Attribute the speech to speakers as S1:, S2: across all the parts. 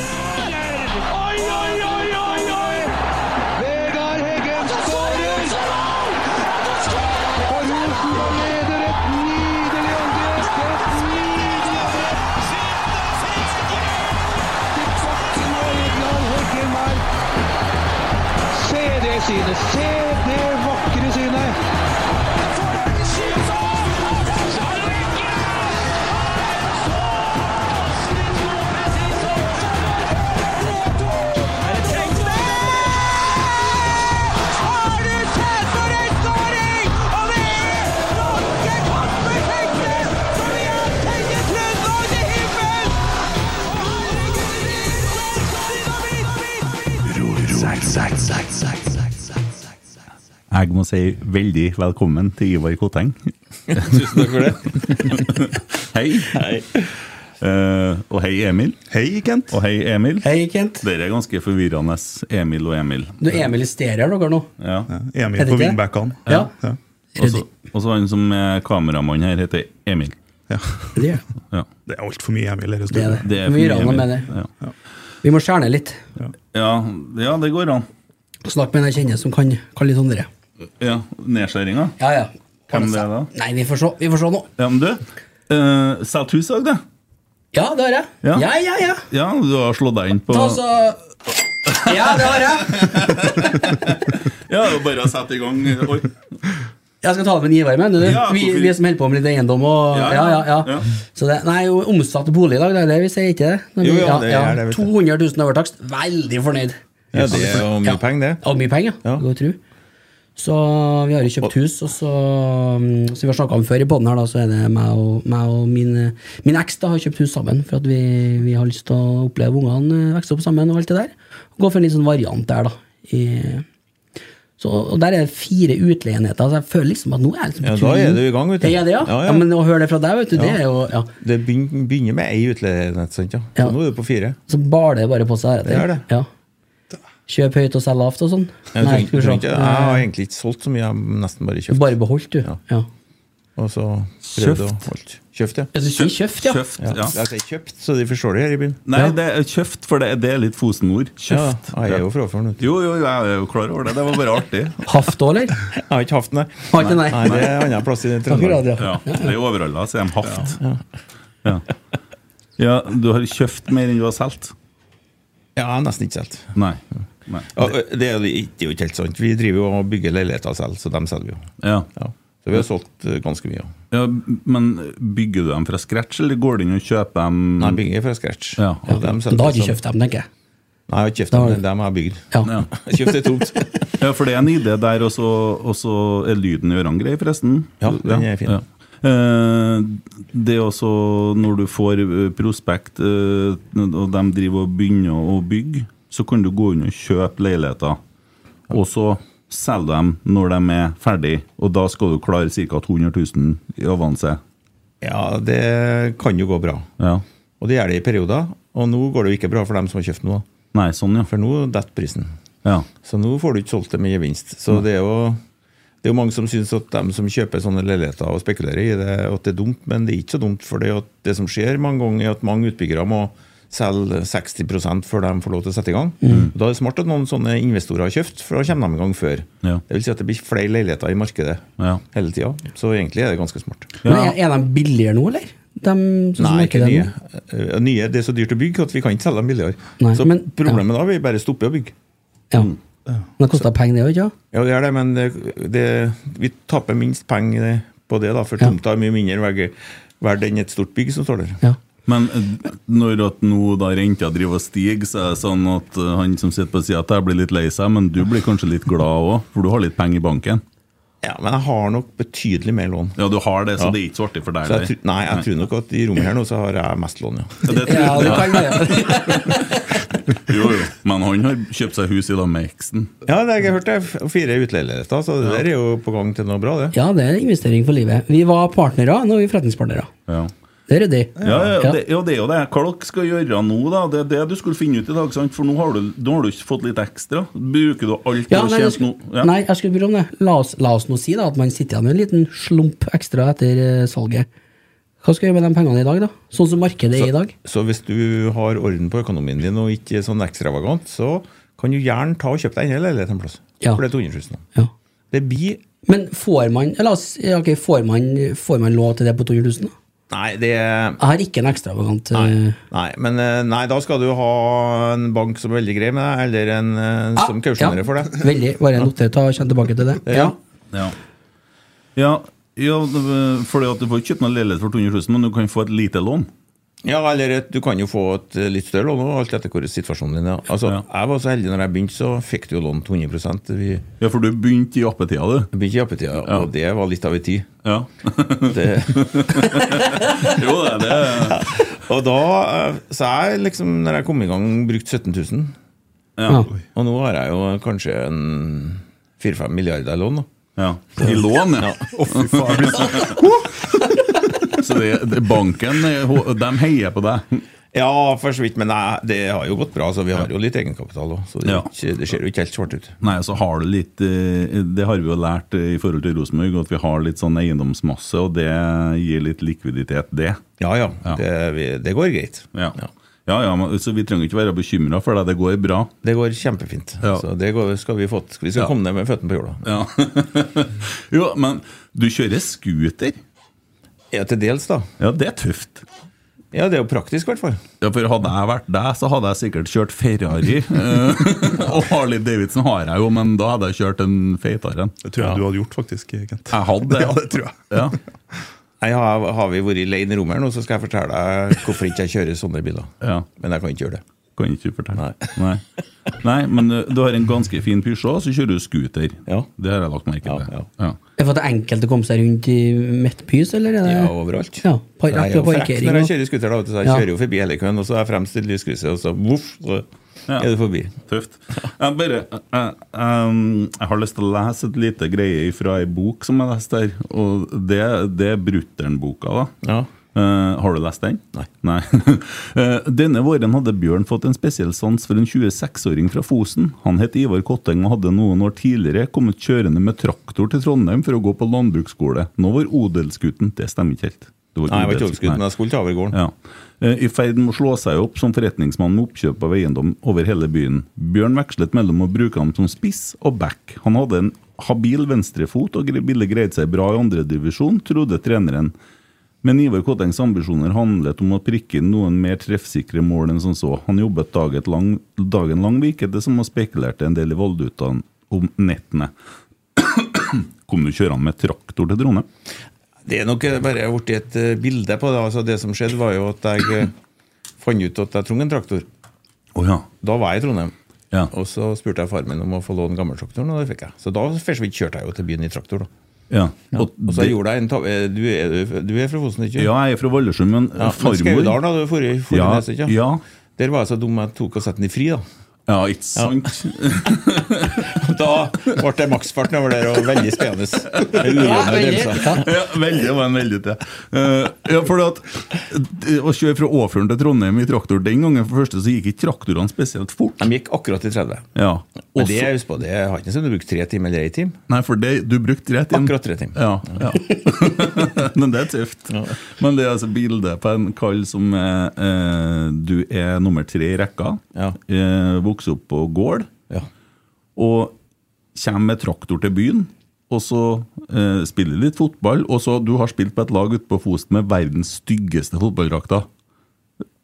S1: Oi, oi, oi, oi, oi! Vegard Heggen skårer! Og Rosenborg leder et nydelig angrep! Et nydelig angrep! Til bakken og Egnald Heggen her. Se det synet! Se det vakre synet!
S2: Jeg må si veldig velkommen til Ivar Koteng.
S3: Tusen takk for det.
S2: Hei. Eh, og hei, Emil.
S3: Hei, Kent.
S2: Og hei, Emil.
S4: Hei, Kent.
S2: Dere er ganske forvirrende, Emil og Emil.
S4: Du, Emil stirrer dere nå?
S2: Ja.
S4: Er
S3: Emil
S4: det
S3: på
S4: ikke?
S3: wingbackene.
S4: Ja.
S3: Ja.
S2: Og så- Og så han som er kameramann her, heter Emil.
S3: Ja.
S4: Det gjør
S2: Ja.
S3: Det er altfor mye Emil her i
S4: det.
S3: stedet.
S4: det
S2: Det
S4: er Mye
S2: for
S4: rana
S2: Emil.
S4: med det.
S2: Ja.
S4: Vi må skjerne litt.
S2: Ja, ja, det går an.
S4: Snakk med en jeg kjenner som kan, kan litt andre.
S2: Ja, Nedskjæringa?
S4: Ja, ja.
S2: Hvem det er da?
S4: Nei, vi får se, vi får se nå.
S2: Ja, men du, uh, sett hus i dag, du.
S4: Ja, det har jeg.
S2: Ja.
S4: Ja, ja, ja.
S2: Ja, du har slått deg inn på
S4: Ta så Ja, det har jeg.
S2: Ja, det er bare å sette i gang. Oi.
S4: Jeg skal ta det med en Ivar, mener du?
S2: Ja,
S4: vi,
S2: hvorfor-
S4: vi som holder på med litt eiendom og
S2: Ja,
S4: Ja,
S2: ja,
S4: ja, ja.
S2: ja.
S4: Så det, nei, jo, omsatt bolig i dag, det er det vi sier, ikke det? Når
S5: Jo,
S4: vi-
S5: ja, det er det vi sier.
S4: 200 000 overtakst. Veldig fornøyd.
S5: Ja, det er jo mye
S4: Ja.
S5: penger, det.
S4: Og mye penger, ja.
S5: Ja.
S4: det går tru. Så vi har jo kjøpt hus, og så mm, Som vi har snakka om før i poden her, da, så er det meg og, meg og min, min eks da har kjøpt hus sammen. For at vi, vi har lyst til å oppleve ungene eh, vokse opp sammen og alt det der. Og gå for en litt sånn variant der, da. I, så, og der er det fire utleieenheter, så jeg føler liksom at nå er jeg liksom på
S5: Ja,
S4: tur
S5: da er du i gang, vet du.
S4: Ja, jeg er det, ja?
S5: Ja,
S4: ja,
S5: ja.
S4: men å høre det fra deg, vet du, det
S5: Ja.
S4: er jo ja.
S5: Det begyn- begynner med ei utledenhet, sant? Ja.
S4: Ja.
S5: Så nå er du på fire.
S4: Så bar det bare på seg
S5: Det gjør det.
S4: Ja. Kjøp høyt og selg lavt og sånn.
S5: Jeg, tror,
S4: skal vi
S5: tror
S4: se.
S5: ikke, jeg har egentlig ikke solgt så mye, jeg har nesten bare kjøpt.
S4: Bare beholdt, du.
S5: Ja.
S4: ja.
S5: Og så prøvd å
S2: Kjøpt.
S5: holdt. Kjøpt, ja.
S4: Ja, Du sier kjøft, ja.
S2: Kjøft,
S5: ja.
S2: ja.
S5: Jeg sier kjøpt, så de forstår det her i byen.
S2: Nei, det er kjøft, for det, det er litt Fosen-ord. Kjøft.
S5: Ja, jeg er jo fra Førn, vet du.
S2: Jo, jo, jeg er jo klar over det. Det var bare artig.
S4: Haft òg, eller?
S5: Jeg har ikke haft den, jeg.
S4: Har ikke, nei.
S5: Nei, det er annen plass i
S4: Akkurat,
S5: Trøndelag.
S4: ja.
S2: Ja, det er overalla, så er de haft. Ja. ja, du har kjøpt mer enn du har solgt?
S5: Ja, nesten ikke solgt.
S2: Nei. Nei.
S5: Ja, det er jo det er jo ikke helt sant. Vi driver jo og bygger leiligheter selv, så dem selger vi jo.
S2: Ja.
S5: Ja. Så vi har solgt eh, ganske mye. ja.
S2: ja, Men bygger du dem fra scratch, eller går du inn og kjøper dem
S5: Nei, bygger fra scratch.
S2: Mm. Ja.
S5: Og dem sånn.
S4: Men
S5: selger
S4: da har
S5: vi
S4: du
S5: som-
S4: kjøpt dem, tenker jeg.
S5: Nei, jeg har ikke kjøpt
S4: Da har
S5: dem,
S4: du-
S5: men dem har jeg bygd.
S4: Ja.
S2: Ja.
S5: Kjøpt ei tomt.
S2: ja, for det er en idé der, og så, og så er lyden i ørene grei, forresten.
S5: Ja, den er fin.
S2: Eh, Det er også når du får eh, prospekt, eh, og de driver og begynner å bygge, så kan du gå inn og kjøpe leiligheter. Og så selge dem når de er ferdig, og da skal du klare ca. 200 000 i avanse.
S5: Ja, det kan jo gå bra.
S2: Ja.
S5: Og det gjør det i perioder. Og nå går det jo ikke bra for dem som har kjøpt nå,
S2: Nei, sånn, ja.
S5: for nå detter prisen.
S2: ja.
S5: Så nå får du ikke solgt det med gevinst. Så det er jo det er jo mange som syns at dem som kjøper sånne leiligheter og spekulerer i det, at det er dumt, men det er ikke så dumt. For det, at det som skjer mange ganger, er at mange utbyggere må selge 60 før de får lov til å sette i gang.
S2: Mm.
S5: Da er det smart at noen sånne investorer har kjøpt, for da kommer de i gang før.
S2: Ja.
S5: Det vil si at det blir flere leiligheter i markedet
S2: Ja.
S5: hele tida. Så egentlig er det ganske smart.
S4: Men er, er de billigere nå, eller? De, sånn som
S5: Nei, ikke
S4: markedet
S5: nye.
S4: er nå?
S5: Eh, nye. Det er så dyrt å bygge at vi kan ikke selge dem billigere.
S4: Nei,
S5: så
S4: men-
S5: problemet da er vi bare stopper å bygge.
S4: Ja.
S5: Mm.
S4: Men det kosta penger, det òg, ikke sant?
S5: Ja, det er det, men det, det, vi taper minst penger eh, på det, da, for
S4: Ja.
S5: tomta er mye mindre verd- verd enn et stort bygg som står der.
S4: Ja.
S2: Men eh, når at nå da renta driver og stiger, så er det sånn at eh, han som sitter på sida der, blir litt lei seg, men du blir kanskje litt glad òg, for du har litt penger i banken.
S5: Ja, Men jeg har nok betydelig mer lån.
S2: Ja, du har det, så
S5: Ja.
S2: det er ikke så artig for deg.
S5: Så
S2: det.
S5: jeg, tru- nei, jeg tror nok at i rommet her nå så har jeg mest lån, ja.
S2: Ja, det tror-
S4: Ja, det kan være.
S2: Jo, jo. Men han har kjøpt seg hus i lag med eksen.
S5: Ja, det har jeg hørt det. F- Fire utleieligheter, så det der er jo på gang til noe bra, det.
S4: ja, det er en investering for livet. Vi var partnere, nå er vi forretningspartnere.
S2: Ja.
S4: Det er ryddig.
S2: Ja, ja,
S4: Ja.
S2: Det, ja, det er jo det. Hva dere skal gjøre nå, da? Det er det du skulle finne ut i dag, sant? for nå har du, nå har du fått litt ekstra. Bruker du alt du
S4: Ja,
S2: har
S4: nei, jeg
S2: tjent nå?
S4: skulle,
S2: Ja.
S4: nei, jeg skulle bry om det. La oss, la oss nå si da at man sitter igjen med en liten slump ekstra etter eh, salget. Hva skal jeg gjøre med de pengene i dag, da? Sånn som markedet er i dag?
S5: Så hvis du har orden på økonomien din og ikke er sånn ekstravagant, så kan du gjerne ta og kjøpe deg en hel leilighet en plass.
S4: Ja.
S5: For det er 200 000.
S4: Ja.
S5: Det blir
S4: Men får man, la oss, ja, ok, får man, får man lov til det på 200 000? Da?
S5: Nei, det
S4: Jeg har ikke en ekstravagant
S5: Nei,
S4: eh,
S5: nei, men eh, nei, da skal du ha en bank som er veldig grei med deg, eller en eh, som
S4: Ah,
S5: kausjonerer for deg.
S4: Veldig. Bare noter ta og kjenn tilbake til det.
S5: Ja.
S2: Ja. Ja, ja det- fordi at du får ikke kjøpt noen leilighet for 200 000, men du kan få et lite lån.
S5: Ja, eller et- du kan jo få et eh, litt større lån, også, alt etter hvor situasjonen din er. Altså,
S2: Ja.
S5: Jeg var så heldig når jeg begynte, så fikk du jo lån til 100 Vi
S2: Ja, for du begynte i appetida, du.
S5: begynte i jappetida,
S2: Ja.
S5: og det var litt av en tid.
S2: Ja.
S5: Det,
S2: Jo, det er det.
S5: og da, eh, Så jeg liksom, når jeg kom i gang, brukte 17 000.
S4: Ja.
S5: Og nå har jeg jo kanskje en 4-5 milliarder i lån. da.
S2: Ja. I lån, ja. Så det, det, banken eh, ho- de heier på deg.
S5: Ja, for så vidt, men nei, det har jo gått bra. Så vi har jo litt egenkapital òg, så det, er
S2: Ja.
S5: ikke, det ser jo ikke helt svart ut.
S2: Nei, så har du litt eh, Det har vi jo lært eh, i forhold til Rosenborg, at vi har litt sånn eiendomsmasse, og det gir litt likviditet, det.
S5: Ja ja,
S2: Ja.
S5: Det, vi, det går greit.
S2: Ja, ja, ja men, så vi trenger ikke være bekymra for deg, det går bra.
S5: Det går kjempefint.
S2: Ja.
S5: Så det går, skal vi få Vi skal
S2: Ja.
S5: komme ned med føttene på jorda.
S2: Ja. jo, men du kjører scooter?
S5: Ja, til dels, da.
S2: Ja, det er tøft.
S5: Ja, det er jo praktisk, i hvert fall.
S2: Ja, for Hadde jeg vært deg, så hadde jeg sikkert kjørt Ferrari. eh, og Harley Davidson har jeg jo, men da hadde jeg kjørt en feitere en.
S3: Det tror jeg du hadde gjort, faktisk, Kent.
S2: Jeg hadde det.
S3: Ja, det tror jeg.
S2: Ja.
S5: Nei, har, har vi vært leid i rommet her nå, så skal jeg fortelle deg hvorfor ikke jeg kjører sånne biler.
S2: ja.
S5: Men jeg kan ikke gjøre det.
S2: Kan ikke fortelle.
S5: Nei.
S2: Nei. Nei, men du, du har en ganske fin Peugeot, så kjører du scooter.
S5: Ja.
S2: Det har jeg lagt merke
S5: Ja,
S2: til.
S5: ja.
S4: Er det for at det er enkelt å komme seg rundt i Midtbys, eller? Er det?
S5: Ja, overalt.
S4: Ja, par,
S5: Nei,
S4: rett ved
S5: jeg er jo frekk
S4: parkering.
S5: når jeg
S4: og-
S5: kjører scooter, da, vet du, så jeg
S4: Ja.
S5: kjører jo forbi hele køen, og så er jeg fremst i lyskrysset, og så voff, så
S2: Ja.
S5: er du forbi.
S2: Tøft. Jeg, bare, jeg, em, jeg har lyst til å lese et lite greie fra ei bok som jeg leste her. Og det, det er Brutter'n-boka, da.
S5: Ja.
S2: Eh, har du lest den?
S5: Nei.
S2: Eh, denne våren hadde Bjørn fått en spesiell sans for en 26-åring fra Fosen. Han het Ivar Kotteng og hadde noen år tidligere kommet kjørende med traktor til Trondheim for å gå på landbruksskole. Nå var odelsgutten Det stemmer ikke helt. Det var
S5: Nei, jeg var ikke overskudd,
S2: odelsgutten,
S5: men jeg skulle til Avergården.
S2: ja. Eh, I ferd med å slå seg opp som forretningsmann med oppkjøp av eiendom over hele byen. Bjørn vekslet mellom å bruke ham som spiss og back. Han hadde en habil venstrefot og gre- ville greid seg bra i andredivisjon, trodde treneren. Men Ivar Kottengs ambisjoner handlet om å prikke inn noen mer treffsikre mål enn som så. Han jobbet dagen lang, dagen lang virket det som og spekulerte en del i Voldutaen om nettene. Kom du kjørende med traktor til Trondheim?
S5: Det er nok bare blitt et eh, bilde på det. altså Det som skjedde, var jo at jeg eh, fant ut at jeg trengte en traktor.
S2: Å ja.
S5: Da var jeg i Trondheim.
S2: Ja.
S5: Og så spurte jeg faren min om å få låne gammeltraktoren, og det fikk jeg. Så da først og fremst kjørte jeg jo til byen i traktor. da.
S2: ja. Og
S5: Og så
S2: det-
S5: gjorde jeg en ta eh, Du er, du er fra Fosen, ikke
S2: Ja, jeg er fra Valdresund, men
S5: Ja, men
S2: farmor
S5: Skaudalen hadde du forrige forrige
S2: Ja,
S5: nes, ikke?
S2: ja.
S5: Der var jeg så dum jeg tok og satte den i fri, da.
S2: Ja, ikke sant?
S5: Da ble det maksfart over der, og veldig spennende. Med
S4: Ja,
S5: uroende
S4: veldig.
S5: bremser.
S4: Ja.
S2: Ja, veldig, det var en veldig til. Eh, ja, for det at det Å kjøre fra Åfjorden til Trondheim i traktor den gangen, for det første så gikk ikke traktorene spesielt fort.
S5: De gikk akkurat i 30.
S2: Ja,
S5: Men det,
S2: også,
S5: husk på, det har ikke sånn du bruker tre timer eller ei time.
S2: Nei, for det, du brukte rett inn.
S5: Akkurat tre timer.
S2: Ja, ja. Men det er tøft. Men det er altså bildet på en kall som er, eh, Du er nummer tre i rekka,
S5: Ja.
S2: eh, vokser opp på gård.
S5: Ja.
S2: og kommer med traktor til byen, og så eh, spiller litt fotball, og så du har spilt på et lag ute på Fosen med verdens styggeste fotballdrakter.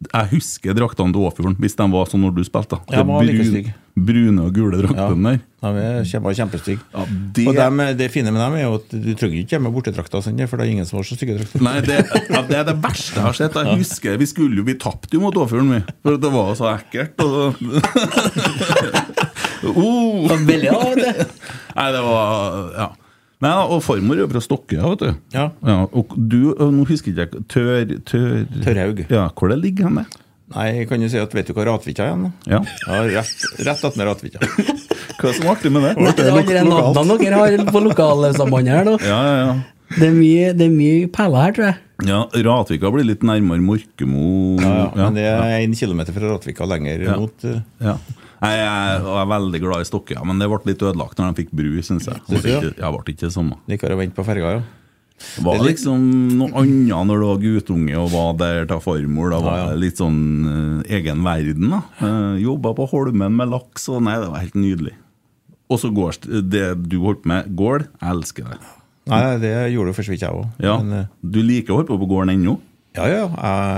S2: Jeg husker draktene til Åfjorden, hvis de var sånn når du spilte. da.
S5: Ja, de var
S2: Det
S5: like stygg.
S2: brune og gule draktene der.
S5: De er kjem- var kjempestygge.
S2: Ja, det-
S5: Og dem, eh, det fine med dem er jo at du trenger ikke hjemme bortetrakta, sånn, for det er ingen som har så stygge drakter.
S2: Nei, det, ja, det er det verste jeg har sett. Jeg husker, Vi skulle jo, vi tapte jo mot Åfjorden, vi. For det var så ekkelt. Og så. oh.
S4: Ja, Veldig, ja, vet du.
S2: Nei, det var Ja. Nei, da, og farmor er fra Stokke, vet du.
S5: Ja.
S2: og du, og nå husker ikke jeg Tør... tør
S5: Tørrhaug.
S2: Ja, hvor det ligger hen, det?
S5: Nei, kan du si at vet du hva Ratvika er igjen? da?
S2: Ja.
S5: Ja, rett, rett attmed Ratvika.
S2: Hva som er artig med det?
S4: Nei, Det er allerede navnene dere har på lokalsambandet her nå.
S2: Ja, ja, ja.
S4: Det er mye, det er mye perler her, tror jeg.
S2: Ja, Ratvika blir litt nærmere Morkemo.
S5: Ja, ja, men det er én kilometer fra Ratvika lenger
S2: Ja.
S5: mot eh,
S2: Ja. Nei, jeg er veldig glad i Stokke, ja, men det ble litt ødelagt når de fikk bru, syns jeg.
S5: Synes du,
S2: Ble ikke, jeg ble ikke det samme.
S5: Liker å vente på ferga, ja.
S2: Det var liksom noe annet når du var guttunge og var der til farmor. Da var
S5: Ja, ja.
S2: det litt sånn eh, egen verden. da. Eh, Jobba på Holmen med laks og Nei, det var helt nydelig. Og så gårds... Det du holdt på med, gård, jeg elsker det.
S5: Nei, det gjorde jo for så vidt jeg òg.
S2: Ja, Du liker å holde på på gården ennå?
S5: ja, ja,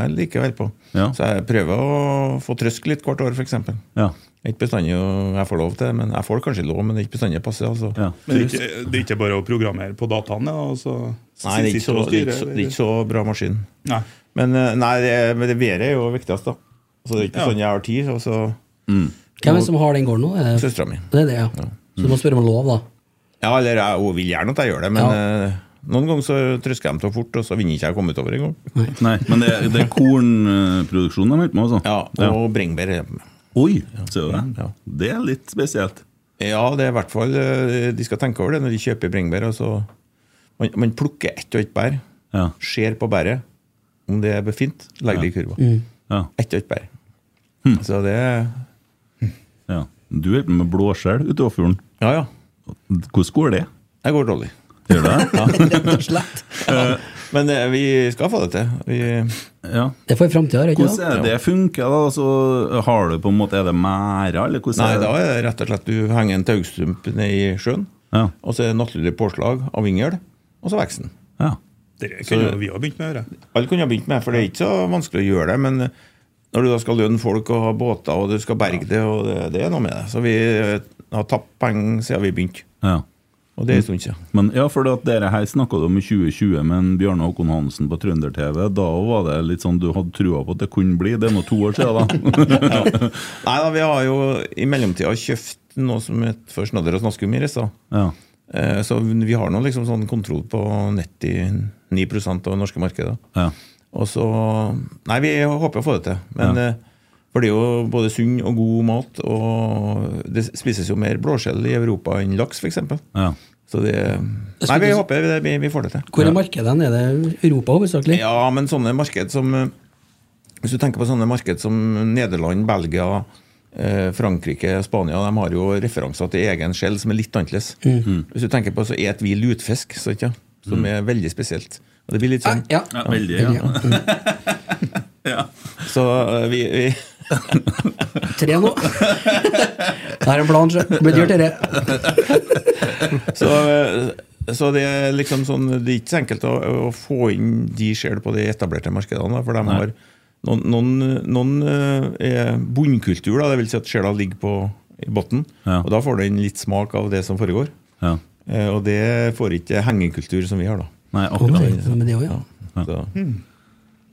S5: jeg liker å holde på.
S2: Ja.
S5: Så jeg prøver å få trøsk litt hvert år, f.eks.
S2: Ja.
S5: Ikke bestandig å- jeg får lov til, men jeg får kanskje lov, men det er ikke bestandig passe. Altså.
S2: ja.
S3: Men det er, ikke, det er ikke bare å programmere på dataene? Og så
S5: Nei, det er, ikke så, det, er ikke så, det er ikke så bra maskin.
S3: Nei.
S5: Men eh, nei, det, men det været er jo viktigst, da. Så det er ikke sånn jeg har tid. Og så
S4: Hvem er det som har den gården nå? Er det-
S5: søstera mi.
S4: Det er det, ja. Så du må spørre om lov, da.
S5: Ja, eller jeg hun vil gjerne at jeg gjør det, men
S4: Ja.
S5: eh, noen ganger så trøsker jeg dem så fort, og så vinner ikke jeg å komme utover engang.
S2: Nei, men det, det er kornproduksjonen de holder på med, altså?
S5: Ja, og
S2: Ja.
S5: bringebær. er hjemme.
S2: Oi, ser du det?
S5: Ja.
S2: Det er litt spesielt.
S5: Ja, det er i hvert fall eh, De skal tenke over det når de kjøper bringebær. Altså, man, man plukker ett og ett bær,
S2: Ja.
S5: ser på bæret, om det er befint, legger det i kurva.
S2: ja.
S5: Ett og ett bær. Så det
S2: ja. Du holder på med blåskjell ute i Åfjorden.
S5: Ja, ja.
S2: Hvordan går det?
S5: Jeg går dårlig.
S2: Gjør det?
S4: Rett og slett.
S5: Men eh, vi skal få det til. Vi,
S2: Ja.
S4: Det får i framtida, er det ikke
S2: Hvordan
S4: det?
S2: er det det funker, da? Altså, har du på en måte Er det mæra, eller hvordan
S5: nei,
S2: er
S5: da
S2: det?
S5: er det rett og slett du henger en taustump ned i sjøen,
S2: Ja.
S5: og så er det naturlig påslag av vingel, og så vokser den.
S2: Ja.
S3: Det kunne jo vi ha begynt med å gjøre.
S5: Alle kunne ha begynt med, for det er ikke så vanskelig å gjøre det. Men eh, når du da skal lønne folk og ha båter, og du skal berge det, og det, det er noe med det. Så vi eh, har tapt penger siden vi begynte,
S2: ja.
S5: og det er en stund siden.
S2: Men ja, for at dere her snakka om i 2020 med en Bjarne Håkon Hansen på Trønder-TV. Da var det litt sånn du hadde trua på at det kunne bli. Det er nå to år siden, da.
S5: Nei da, vi har jo i mellomtida kjøpt noe som heter for snadder og snaskum i Rissa.
S2: Ja.
S5: Eh, Så vi har nå liksom sånn kontroll på 99 av det norske markedet.
S2: Ja.
S5: Og så Nei, vi håper å få det til. Men eh, for det er jo både sunn og god mat, og det spises jo mer blåskjell i Europa enn laks, f.eks.
S2: ja.
S5: Så det Nei, vi håper det, vi, vi får det til.
S4: Hvor er markedet? hen? Er det Europa hovedsakelig?
S5: Ja, men sånne marked som eh, Hvis du tenker på sånne marked som Nederland, Belgia, eh, Frankrike, Spania, de har jo referanser til egen skjell som er litt annerledes.
S4: Mm.
S5: Hvis du tenker på så et vi lutfisk, så ikke? som er veldig spesielt. Og det blir litt sånn
S4: Ja.
S2: ja veldig. Ja.
S5: Så eh, vi, vi
S4: Tre nå. Det er en plan, sjø. Det blir dyrt, dette.
S5: Så, så det er liksom sånn Det er ikke så enkelt å, å få inn de sjøl på de etablerte markedene. da, For de har noen, noen, noen eh, er bunnkultur, da, det vil si at sjela ligger på i bunnen.
S2: Ja.
S5: Og da får du inn litt smak av det som foregår.
S2: ja.
S5: Eh, Og det får ikke hengekultur som vi har, da.
S2: Nei,
S4: Ok,
S2: akkurat.
S4: men det, også, ja.
S5: Så,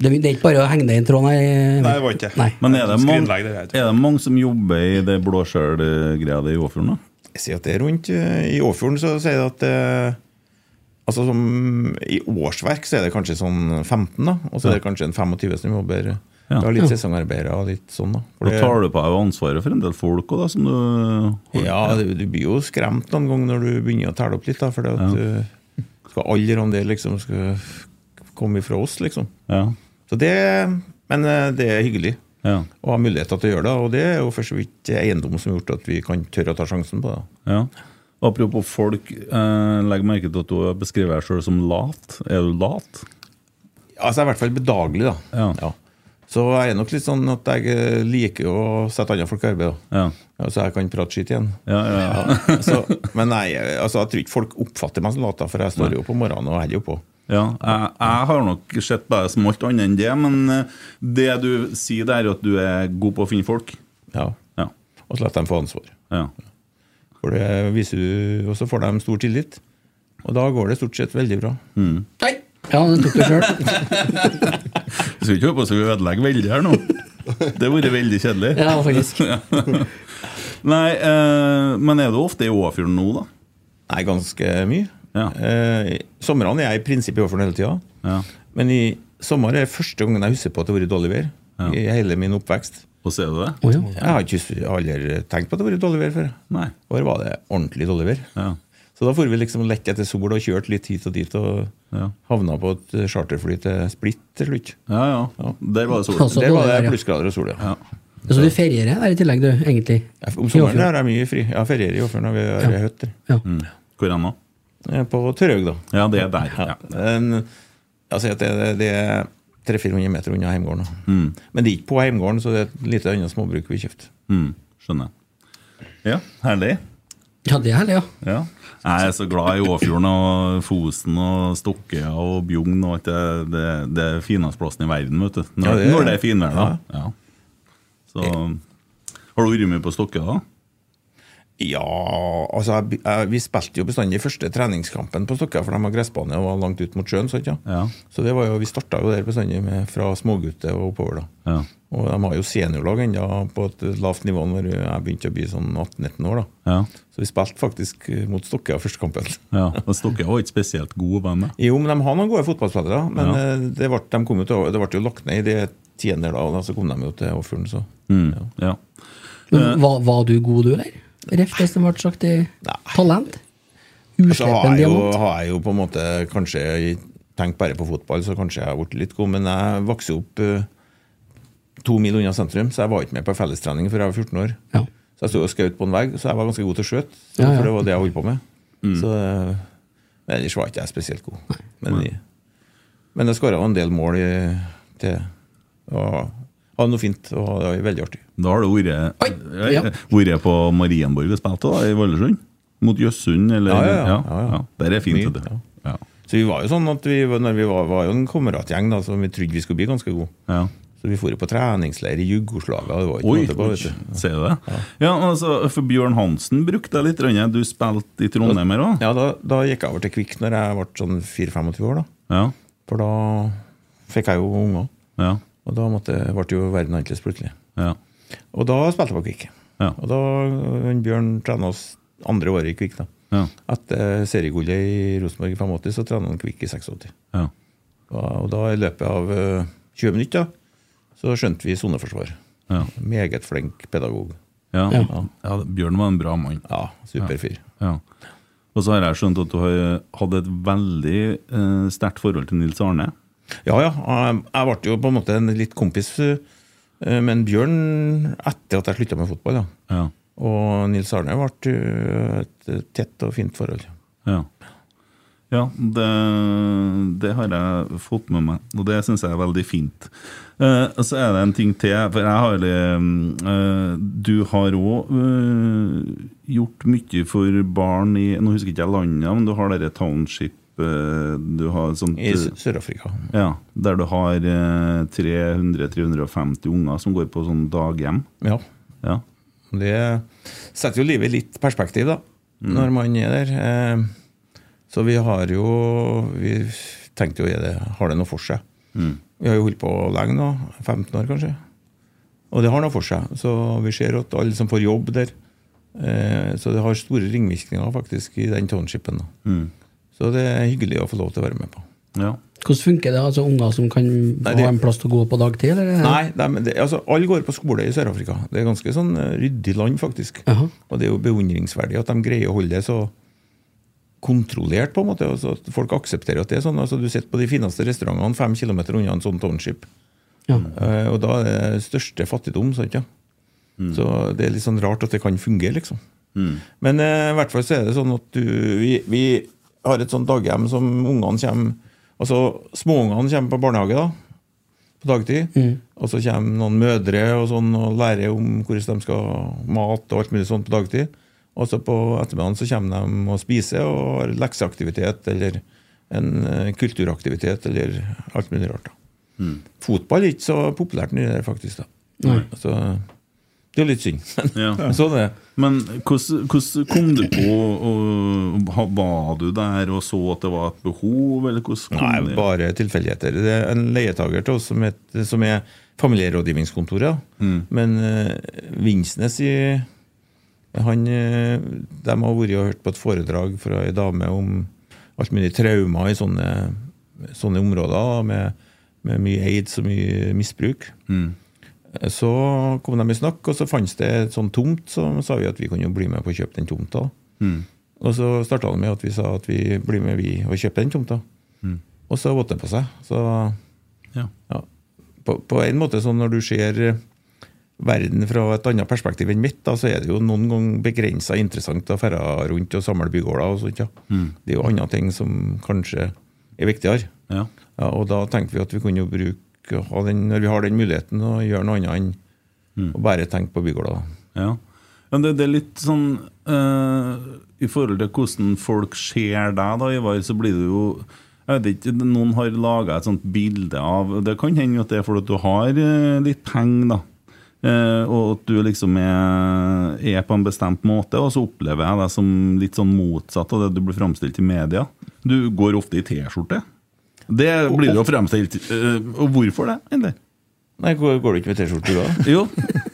S4: det, det er ikke bare å henge deg i en tråd, nei.
S3: Nei, det var ikke
S4: Nei.
S2: Men er det, mange,
S3: Skrinlegg det her, tror jeg.
S2: er det mange som jobber i det blåskjellgreia di i Åfjorden, da?
S5: jeg sier at det er rundt eh, I Åfjorden så sier det at eh, Altså som I årsverk så er det kanskje sånn 15, da. Og så er det kanskje en 25 som jobber.
S2: Ja.
S5: Du har litt sesongarbeidere og litt sånn, da. For
S2: Da
S5: det-
S2: tar du på deg ansvaret for en del folk òg, da, som du
S5: Ja, du, du blir jo skremt noen ganger når du begynner å telle opp litt. da, For at du skal aldri om det liksom skal komme ifra oss, liksom.
S2: Ja.
S5: Så det, men eh, det er hyggelig
S2: Ja.
S5: å ha muligheter til å gjøre det. Og det er jo for så vidt eiendom som har gjort at vi kan tørre å ta sjansen på det.
S2: Ja. Apropos folk, eh, legg merke til at du beskriver deg sjøl som lat. Er du lat?
S5: Altså, jeg er i hvert fall bedagelig, da.
S2: Ja.
S5: Så jeg er nok litt sånn at jeg eh, liker å sette andre folk i arbeid. da.
S2: Ja.
S5: Ja, så jeg kan prate skitt igjen.
S2: Ja, ja, ja.
S5: Så, men nei, altså, jeg tror ikke folk oppfatter meg som lat, da, for jeg står jo opp om morgenen og holder jo på.
S2: ja. Jeg, jeg har nok sett deg som alt annet enn det, men eh, det du sier der, er at du er god på å finne folk.
S5: Ja.
S2: Ja.
S5: Og så lar jeg dem få ansvar.
S2: ja.
S5: For det viser du, Og så får de stor tillit. Og da går det stort sett veldig bra.
S4: Nei. Ja, det tok du sjøl.
S2: Vi skal ikke holde på så vi ødelegger veldig her nå. Det hadde vært veldig kjedelig.
S4: Ja, faktisk.
S2: Nei, eh, men er du ofte i Åfjorden nå, da?
S5: Nei, ganske mye.
S2: Ja.
S5: Eh, i- somrene er jeg i prinsippet overfor hele tida.
S2: Ja.
S5: Men i sommer er første gangen jeg husker på at det har vært dårlig vær.
S2: Ja.
S5: I hele min oppvekst.
S2: Og ser du det?
S4: Å, ja.
S5: Jeg har ikke hus- aldri tenkt på at det har vært dårlig vær før.
S2: Nei.
S5: I år var det ordentlig dårlig vær.
S2: Ja.
S5: Så da for vi liksom lett etter sol og kjørte litt hit og dit, og
S2: Ja.
S5: havna på et eh, charterfly til Split til slutt.
S2: Ja, ja. Der var det sol.
S4: Altså,
S5: Der var
S4: dårlig vær, ja.
S5: det plussgrader og sol, ja.
S4: Så du ferierer der i tillegg, du, egentlig?
S5: Om
S4: I Åfjord.
S5: sommeren har jeg mye fri. Jeg ferierer i Åfjorden, og vi har hytter.
S4: Ja.
S2: Mm. Hvor enn da?
S5: eh, på Tørhaug, da.
S2: Ja, det er der. Ja.
S5: En, altså at det, det er 300-400 meter unna heimgården. da. Men det er ikke på heimgården, så det er et lite annet småbruk vi kjøpte.
S2: Mm, skjønner. Ja, herlig.
S4: Ja, det er herlig, ja.
S2: Ja. Jeg er så glad i Åfjorden og Fosen og Stokkøya og Bjugn. og alt Det, det, det er fineste plassen i verden, vet du. Når,
S5: Ja, det er-
S2: når det er finvær, da. Ja. Så Har du vært mye på Stokkøya, da?
S5: Ja, altså jeg, jeg, Vi spilte jo bestandig første treningskampen på Stokkøya, for de har gressbane og var langt ut mot sjøen. Sant, ja?
S2: Ja.
S5: Så det var jo, vi starta jo der bestandig med, fra smågutter og oppover. da.
S2: Ja.
S5: Og de har jo seniorlag ennå på et lavt nivå når jeg begynte å bli sånn 18-19 år. da.
S2: Ja.
S5: Så vi spilte faktisk eh, mot Stokkøya første kampen.
S2: ja. Og Stokkøya var ikke spesielt god å være med.
S5: Jo, men de har noen gode fotballspillere, men
S2: Ja.
S5: eh, det, ble, de kom jo til, det ble jo lagt ned i det tiende da, og da så kom de jo til Åfjorden, så
S2: Mm. Ja.
S4: Men Var, var du god, du, eller? Ref det som ble sagt i
S5: Nei.
S4: talent?
S5: Så Altså, har
S4: Uslepen
S5: jeg, jo,
S4: diamant?
S5: har jeg jo på en måte kanskje tenkt bare på fotball, så kanskje jeg har blitt litt god, men jeg vokste jo opp eh, to mil unna sentrum, så jeg var ikke med på fellestrening før jeg var 14 år.
S4: Ja.
S5: Så jeg sto og skjøt på en vegg, så jeg var ganske god til å skjøte, så-
S4: Ja, ja.
S5: for det var det jeg holdt på med. Så, eh, men ellers var ikke jeg spesielt god. Men, jeg- men jeg skåra en del mål i, til og hadde noe fint, og det var veldig artig.
S2: Da har du vært eh,
S4: Oi! Ja.
S2: vært på Marienborg og spilt da, i Valdresund? Mot Jøssund, eller
S5: Ja, ja, ja. Ja, ja.
S2: Der er fint,
S5: Mye,
S2: vet du. Ja.
S5: Så vi var jo sånn at vi, når vi var, var jo en kameratgjeng da, som vi trodde vi skulle bli ganske gode.
S2: Ja.
S5: Så vi for jo på treningsleir i Jugoslavia. Det var ikke
S2: Oi,
S5: måte på, vet du.
S2: ser du det? Ja. altså, for Bjørn Hansen brukte jeg litt. Rønne. Du spilte i Trondheim her òg?
S5: Ja, da, da gikk jeg over til Kvikk når jeg ble sånn 24-25 år, da.
S2: Ja.
S5: For da fikk jeg jo unger.
S2: Ja.
S5: Og da måtte, ble jo verden annerledes plutselig.
S2: ja.
S5: Og da spilte jeg på Kvikk.
S2: Ja.
S5: Og da han Bjørn trena oss andre året i Kvikk, da.
S2: ja.
S5: Etter seriegullet i Rosenborg i 85, så trena han Kvikk i 86.
S2: ja.
S5: Og, og da i løpet av eh, 20 minutter så skjønte vi soneforsvar.
S2: Ja.
S5: Meget flink pedagog.
S2: Ja.
S4: Ja.
S2: Ja, Bjørn var en bra mann.
S5: Ja, super fyr.
S2: Ja. Og så har jeg skjønt at du har hatt et veldig eh, sterkt forhold til Nils Arne.
S5: Ja, ja. Jeg jeg ble jo på en måte en litt kompis eh, med en Bjørn etter at jeg slutta med fotball. Ja.
S2: Ja.
S5: Og Nils Arne ble eh, et tett og fint forhold.
S2: Ja, ja det, det har jeg fått med meg, og det syns jeg er veldig fint. Eh, og så er det en ting til. For jeg har litt, eh, Du har òg gjort mye for barn i Nå husker ikke jeg landet, men du har dere township eh, Du har sånt
S5: I Sø- Sør-Afrika.
S2: ja, Der du har eh, 300-350 unger som går på sånn daghjem.
S5: Ja.
S2: Ja.
S5: Det setter jo livet i litt perspektiv, da, når man er der. Eh, Så vi har jo Vi tenkte jo er det, har det noe for seg. Vi har jo holdt på lenge nå. 15 år, kanskje. Og det har noe for seg. Så vi ser at alle som får jobb der eh, Så det har store ringvirkninger faktisk i den townshipen. da. Så det er hyggelig å få lov til å være med på.
S2: ja.
S4: Hvordan funker det? altså Unger som kan
S5: det-
S4: ha en plass til å gå på dagtid? Eller?
S5: Nei, de, det- altså, alle går på skole i Sør-Afrika. Det er ganske sånn eh, ryddig land, faktisk.
S4: Jaha.
S5: Og det er jo beundringsverdig at de greier å holde det så kontrollert, på en måte. Altså, at folk aksepterer at det er sånn. Altså, du sitter på de fineste restaurantene fem kilometer unna en sånn township.
S4: Ja.
S5: Eh, og da er det største fattigdom, sant ja. Så det er litt sånn rart at det kan fungere, liksom. Men eh, i hvert fall så er det sånn at du, vi, vi har et sånt daghjem som ungene kommer Altså småungene kommer på barnehage, da på dagtid. Og så kommer noen mødre og sånn og lærer om hvordan de skal mat og alt mulig sånt på dagtid. Og så på ettermiddagen så kommer de og spiser og har lekseaktivitet eller en eh, kulturaktivitet eller alt mulig rart. da. Fotball er ikke så populært nå, der, faktisk. da. Så det er jo litt synd.
S2: Ja.
S5: sånn er det.
S2: Men hvordan hvordan kom du på og, og, Var du der og så at det var et behov, eller hvordan kom
S5: Nei,
S2: det?
S5: bare tilfeldigheter. Det er en leietager til oss som, het, som er familierådgivningskontoret. da. Men eh, Vinsnes i han, eh, De har vært og hørt på et foredrag fra ei dame om alt mulig traumer i sånne, sånne områder, da, med, med mye aids og mye misbruk.
S2: Mm.
S5: Så kom de i snakk, og så fantes det et sånn tomt, så sa vi at vi kunne jo bli med på å kjøpe den tomta. Og så starta det med at vi sa at vi blir med vi og kjøper den tomta. Og så våtte det på seg. Så
S2: Ja.
S5: ja. på, på en måte sånn når du ser eh, verden fra et annet perspektiv enn mitt, da, så er det jo noen ganger begrensa interessant å ferde rundt og samle bygårder og sånt. Ja. Det er jo andre ting som kanskje er viktigere.
S2: Ja.
S5: Ja, og da tenker vi at vi kunne jo bruke, ha den, når vi har den muligheten, å gjøre noe annet enn
S2: Mm.
S5: å bare tenke på bygårder. da.
S2: ja. Men det, det er litt sånn eh, I forhold til hvordan folk ser deg, da, Ivar, så blir det jo jeg vet ikke, Noen har laga et sånt bilde av Det kan hende at det er fordi at du har eh, litt penger, da. Eh, og at du liksom er, er på en bestemt måte, og så opplever jeg deg som litt sånn motsatt av det du blir framstilt i media. Du går ofte i T-skjorte. Det blir jo fremstilt eh, Og hvorfor det, egentlig?
S5: Nei, går, går du ikke med T-skjorte du da?
S2: Jo,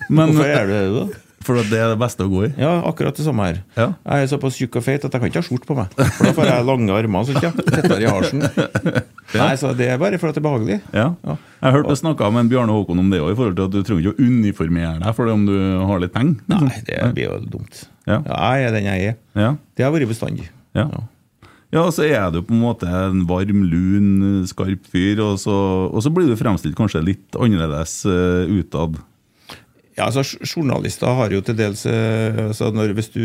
S2: men
S5: Hvorfor gjør du det da?
S2: For at det er det beste å gå i.
S5: Ja, akkurat det samme her.
S2: Ja.
S5: Jeg er såpass tjukk og feit at jeg kan ikke ha skjort på meg. For da får jeg lange armer så ikke jeg tettere i halsen. Nei, så det er bare for at det er behagelig.
S2: Ja.
S5: Ja.
S2: Jeg hørte det snakka med en Bjarne Håkon om det òg, i forhold til at du trenger ikke å uniformere deg for det om du har litt penger. liksom.
S5: Nei, det blir jo dumt.
S2: Ja.
S5: Ja, jeg er den jeg er.
S2: Ja.
S5: Det har vært bestandig.
S2: Ja. Ja, og så er du på en måte en varm, lun, skarp fyr, og så, og så blir du fremstilt kanskje litt annerledes eh, utad.
S5: Ja, altså j- Journalister har jo til dels eh, altså når, hvis du,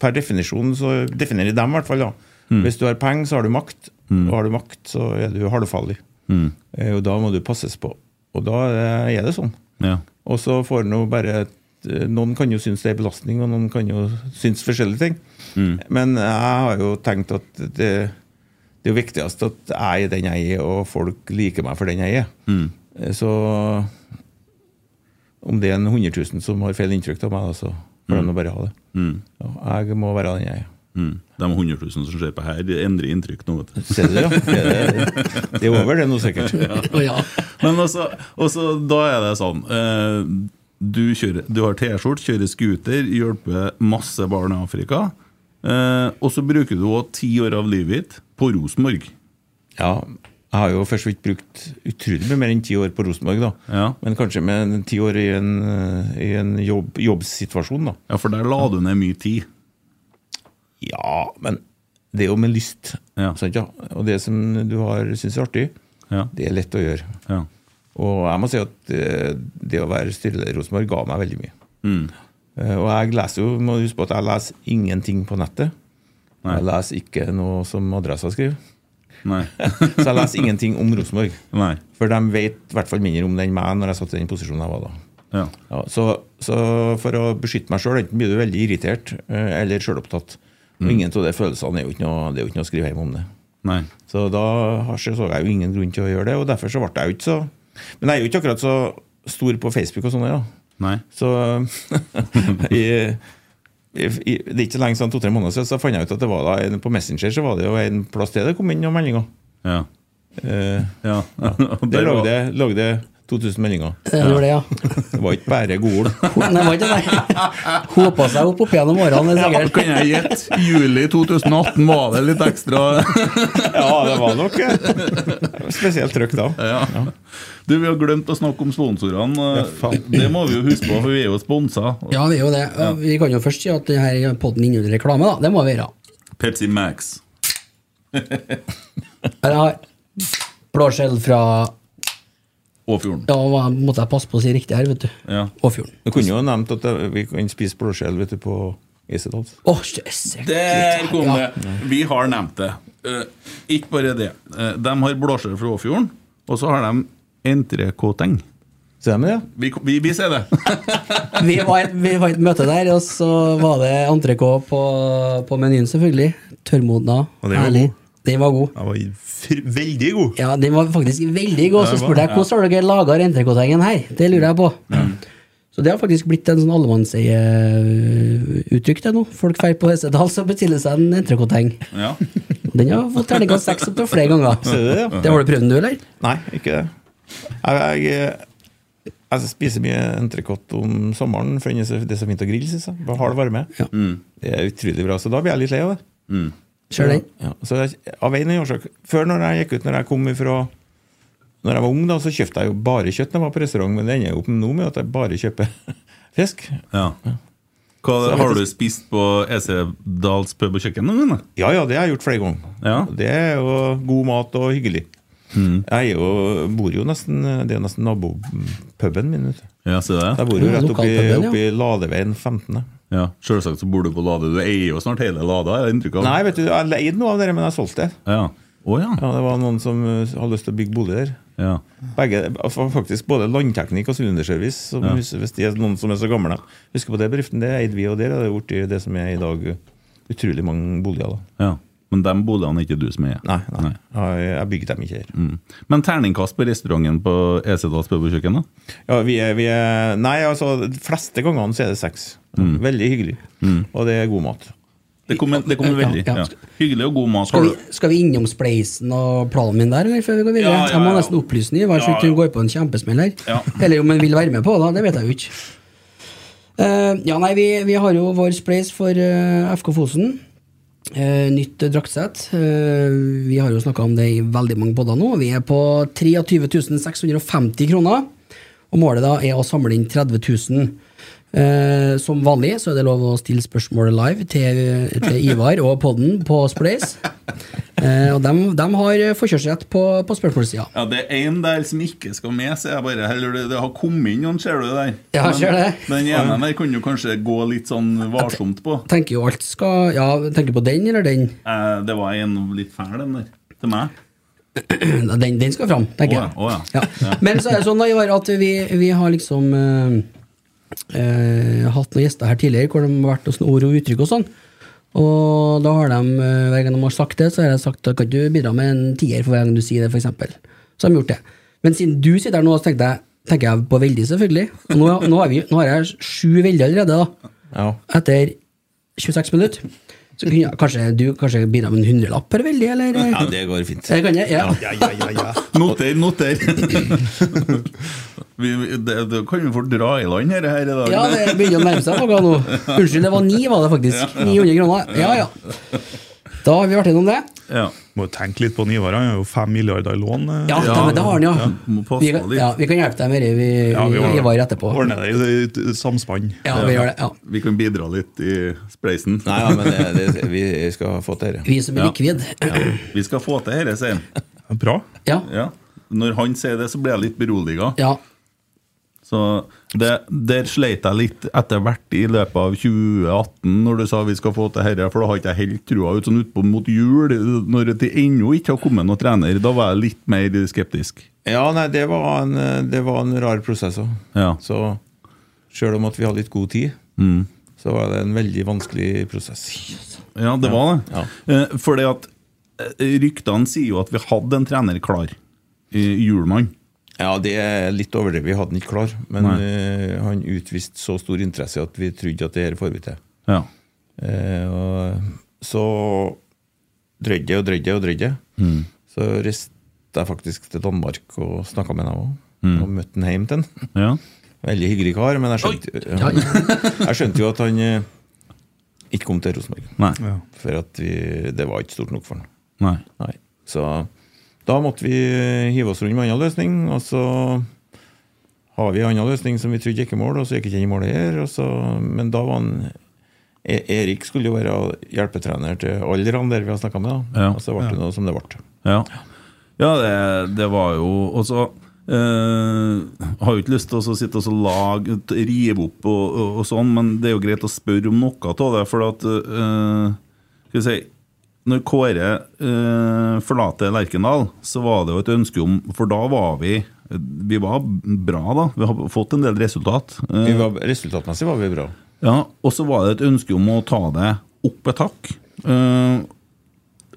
S5: Per definisjon så definerer dem i hvert fall. da. Hvis du har penger, så har du makt. Og har du makt, så er du halvfarlig. Eh, Og da må du passes på. Og da eh, er det sånn.
S2: Ja.
S5: Og så får en jo bare eh, Noen kan jo synes det er belastning, og noen kan jo synes forskjellige ting. Men jeg har jo tenkt at det, det er jo viktigst at jeg er den jeg er, og folk liker meg for den jeg er. Eh, Så om det er en 100 000 som har feil inntrykk av meg, da, så får de nå bare ha det. Ja, Jeg må være den jeg er.
S2: Mm. De 100 000 som ser på her, endrer inntrykk nå, vet du.
S5: Ser du det, ja? Det er, det er over det nå, sikkert.
S4: Å ja.
S2: Men altså, altså, da er det sånn eh, du, kjører, du har T-skjort, kjører scooter, hjelper masse barn i Afrika. Eh, og så bruker du òg ti år av livet ditt på Rosenborg.
S5: Ja, jeg har jo først vidt brukt utrolig mye mer enn ti år på Rosenborg, da.
S2: Ja.
S5: Men kanskje med en ti år i en, eh, i en jobb, jobbsituasjon, da.
S2: Ja, for der la du ned mye tid.
S5: Ja, men det er jo med lyst.
S2: Ja.
S5: Sant, ja? Og det som du har syns er artig,
S2: Ja.
S5: det er lett å gjøre.
S2: Ja.
S5: Og jeg må si at eh, det å være styreleder i Rosenborg ga meg veldig mye.
S2: Mm.
S5: Eh, Og jeg leser jo, må huske på at jeg leser ingenting på nettet.
S2: Nei.
S5: Jeg leser ikke noe som Adressa skriver.
S2: Nei.
S5: Så jeg leser ingenting om Rosenborg.
S2: Nei.
S5: For de vet i hvert fall mindre om det enn meg når jeg satt i den posisjonen jeg var da.
S2: Ja.
S5: Ja, så, så for å beskytte meg sjøl, enten blir du veldig irritert eh, eller sjølopptatt. Og ingen av de følelsene er jo ikke noe, det er jo ikke noe å skrive hjem om det.
S2: Nei.
S5: Så da har- så jeg jo ingen grunn til å gjøre det, og derfor så ble jeg jo ikke så Men jeg er jo ikke akkurat så stor på Facebook og sånn, ja.
S2: Nei.
S5: Så i, i, i, Det er ikke så lenge siden, to-tre måneder siden, så fant jeg ut at det var da en- på Messenger så var det jo en plass til det kom inn noen meldinger.
S2: Ja.
S5: Eh,
S2: Ja.
S5: der
S2: Der
S5: lå
S2: var-
S5: det, lå det 2000 meldinger.
S4: Det var det, ja.
S5: Det var ikke bare gode ord.
S4: Ho- Nei, det var ikke det. Hopa seg opp opp gjennom årene. det er
S2: Ja,
S4: sikkert.
S2: kan jeg gjette? Juli 2018 var det litt ekstra
S5: Ja, det var nok eh, spesielt trøkk da.
S2: Ja. Du, Vi har glemt å snakke om sponsorene. det må vi jo huske på, for vi er jo sponsa.
S4: Ja, vi er jo det. Og Vi kan jo først si at denne podden inneholder reklame, da. Det må vi gjøre.
S2: Pepsi Max.
S4: Men jeg har blåskjell fra
S2: Åfjorden.
S4: Ja, hva måtte jeg passe på å si riktig her, vet du.
S2: Ja.
S4: Åfjorden.
S5: Du kunne jo nevnt at det- vi kan spise blåskjell vet du, på Isedals.
S4: Å, jøss.
S2: Der kom
S4: Ja.
S2: det! Vi har nevnt det. Eh, ikke bare det. Eh, de har blåskjell fra Åfjorden, og så har de entrecôteng.
S5: Ser de det?
S2: Vi, vi, vi ser det.
S4: Vi var, et, vi var et møte der, og så var det entrecôte på, på menyen, selvfølgelig. Tørrmodna.
S5: den var
S4: Herlig. Den var god.
S5: Den var fr- veldig god.
S4: Ja, den var faktisk veldig god. Så
S5: Ja, det var-
S4: spurte jeg hvordan har dere laga entrecôte-hengen her. Det lurer jeg på. Så det har faktisk blitt en sånn allemannseieuttrykk det nå. Folk drar på Hessedal og bestiller seg en entrecôte-heng.
S2: Ja.
S4: Den har fått terningkast seks opptil flere ganger.
S5: Ser du det, ja?
S4: Det har du prøvd den, du, eller?
S5: Nei, ikke det. Jeg, jeg, jeg spiser mye entrecôte om sommeren, for det er så- det er så fint å grille, syns jeg. Bare Hard varme.
S4: Ja.
S5: Det er utrolig bra, så da blir jeg litt lei av det.
S4: Kjør den.
S5: Ja, så jeg, av en eller annen årsak Før når jeg gikk ut, når jeg kom ifra Når jeg var ung, da, så kjøpte jeg jo bare kjøtt når jeg var på restaurant, men det ender jo opp nå med at jeg bare kjøper fisk.
S2: Ja. Hva, har du spist på EC Dals pub og kjøkken noen gang? da?
S5: Ja ja, det har jeg gjort flere ganger.
S2: Ja.
S5: Det er jo god mat og hyggelig.
S4: Mm.
S5: Jeg er jo, bor jo nesten Det er jo nesten nabopuben min. Vet du.
S2: Ja, ser du det?
S5: Jeg bor jo
S4: Ja,
S5: rett oppi,
S4: lokalpuben, ja.
S5: oppi Ladeveien 15.
S2: Ja, Selvsagt så bor du på Lade. Du eier jo snart hele Lada, er det inntrykk av?
S5: Nei, vet du, jeg leide noe av det, men jeg solgte det.
S2: Ja. Å ja.
S5: Ja, det var noen som eh, hadde lyst til å bygge bolig der.
S2: ja.
S5: Begge, altså, faktisk Både landteknikk og sylinderservice. Som,
S2: Ja.
S5: hus- Hvis de er noen som er så gamle. Husker på det bedriften, det eide vi, og der er det blitt det som er i dag eh, utrolig mange boliger. da
S2: ja. Men de boligene er ikke du som eier?
S5: Nei, nei. Jeg, jeg bygde dem ikke her.
S2: Mm. Men terningkast på restauranten på Esedals pøbelkjøkken, da?
S5: Ja, vi er, vi er, nei, altså, de fleste gangene så er det seks. Veldig hyggelig. Og det er god mat.
S2: Det kommer det kommer
S4: Ja,
S2: veldig.
S4: ja.
S2: Ja. Hyggelig og god mat.
S4: Skal vi, skal vi innom spleisen og planen min der, eller før vi går videre?
S2: Ja, ja,
S4: Jeg må
S2: ja.
S4: nesten opplyse den, i hvert fall
S2: Ja,
S4: ikke
S2: ja.
S4: hun går på en kjempesmell her.
S2: Ja.
S4: Eller om hun vil være med på, da, det vet jeg jo ikke. Eh, ja, nei, vi, vi har jo vår spleis for eh, FK Fosen. Eh, nytt draktsett. Eh, vi har jo snakka om det i veldig mange podder nå. Vi er på 23 650 kroner. Og målet da er å samle inn 30 000. Eh, som vanlig så er det lov å stille spørsmål live til, til Ivar og podden på Spleis. Eh, og dem, dem har forkjørsrett på, på spørsmålssida.
S2: Ja, det er en der som ikke skal med, så jeg bare heller det, det har kommet inn noen, ser du det der?
S4: Ja,
S2: Men
S4: ser det.
S2: Den ene der kunne jo kanskje gå litt sånn varsomt på.
S4: Tenker jo alt skal Ja, tenker på den eller den?
S2: Eh, det var en litt fæl, den der. Til meg.
S4: Den, den skal fram, tenker
S2: Å ja,
S4: jeg.
S2: å ja.
S4: Ja. Men så er det sånn da, Ivar, at vi, vi har liksom eh, eh, hatt noen gjester her tidligere hvor de har vært og sånne ord og uttrykk og sånn. Og da har de, eh, hver gang de har sagt det, så har jeg sagt at kan du bidra med en tier for hver gang du sier det, f.eks. Så har de gjort det. Men siden du sitter her nå, så tenkte jeg, tenker jeg på veldig, selvfølgelig. Og Nå, nå, har, vi, nå har jeg sju veldig allerede, da.
S5: Ja.
S4: Etter 26 minutter. Så kunne jeg, kanskje du kanskje bidra med en hundrelapp per veldig, eller?
S5: ja, det går fint.
S4: Det kan jeg, ja.
S3: Ja, ja, ja, ja.
S2: Noter, noter. vi, vi- det, det kan vi fort dra i land her, her i dag.
S4: Ja, det begynner å nærme seg noe nå. Unnskyld, det var ni, var det faktisk. 900 kroner. Ja, ja. Da har vi vært innom det.
S2: Ja.
S3: Må jo tenke litt på den Ivar. Han har jo fem milliarder i lån. eh.
S4: Ja,
S2: Ja,
S4: men det har han, ja.
S2: må passe
S4: Vi,
S2: på
S4: kan-
S2: litt.
S4: ja, vi kan hjelpe deg med det vi,
S3: Ja, vi
S4: vi
S3: ordner-
S4: var etterpå.
S3: Ordner det i det- i samspann.
S4: Ja, vi gjør det. Ja.
S2: Vi kan bidra litt i spleisen.
S5: Nei, ja, men det, det, vi skal få til dette.
S4: Vi som er
S2: Ja.
S4: likvid.
S2: Vi skal få til dette, sier han.
S3: Bra.
S4: Ja.
S2: Ja. Når han sier det, så blir jeg litt beroliga.
S4: ja.
S2: Så det, der sleit jeg litt etter hvert i løpet av 2018, når du sa vi skal få til dette, for da har ikke jeg helt trua ut sånn utpå mot jul, når det ennå ikke har kommet noen trener. Da var jeg litt mer skeptisk.
S5: Ja, nei, det var en, eh, det var en rar prosess òg.
S2: Ja. Mm.
S5: Så sjøl om at vi hadde litt god tid, så var det en veldig vanskelig prosess.
S2: Ja, det var det.
S5: Ja.
S2: Eh, Fordi at eh, ryktene sier jo at vi hadde en trener klar. Eh, Hjulmann.
S5: Ja, det er litt overdrevet. Vi hadde den ikke klar. Men
S2: Nei.
S5: eh, han utviste så stor interesse at vi trodde at det her får vi til.
S2: Ja.
S5: Eh, og så drøyde jeg og drøyde jeg og drøyde.
S2: Mm.
S5: Så reiste jeg faktisk til Danmark og snakka med dem òg.
S2: Mm.
S5: Og møtte han hjem til han.
S2: ja.
S5: Veldig hyggelig kar, men jeg skjønte, ja, jeg skjønte jo at han eh, ikke kom til Rosenborg.
S2: Nei.
S3: Ja.
S5: For at vi, det var ikke stort nok for han.
S2: Nei.
S5: Nei. Så da måtte vi eh, hive oss rundt med en annen løsning, og så har vi en annen løsning som vi trodde gikk i mål, og så gikk ikke den i mål her. Og så, men da var han E- Erik skulle jo være hjelpetrener til alle de der vi har snakka med, da.
S2: Ja.
S5: og så ble det noe som det ble.
S2: Ja, ja det, det var jo Og så eh, har jo ikke lyst til å så sitte og så lage, rive opp og, og, og sånn, men det er jo greit å spørre om noe av det. For at eh, Skal vi si Når Kåre eh, forlater Lerkendal, så var det jo et ønske om For da var vi Vi var bra, da. Vi har fått en del resultat. Eh,
S5: Vi var, resultatmessig var vi bra.
S2: ja, og så var det et ønske om å ta det opp et hakk. Eh,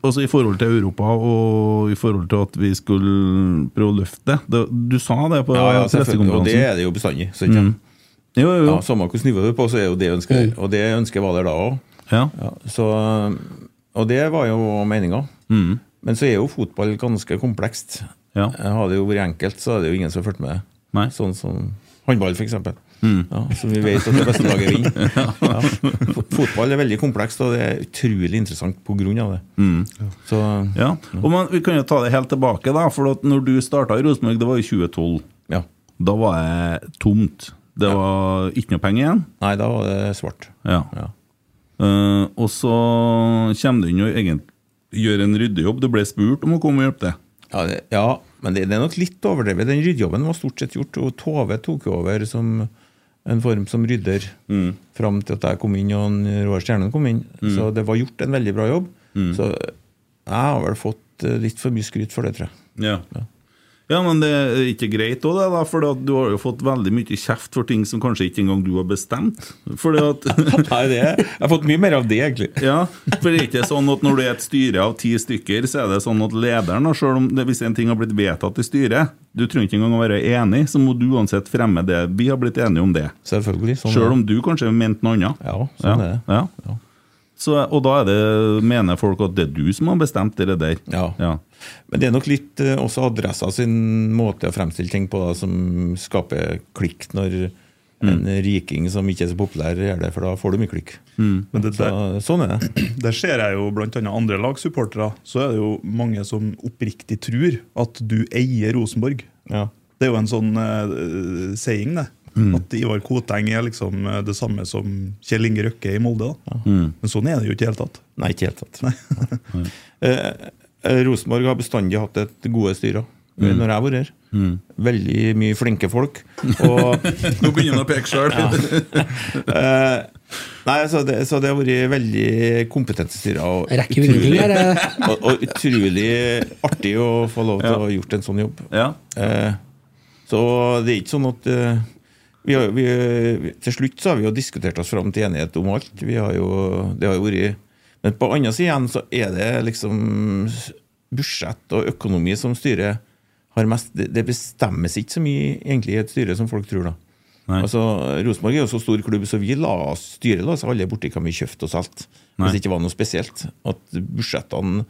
S2: altså i forhold til Europa og i forhold til at vi skulle prøve å løfte det. det. Du sa det på
S5: Ja, ja, selvfølgelig, og det
S2: pressekonferansen.
S5: er det jo bestandig. Så ikke?
S2: Jo, jo, jo.
S5: Ja, Samme hvilket nivå du er på, så er jo det ønsket der. Og det ønsket var der da òg.
S2: Ja.
S5: Ja, så, eh, og det var jo meninga. Men så er jo fotball ganske komplekst.
S2: mm, Ja.
S5: Hadde det jo vært enkelt, så hadde det jo ingen som fulgte med.
S2: Nei.
S5: Sånn som håndball, f.eks. Mm. Ja, som vi vet at det beste laget vinner. Ja. Fo- Fotball er veldig komplekst, og det er utrolig interessant pga. det. Så
S2: ja. Og man, vi kan jo ta det helt tilbake, da. For at når du starta i Rosenborg, det var i 2012.
S5: ja.
S2: Da var det tomt. Det var ikke noe penger igjen.
S5: Nei, da var det svart.
S2: Ja.
S5: Ja.
S2: Eh, og så kommer du inn og egentlig gjør en ryddejobb. Du ble spurt om å komme og hjelpe til.
S5: Ja, det, ja men det, det er nok litt overdrevet. Den ryddejobben var stort sett gjort, og Tove tok jo over som en form som rydder fram til at jeg kom inn og en Roar Stjernen kom inn. Så det var gjort en veldig bra jobb. Så jeg har vel fått eh, litt for mye skryt for det, tror jeg.
S2: Ja. ja, men det er ikke greit òg, da, for at du har jo fått veldig mye kjeft for ting som kanskje ikke engang du har bestemt. Fordi at
S5: Nei, det, jeg har fått mye mer av det, egentlig.
S2: Ja, for det er ikke sånn at når du er et styre av ti stykker, så er det sånn at lederen, og selv om det, hvis en ting har blitt vedtatt i styret, du trenger ikke engang å være enig, så må du uansett fremme det. Vi har blitt enige om det.
S5: Selvfølgelig. Sånn,
S2: Selv om du kanskje mente noe annet.
S5: Ja, sånn er det.
S2: Ja. Så, og da er det, mener folk at det er du som har bestemt det der.
S5: Ja.
S2: ja.
S5: Men det er nok litt eh, også adressa sin måte å fremstille ting på da, som skaper klikk når en riking som ikke er så populær, gjør det, for da får du mye klikk.
S3: Men det
S5: Så,
S3: der,
S5: sånn er det.
S3: der ser jeg jo blant annet andre lagsupportere. Så er det jo mange som oppriktig tror at du eier Rosenborg.
S5: Ja.
S3: Det er jo en sånn eh, saying, det. At Ivar Koteng er liksom eh, det samme som Kjell Inge Røkke i Molde. da. Men sånn er det jo ikke i det hele tatt.
S5: Nei, ikke helt tatt. Eh, eh, Rosenborg har bestandig hatt et gode styre eh, når jeg har vært her. Veldig mye flinke folk. Og
S2: Nå begynner han å peke sjøl.
S5: eh, Nei, så det, så det har vært veldig kompetente styrer. og
S4: Jeg rekker jo ingenting her. eh.
S5: og, og utrolig artig å få lov til å ha gjort en sånn jobb.
S2: Ja.
S5: Eh, så det er ikke sånn at eh, vi har, vi, Til slutt så har vi jo diskutert oss fram til enighet om alt. Vi har jo, det har jo vært Men på andre siden igjen så er det liksom budsjett og økonomi som styret har mest Det det bestemmes ikke så mye egentlig i et styre som folk tror, da.
S2: Nei.
S5: Altså, Rosenborg er jo så stor klubb, så vi la oss styret la oss alle borti hva vi kjøpte og solgte.
S2: Nei.
S5: Hvis det ikke var noe spesielt. At budsjettene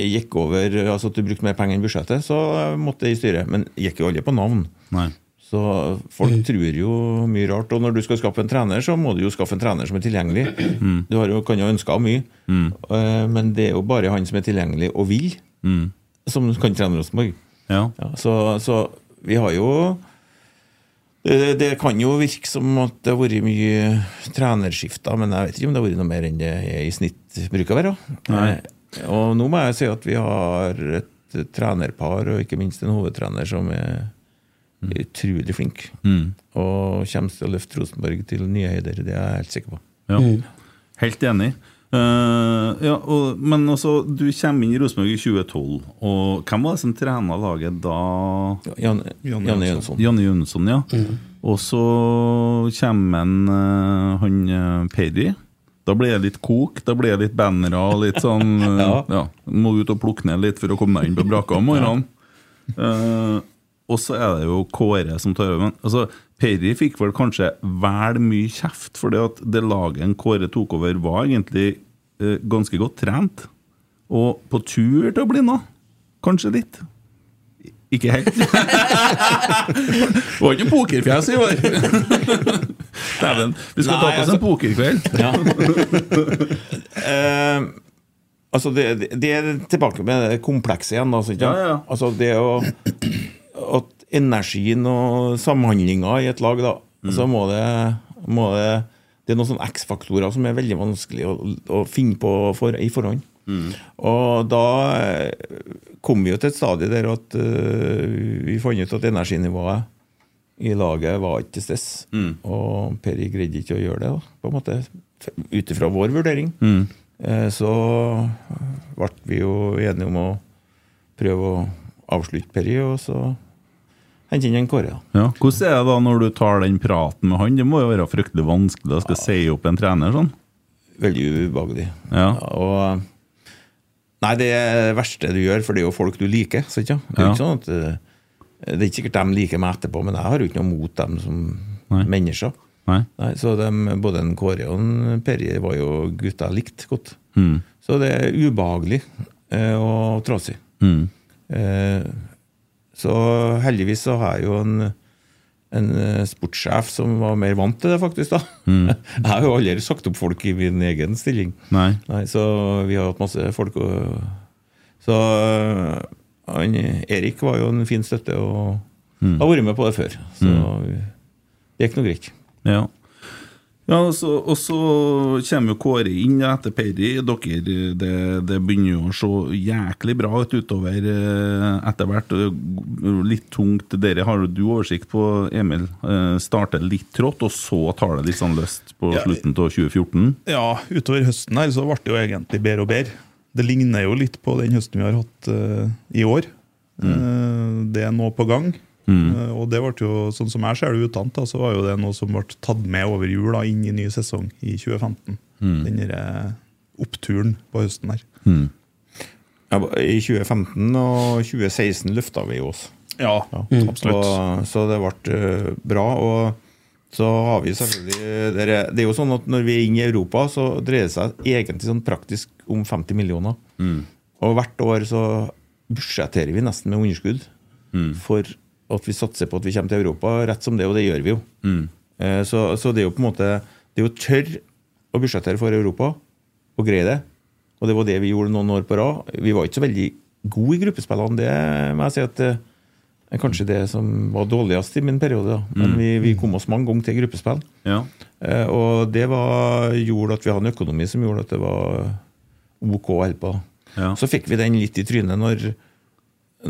S5: gikk over Altså at du brukte mer penger enn budsjettet, så måtte det i styret. Men gikk jo alle på navn.
S2: Nei.
S5: Så folk tror jo mye rart. Og når du skal skaffe en trener, så må du jo skaffe en trener som er tilgjengelig. Du har jo, kan jo ønske henne mye, Eh, men det er jo bare han som er tilgjengelig og vil, som kan trene Rosenborg.
S2: Ja.
S5: Ja, så, så vi har jo det, det kan jo virke som at det har vært mye trenerskifter, men jeg vet ikke om det har vært noe mer enn det i snitt bruker å være.
S2: Nei.
S5: Eh, Og nå må jeg si at vi har et trenerpar, og ikke minst en hovedtrener, som er utrolig flink. Og kommer til å løfte Rosenborg til nye høyder, det er jeg helt sikker på.
S2: Ja. Helt enig. Eh, ja, og, men også, du kommer inn i Rosenborg i 2012, og hvem var det som trena laget da?
S5: Jan,
S3: Janne
S5: Janne
S3: Jønsson.
S5: Jønsson.
S2: Janne Jønsson, ja. Og så kommer en, eh, han eh, Perry. Da blir det litt kok, da blir det litt bannere og litt sånn eh,
S5: Ja.
S2: ja. Må ut og plukke ned litt for å komme deg inn på brakka om morgenen. Eh, og så er det jo Kåre som tar over. Men altså, Perry fikk vel kanskje vel mye kjeft, fordi at det laget en Kåre tok over, var egentlig eh, ganske godt trent. Og på tur til å bli noe. Kanskje litt. Ikke helt. Det var ikke noe pokerfjes i år. altså- Dæven. Vi skal ta
S5: Nei,
S2: på oss en pokerkveld.
S5: Eh, altså det, det, det er tilbake med det komplekse igjen. da, så ikke sant?
S2: Ja, ja.
S5: Altså det å, at energien og samhandlinga i et lag, da,
S2: Mm.
S5: så må det, må det Det er noen sånne X-faktorer som er veldig vanskelig å, å finne på for, i forhånd.
S2: Mm.
S5: Og da eh, kom vi jo til et stadie der at eh, vi fant ut at energinivået i laget var ikke til stede.
S2: Mm.
S5: Og Peri greide ikke å gjøre det, da, på en måte. Ut ifra vår vurdering. Eh, Så ble vi jo enige om å prøve å avslutte Peri, og så hente inn en Kåre. da.
S2: Ja. Hvordan er det da når du tar den praten med han? Det må jo være fryktelig vanskelig å skal si opp en trener sånn?
S5: Veldig ubehagelig.
S2: Ja.
S5: Og Nei, det er det verste du gjør, for det er jo folk du liker. Så ikke? Det er jo
S2: Ja.
S5: ikke sånn at eh, Det er ikke sikkert de liker meg etterpå, men jeg har jo ikke noe mot dem som
S2: Nei.
S5: mennesker.
S2: Nei?
S5: Nei, så dem- Både en Kåre og en Perje var jo gutta likt godt. Så det er ubehagelig eh, og trasig.
S2: Mm.
S5: Eh, så heldigvis så har jeg jo en, en eh, sportssjef som var mer vant til det, faktisk. da. jeg har jo aldri sagt opp folk i min egen stilling.
S2: Nei.
S5: så vi har hatt masse folk. Og, så eh, han, Erik var jo en fin støtte og har vært med på det før. Så det gikk nå greit.
S2: Ja. Ja, og så, og så kommer jo Kåre inn etter Perry. Dere, det, det begynner jo å se jæklig bra ut utover eh, etter hvert. Eh, Litt tungt. Dere har jo du oversikt på, Emil. Eh, Starter litt trått, og så tar det litt sånn løst på
S3: Ja.
S2: slutten av 2014.
S3: Ja, utover høsten her så ble det jo egentlig bedre og bedre. Det ligner jo litt på den høsten vi har hatt eh, i år. Eh, det er nå på gang. Eh, og det ble jo, sånn som jeg ser det utant, da, så var jo det noe som ble tatt med over jul da, inn i ny sesong i 2015. Den derre oppturen på høsten her.
S5: Ja, I 2015 og 2016 løfta vi jo oss.
S3: Ja,
S5: Og, så det ble eh, bra. Og så har vi selvfølgelig det er, det er jo sånn at når vi er inne i Europa, så dreier det seg egentlig sånn praktisk om 50 millioner. Og hvert år så budsjetterer vi nesten med underskudd for at vi satser på at vi kommer til Europa, rett som det, og det gjør vi jo. Eh, Så, så det er jo på en måte Det er jo tørr å budsjettere for Europa, og greie det. Og det var det vi gjorde noen år på rad. Vi var ikke så veldig gode i gruppespillene, det må jeg si at eh, det er kanskje det som var dårligst i min periode. Da. Men vi, vi kom oss mange ganger til gruppespill.
S2: Ja.
S5: Eh, og det var, gjorde at vi hadde en økonomi som gjorde at det var OK å holde på.
S2: Ja.
S5: Så fikk vi den litt i trynet når,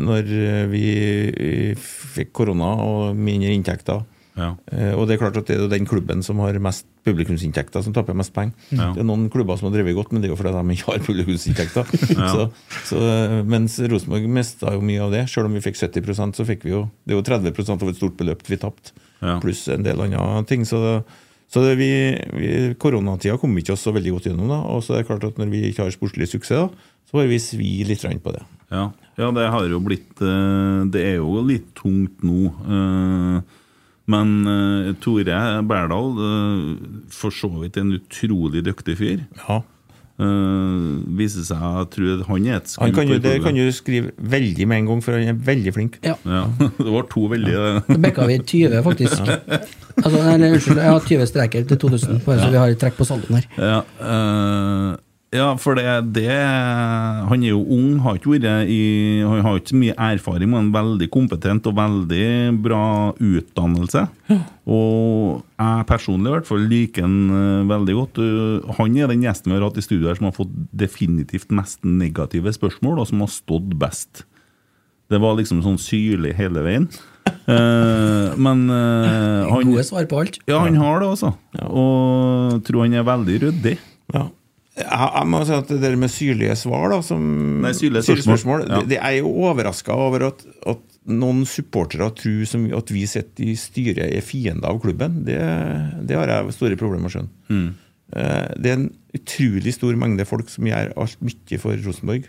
S5: når vi eh, fikk korona og mindre inntekter.
S2: Ja.
S5: Eh, og det er klart at det er jo den klubben som har mest publikumsinntekter, som taper mest penger.
S2: Ja.
S5: Det er noen klubber som har drevet godt, men det er jo fordi de ikke har publikumsinntekter. så, så, eh, mens Rosenborg mista jo mye av det. Selv om vi fikk 70 så fikk vi jo Det er jo 30 av et stort beløp vi tapte,
S2: Ja.
S5: pluss en del andre ting. Så, så det, vi, vi, koronatida kom vi ikke oss så veldig godt gjennom. da, Og så er det klart at når vi ikke har sportslig suksess, da, så har vi svi litt grann på det.
S2: Ja, ja det har jo blitt eh, Det er jo litt tungt nå. eh, Men eh, Tore Berdal, eh, for så vidt en utrolig dyktig fyr,
S5: Ja.
S2: eh, viser seg Jeg tror han er et skudd
S5: Han kan jo,
S2: for
S5: det
S2: klubben.
S5: kan jo skrive veldig med en gang, for han er veldig flink.
S4: Ja.
S2: ja, Det var to veldig
S4: Da bekka vi 20, faktisk. Altså, nei, nei, unnskyld, jeg har 20 streker til 2000, bare så vi har et trekk på salden her.
S2: Ja, eh, ja for det, det Han er jo ung, har ikke vært i Han har ikke så mye erfaring, men veldig kompetent og veldig bra utdannelse. Og jeg personlig i hvert fall liker han eh, veldig godt. Eh, Han er den gjesten vi har hatt i studio her som har fått definitivt mest negative spørsmål, og som har stått best. Det var liksom sånn syrlig hele veien. Eh, men eh, han
S4: Gode svar på alt.
S2: ja, han har det, altså. Og tror han er veldig ryddig.
S5: Ja. Jeg, jeg må si at det der med syrlige svar da, som,
S2: Nei, syrlige spørsmål. Ja.
S5: det, det er jo overraska over at, at noen supportere tror som, at vi sitter i styret er fiender av klubben. Det, det har jeg store problemer med å skjønne.
S2: Mm.
S5: Eh, Det er en utrolig stor mengde folk som gjør alt mye for Rosenborg.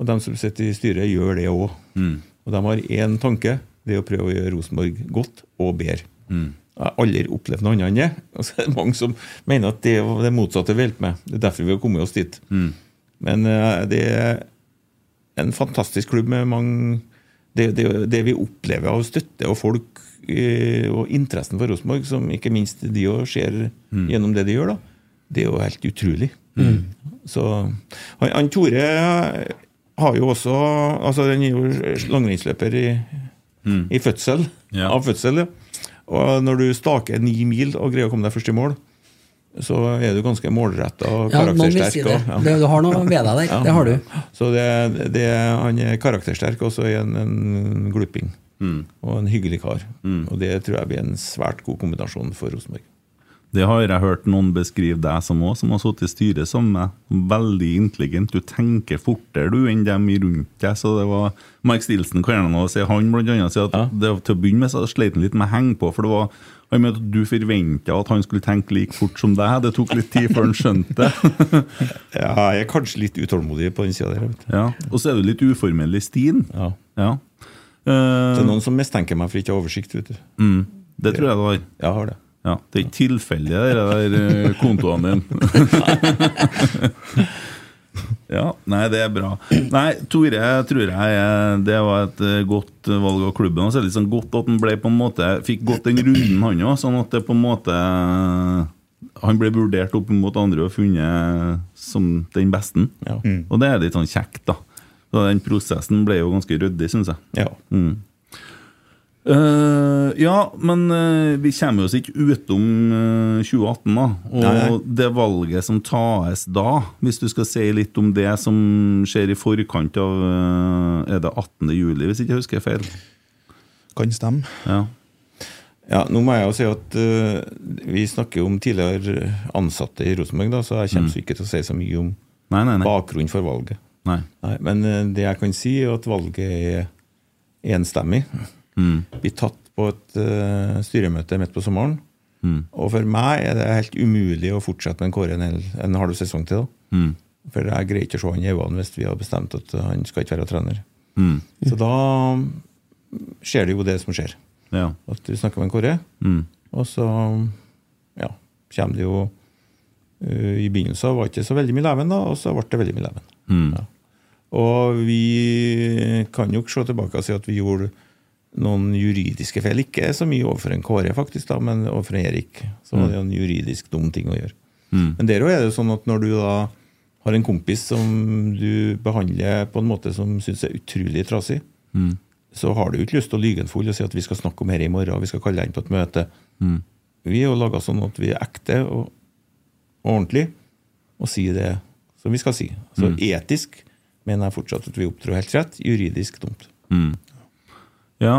S5: Og de som sitter i styret, gjør det òg.
S2: Mm,
S5: Og de har én tanke. Det er å prøve å gjøre Rosenborg godt og bedre. Jeg har aldri opplevd noe annet enn det. Og så er det mange som mener at det er det motsatte vi holder med. Det er derfor vi har kommet oss dit.
S2: mm.
S5: Men eh, det er en fantastisk klubb med mange det, det, det vi opplever av støtte og folk eh, og interessen for Rosenborg, som ikke minst de òg ser gjennom det de gjør, da, det er jo helt utrolig. Så han, han Tore har jo også altså Han er jo langrennsløper i, i fødsel.
S2: Ja.
S5: Av fødsel, ja. Og når du staker ni mil og greier å komme deg først i mål, så er du ganske målretta og
S4: Ja, noen vil si
S5: karaktersterk.
S4: det.
S5: og- ja.
S4: det. Du har noe ved deg der. Det har du.
S5: Så det, det, han er karaktersterk, og så er han en gluping. Og en hyggelig kar. Og det tror jeg blir en svært god kombinasjon for Rosenborg.
S2: Det har jeg hørt noen beskrive deg som òg, som har sittet i styret sammen med. meg. Veldig intelligent. Du tenker fortere du enn dem i rundt deg. Så det var Mark Stilson kan gjerne nå si han blant annet si at det, til å begynne med så sleit han litt med å henge på. For det var han mente at du forventa at han skulle tenke like fort som deg. Det tok litt tid før han skjønte det.
S5: Ja, jeg er kanskje litt utålmodig på den sida der. Vet. Eh. du.
S2: Ja. Og så er du litt uformell i stien.
S5: Ja.
S2: Ja.
S5: Det er
S2: Eh,
S5: noen som mistenker meg for ikke å ha oversikt. Vet du.
S2: det tror jeg du har.
S5: Jeg har det.
S2: Ja, Det er ikke tilfeldig, det der eh, kontoen din. ja, Nei, det er bra. Nei, Tore jeg tror jeg eh, det var et eh, godt valg av klubben. Og så er det litt sånn godt at han ble på en måte fikk gått den runden, han òg. Sånn at det på en måte eh, Han ble vurdert opp mot andre og funnet eh, som den beste.
S5: Ja.
S2: Og det er litt
S5: Mm.
S2: sånn kjekt, da. Så den prosessen ble jo ganske ryddig, syns jeg.
S5: Ja.
S2: Mm. Eh, ja, men eh, vi kommer oss ikke utom eh, 2018, da. Og
S5: Nei.
S2: det valget som tas da, hvis du skal si litt om det som skjer i forkant av eh, Er det 18. juli, hvis ikke jeg husker feil?
S3: Kan stemme.
S2: Ja.
S5: Ja, nå må jeg jo si at eh, Vi snakker jo om tidligere ansatte i Rosenborg, da, så jeg kommer ikke til å si så mye om
S2: Nei, nei, nei.
S5: bakgrunnen for valget.
S2: nei.
S5: Nei, men eh, det jeg kan si, er at valget er enstemmig.
S2: Mm.
S5: Blir tatt på et eh, styremøte midt på sommeren.
S2: Mm.
S5: Og for meg er det helt umulig å fortsette med Kåre en, hel, en halv sesong til. da.
S2: Mm.
S5: For jeg greier ikke å se han i øynene hvis vi har bestemt at han skal ikke være trener.
S2: Mm.
S5: Så da mm, skjer det jo det som skjer.
S2: Ja.
S5: At du snakker med en Kåre,
S2: Mm.
S5: og så ja, kommer det jo eh, I begynnelsen var det ikke så veldig mye leven, da, og så ble det veldig mye leven.
S2: Mm.
S5: Ja. Og vi kan jo ikke se tilbake og si at vi gjorde noen juridiske feil. Ikke så mye overfor en Kåre, faktisk, da, men overfor en Erik. Så var det jo en juridisk dum ting å gjøre.
S2: Mm.
S5: Men der òg er det jo sånn at når du da har en kompis som du behandler på en måte som syns er utrolig trasig,
S2: Mm.
S5: så har du jo ikke lyst til å lyge en full og si at vi skal snakke om dette i morgen, vi skal kalle deg inn på et møte.
S2: Mm.
S5: Vi er jo laga sånn at vi er ekte og, og ordentlig og sier det som vi skal si. Så
S2: Mm.
S5: etisk mener jeg fortsatt at vi opptrår helt rett, juridisk dumt.
S2: Mm. Ja,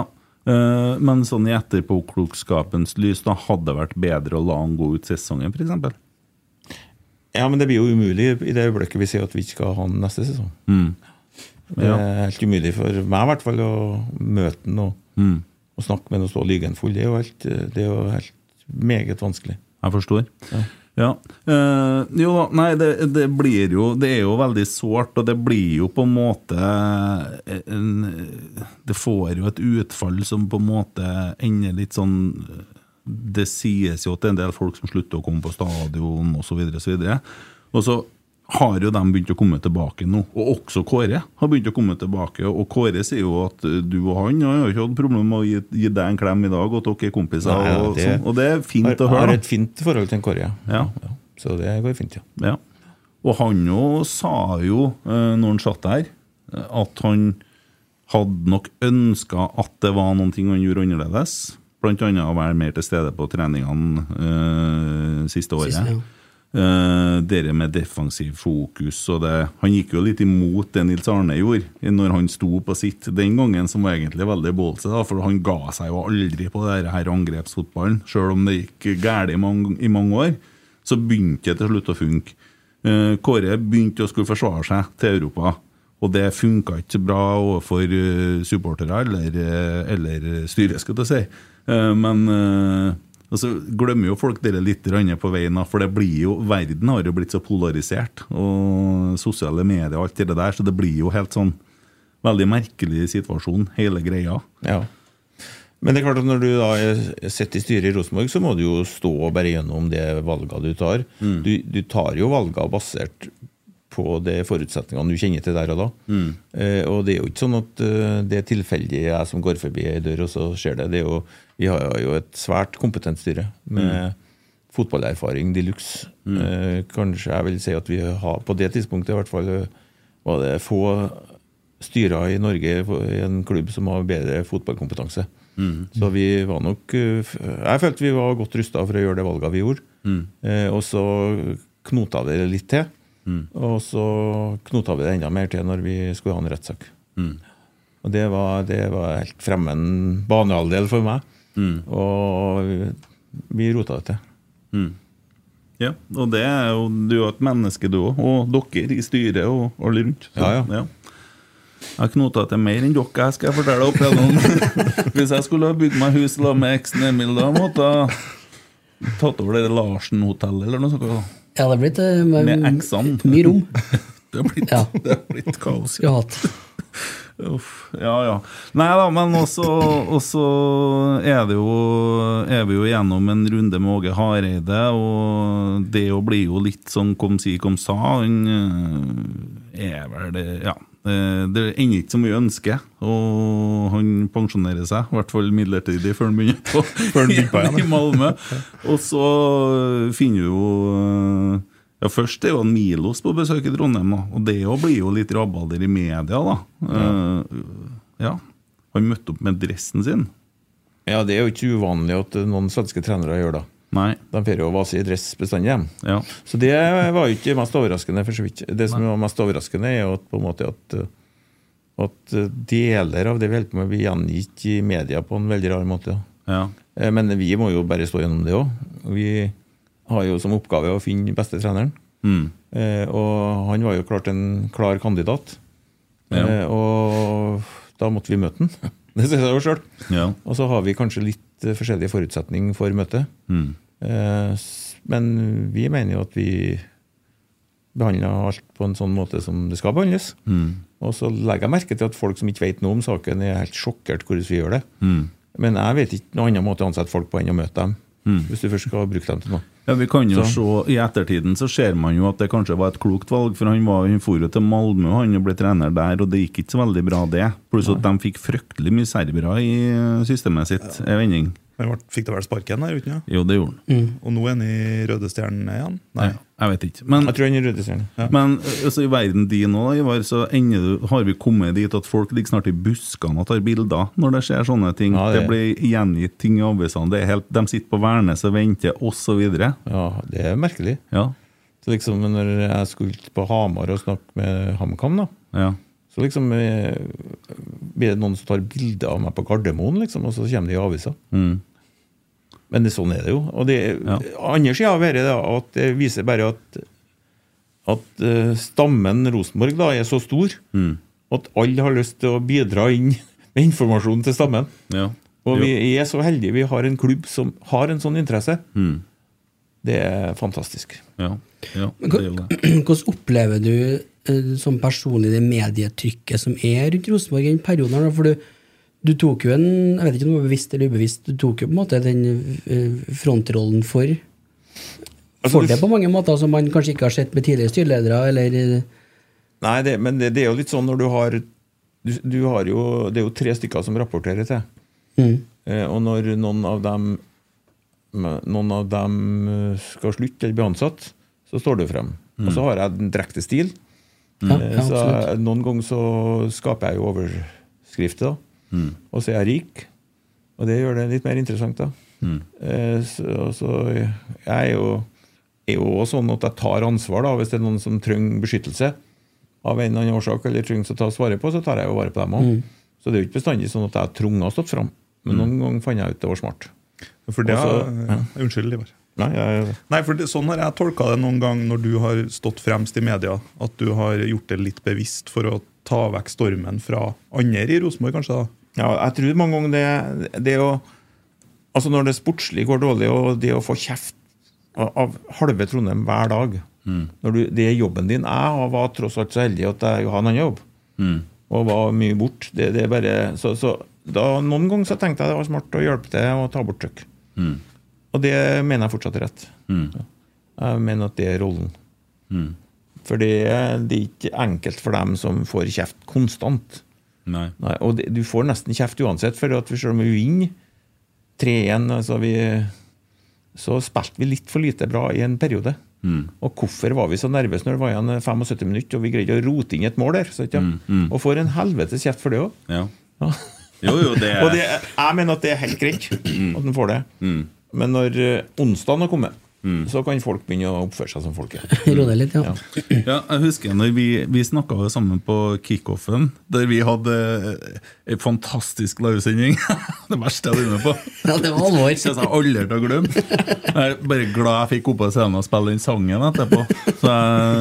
S2: eh, men sånn i etterpåklokskapens lys, da hadde det vært bedre å la han gå ut sesongen, f.eks.?
S5: Ja, men det blir jo umulig i det øyeblikket vi sier at vi ikke skal ha han neste sesong.
S2: Mm.
S5: Det er helt umulig for meg i hvert fall å møte han og,
S2: Mm.
S5: og snakke med han og stå og lyge han full. Det er jo helt, det er jo helt meget vanskelig.
S2: Jeg forstår. Ja. Eh, jo da, nei, det, det blir jo Det er jo veldig sårt, og det blir jo på en måte eh, en, eh, Det får jo et utfall som på en måte ender litt sånn Det sies jo at det er en del folk som slutter å komme på stadion, osv., osv. Og så har jo de begynt å komme tilbake nå, og også Kåre har begynt å komme tilbake. Og Kåre sier jo at eh, du og han har jo ikke hatt problemer med å gi, gi deg en klem i dag, og at dere er kompiser.
S5: Nei,
S2: og,
S5: det-
S2: sånn, og det er fint
S5: Jeg
S2: å høre.
S5: har
S2: da.
S5: et fint forhold til en Kåre.
S2: Ja.
S5: Så det går fint, ja.
S2: Ja. Og han jo sa jo, eh, når han satt der, eh, at han hadde nok ønska at det var noen ting han gjorde annerledes. Blant annet å være mer til stede på treningene eh, siste året.
S4: Siste, ja.
S2: Eh, det med defensiv fokus og det Han gikk jo litt imot det Nils Arne gjorde, når han sto på sitt den gangen, som var egentlig veldig ballsy, da, for han ga seg jo aldri på det her angrepsfotballen. Sjøl om det gikk galt i, mange- i mange år, så begynte det til slutt å funke. Eh, Kåre begynte å skulle forsvare seg til Europa, og det funka ikke så bra overfor eh, supportere eller, eh, eller styret, skal jeg si. Eh, Men eh, og så glemmer jo folk dere litt grann på veien, da, for det blir jo, verden har jo blitt så polarisert. Og sosiale medier og alt det der, så det blir jo helt sånn veldig merkelig situasjon, hele greia.
S5: Ja. Men det er klart at når du da er- sitter i styret i Rosenborg, så må du jo stå og bære gjennom det valget du tar. Du, du tar jo valget basert på de forutsetningene du kjenner til der og da. Eh, og det er jo ikke sånn at eh, det er tilfeldig jeg som går forbi ei dør, og så skjer det. det er jo, vi har jo et svært kompetent styre med fotballerfaring de luxe. Eh, kanskje jeg vil si at vi har, på det tidspunktet i hvert fall, eh, var det få styrer i Norge for- i en klubb som har bedre fotballkompetanse. Så vi var nok eh, f- Jeg følte vi var godt rusta for å gjøre det valget vi gjorde. Eh, og så knota vi det litt til. Og så knota vi det enda mer til når vi skulle ha en rettssak. Og det var, det var helt fremmed banehalvdel for meg. Mm. Og vi rota det til.
S2: Ja, og det er jo, du er jo et menneske, du òg. Og dere i styret og alle rundt. Så,
S5: Ja, ja.
S2: Jeg knota til mer enn dere, skal jeg fortelle opp igjennom. Hvis jeg skulle ha bygd meg hus sammen med eksen Emil, da måtte jeg tatt over det Larsen-hotellet eller noe sånt. da.
S4: Ja, det blir et, eh,
S2: Med eksene.
S4: mye rom.
S2: Det har blitt,
S4: Ja.
S2: det har blitt kaos.
S4: Skulle hatt.
S2: Uff, ja, ja. Nei da, men også, også er, det jo, er vi jo gjennom en runde med Åge Hareide, og det jo blir jo litt sånn kom si, kom sa. Han øh, er vel det Ja. eh, Det ender ikke som vi ønsker, og han pensjonerer seg, i hvert fall midlertidig, før han begynner på,
S3: han begynner på igjen, ja.
S2: i Malmö. Og så øh, finner vi jo øh, ja, Først er jo han Milos på besøk i Trondheim, da. og det jo blir jo litt rabalder i media. da. Eh, ja. Han møtte opp med dressen sin.
S5: Ja, det er jo ikke uvanlig at noen svenske trenere gjør det.
S2: Nei.
S5: De får jo vase i dress bestandig. dem.
S2: Ja.
S5: Så det var jo ikke mest overraskende. for så vidt. Det som var mest overraskende, er jo at, på en måte at, eh, at eh, deler av det vi holder på med, blir gjengitt i media på en veldig rar måte. da.
S2: Ja.
S5: Eh, Men vi må jo bare stå gjennom det òg. Vi har jo som oppgave å finne beste treneren.
S2: Mm.
S5: Eh, Og han var jo klart en klar kandidat.
S2: Ja.
S5: Eh, Og da måtte vi møte han. Det sier seg jo sjøl.
S2: ja.
S5: Og så har vi kanskje litt eh, forskjellige forutsetninger for møtet.
S2: Mm.
S5: Eh, s- Men vi mener jo at vi behandler alt på en sånn måte som det skal behandles.
S2: Mm.
S5: Og så legger jeg merke til at folk som ikke vet noe om saken, er helt sjokkert hvordan vi gjør det.
S2: Mm.
S5: Men jeg vet ikke noen annen måte å ansette folk på enn å møte dem.
S2: Mm.
S5: Hvis du først skal bruke dem til noe.
S2: Ja, vi kan jo
S5: Så-
S2: se, I ettertiden så ser man jo at det kanskje var et klokt valg, for han, var, han for jo til Malmö han og ble trener der, og det gikk ikke så veldig bra, det. Pluss at de fikk fryktelig mye serbere i eh, systemet sitt. Ja. Mm. vending.
S3: Han ble- fikk da vel sparken der, uten ja.
S2: Jo, det gjorde han.
S3: Og nå er han i Røde Stjernen igjen? Nei.
S2: Ja, Jeg vet ikke. Men,
S5: Jeg tror han er rødestjerne.
S2: men eh, altså, i verden din òg, Ivar, så ender, du- har vi kommet dit at folk ligger snart i buskene og tar bilder når det skjer sånne ting.
S5: Ja,
S2: det.
S5: det-
S2: blir gjengitt ting i avisene. det er helt- De sitter på Værnes og venter, osv.
S5: Ja, det er merkelig.
S2: Ja.
S5: Så liksom når jeg skulle på Hamar og snakke med HamKam, da,
S2: Ja.
S5: så liksom eh, blir det noen som tar bilder av meg på Gardermoen, liksom, og så kommer det i avisa.
S2: Mm.
S5: Men det, sånn er det jo. Og det,
S2: Ja.
S5: Andre sida av dette er at det viser bare at, at eh, stammen Rosenborg da er så stor
S2: Mm.
S5: at alle har lyst til å bidra inn med informasjon til stammen.
S2: ja.
S5: Og
S2: Jo.
S5: vi er så heldige vi har en klubb som har en sånn interesse.
S2: Mm.
S5: Det er fantastisk.
S2: Ja, ja
S4: Men
S2: det er jo det.
S4: Hvordan opplever du eh, som personlig det medietrykket som er rundt Rosenborg i den perioden? her, da? For du, du tok jo en Jeg vet ikke om det var bevisst eller ubevisst, du tok jo på en måte den eh, frontrollen for
S5: Altså,
S4: For
S5: du-
S4: det på mange måter som man kanskje ikke har sett med tidligere styreledere, eller eh,
S5: Nei, det, men det, det er jo litt sånn når du har du, du har jo, Det er jo tre stykker som rapporterer til.
S4: mm,
S5: Eh, og når noen av dem noen av dem eh, skal slutte eller bli ansatt, så står det jo frem. Og så har jeg den direkte stil.
S4: ja,
S5: Eh,
S4: ja,
S5: så
S4: absolutt.
S5: jeg, noen ganger så skaper jeg jo overskrifter, da. Og så er jeg rik. Og det gjør det litt mer interessant, da. Eh, så, og så jeg er jo er jo også sånn at jeg tar ansvar, da, hvis det er noen som trenger beskyttelse av en eller annen årsak, eller trenger å tas vare på, så tar jeg jo vare på dem òg.
S4: Mm.
S5: Så det er jo ikke bestandig sånn at jeg trunga stått fram. Men noen ganger fant jeg ut det var smart.
S3: For det
S5: Også-
S3: har- Unnskyld, Ivar.
S5: Nei, jeg,
S3: Nei, for det, Sånn har jeg tolka det noen gang når du har stått fremst i media. At du har gjort det litt bevisst for å ta vekk stormen fra andre i Rosenborg, kanskje. da.
S5: Ja, jeg tror mange ganger det, det å Altså når det sportslig går dårlig, og det å få kjeft av av halve Trondheim hver dag når du, Det er jobben din. Jeg var tross alt så heldig at jeg har en annen jobb. Og var mye bort. Det, det er bare, så, så da, noen ganger så tenkte jeg det var smart å hjelpe til å ta bort trykk. Og det mener jeg fortsatt er rett. Jeg mener at det er rollen. For det, det er ikke enkelt for dem som får kjeft konstant.
S2: Nei.
S5: Nei, og det, du får nesten kjeft uansett, for at vi selv om vi vinner 3-1, altså vi- så spilte vi litt for lite bra i en periode.
S2: Mm.
S5: Og hvorfor var vi så nervøse når det var igjen 75 minutter, og vi greide å rote inn et mål der? Så, ikke? Og får en helvetes kjeft for det òg.
S2: Mm, Ja. Jo, jo, det
S5: Og det,
S2: er
S5: jeg mener at det er helt greit
S2: Mm.
S5: at han får det. Men når eh, onsdagen har kommet,
S2: Mm.
S5: så kan folk begynne å oppføre seg som folk er.
S4: Roe deg litt, ja.
S5: Ja.
S2: ja, Jeg husker når vi, vi snakka jo sammen på kickoffen, der vi hadde ei fantastisk livesending. det verste jeg har vært med på.
S4: Ja, det var alvor.
S2: Det som jeg aldri til å glemme. Jeg er bare glad jeg fikk opp på scenen og spille den sangen etterpå. Så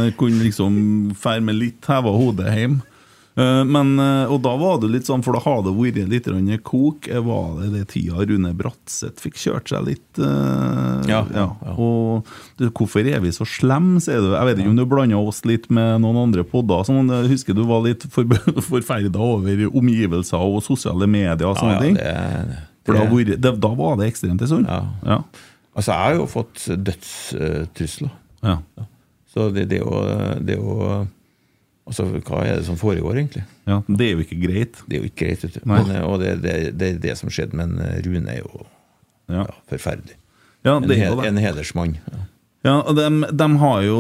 S2: jeg kunne liksom fære med litt heva hodet hjem. Eh, Men, eh, og da var det litt sånn, for da har det vært litt grann kok. Eh, Var det det tida Rune Bratseth fikk kjørt seg litt? eh,
S5: Ja,
S2: ja. Og du, hvorfor er vi så slemme, sier du? Jeg vet ikke om du blanda oss litt med noen andre podder. Sånn, jeg husker du var litt forb- forferda over omgivelser og sosiale medier og sånne
S5: Ja,
S2: ting?
S5: ja, det,
S2: For da, hvor, det, da var det ekstremt en stund?
S5: Ja.
S2: Ja.
S5: altså, jeg har jo fått dødstrusler.
S2: Ja.
S5: Så det, det, å, det å Altså, hva er det som foregår, egentlig?
S2: ja. Det er jo ikke greit.
S5: Det er jo ikke greit, vet du.
S2: Nei.
S5: Men, eh, og det, det, det er det som skjedde, men eh, Rune er jo
S2: Ja,
S5: ja, forferdelig.
S2: ja
S5: En,
S2: det er
S5: he-
S2: jo det.
S5: en hedersmann. Ja.
S2: Ja, og de, har jo,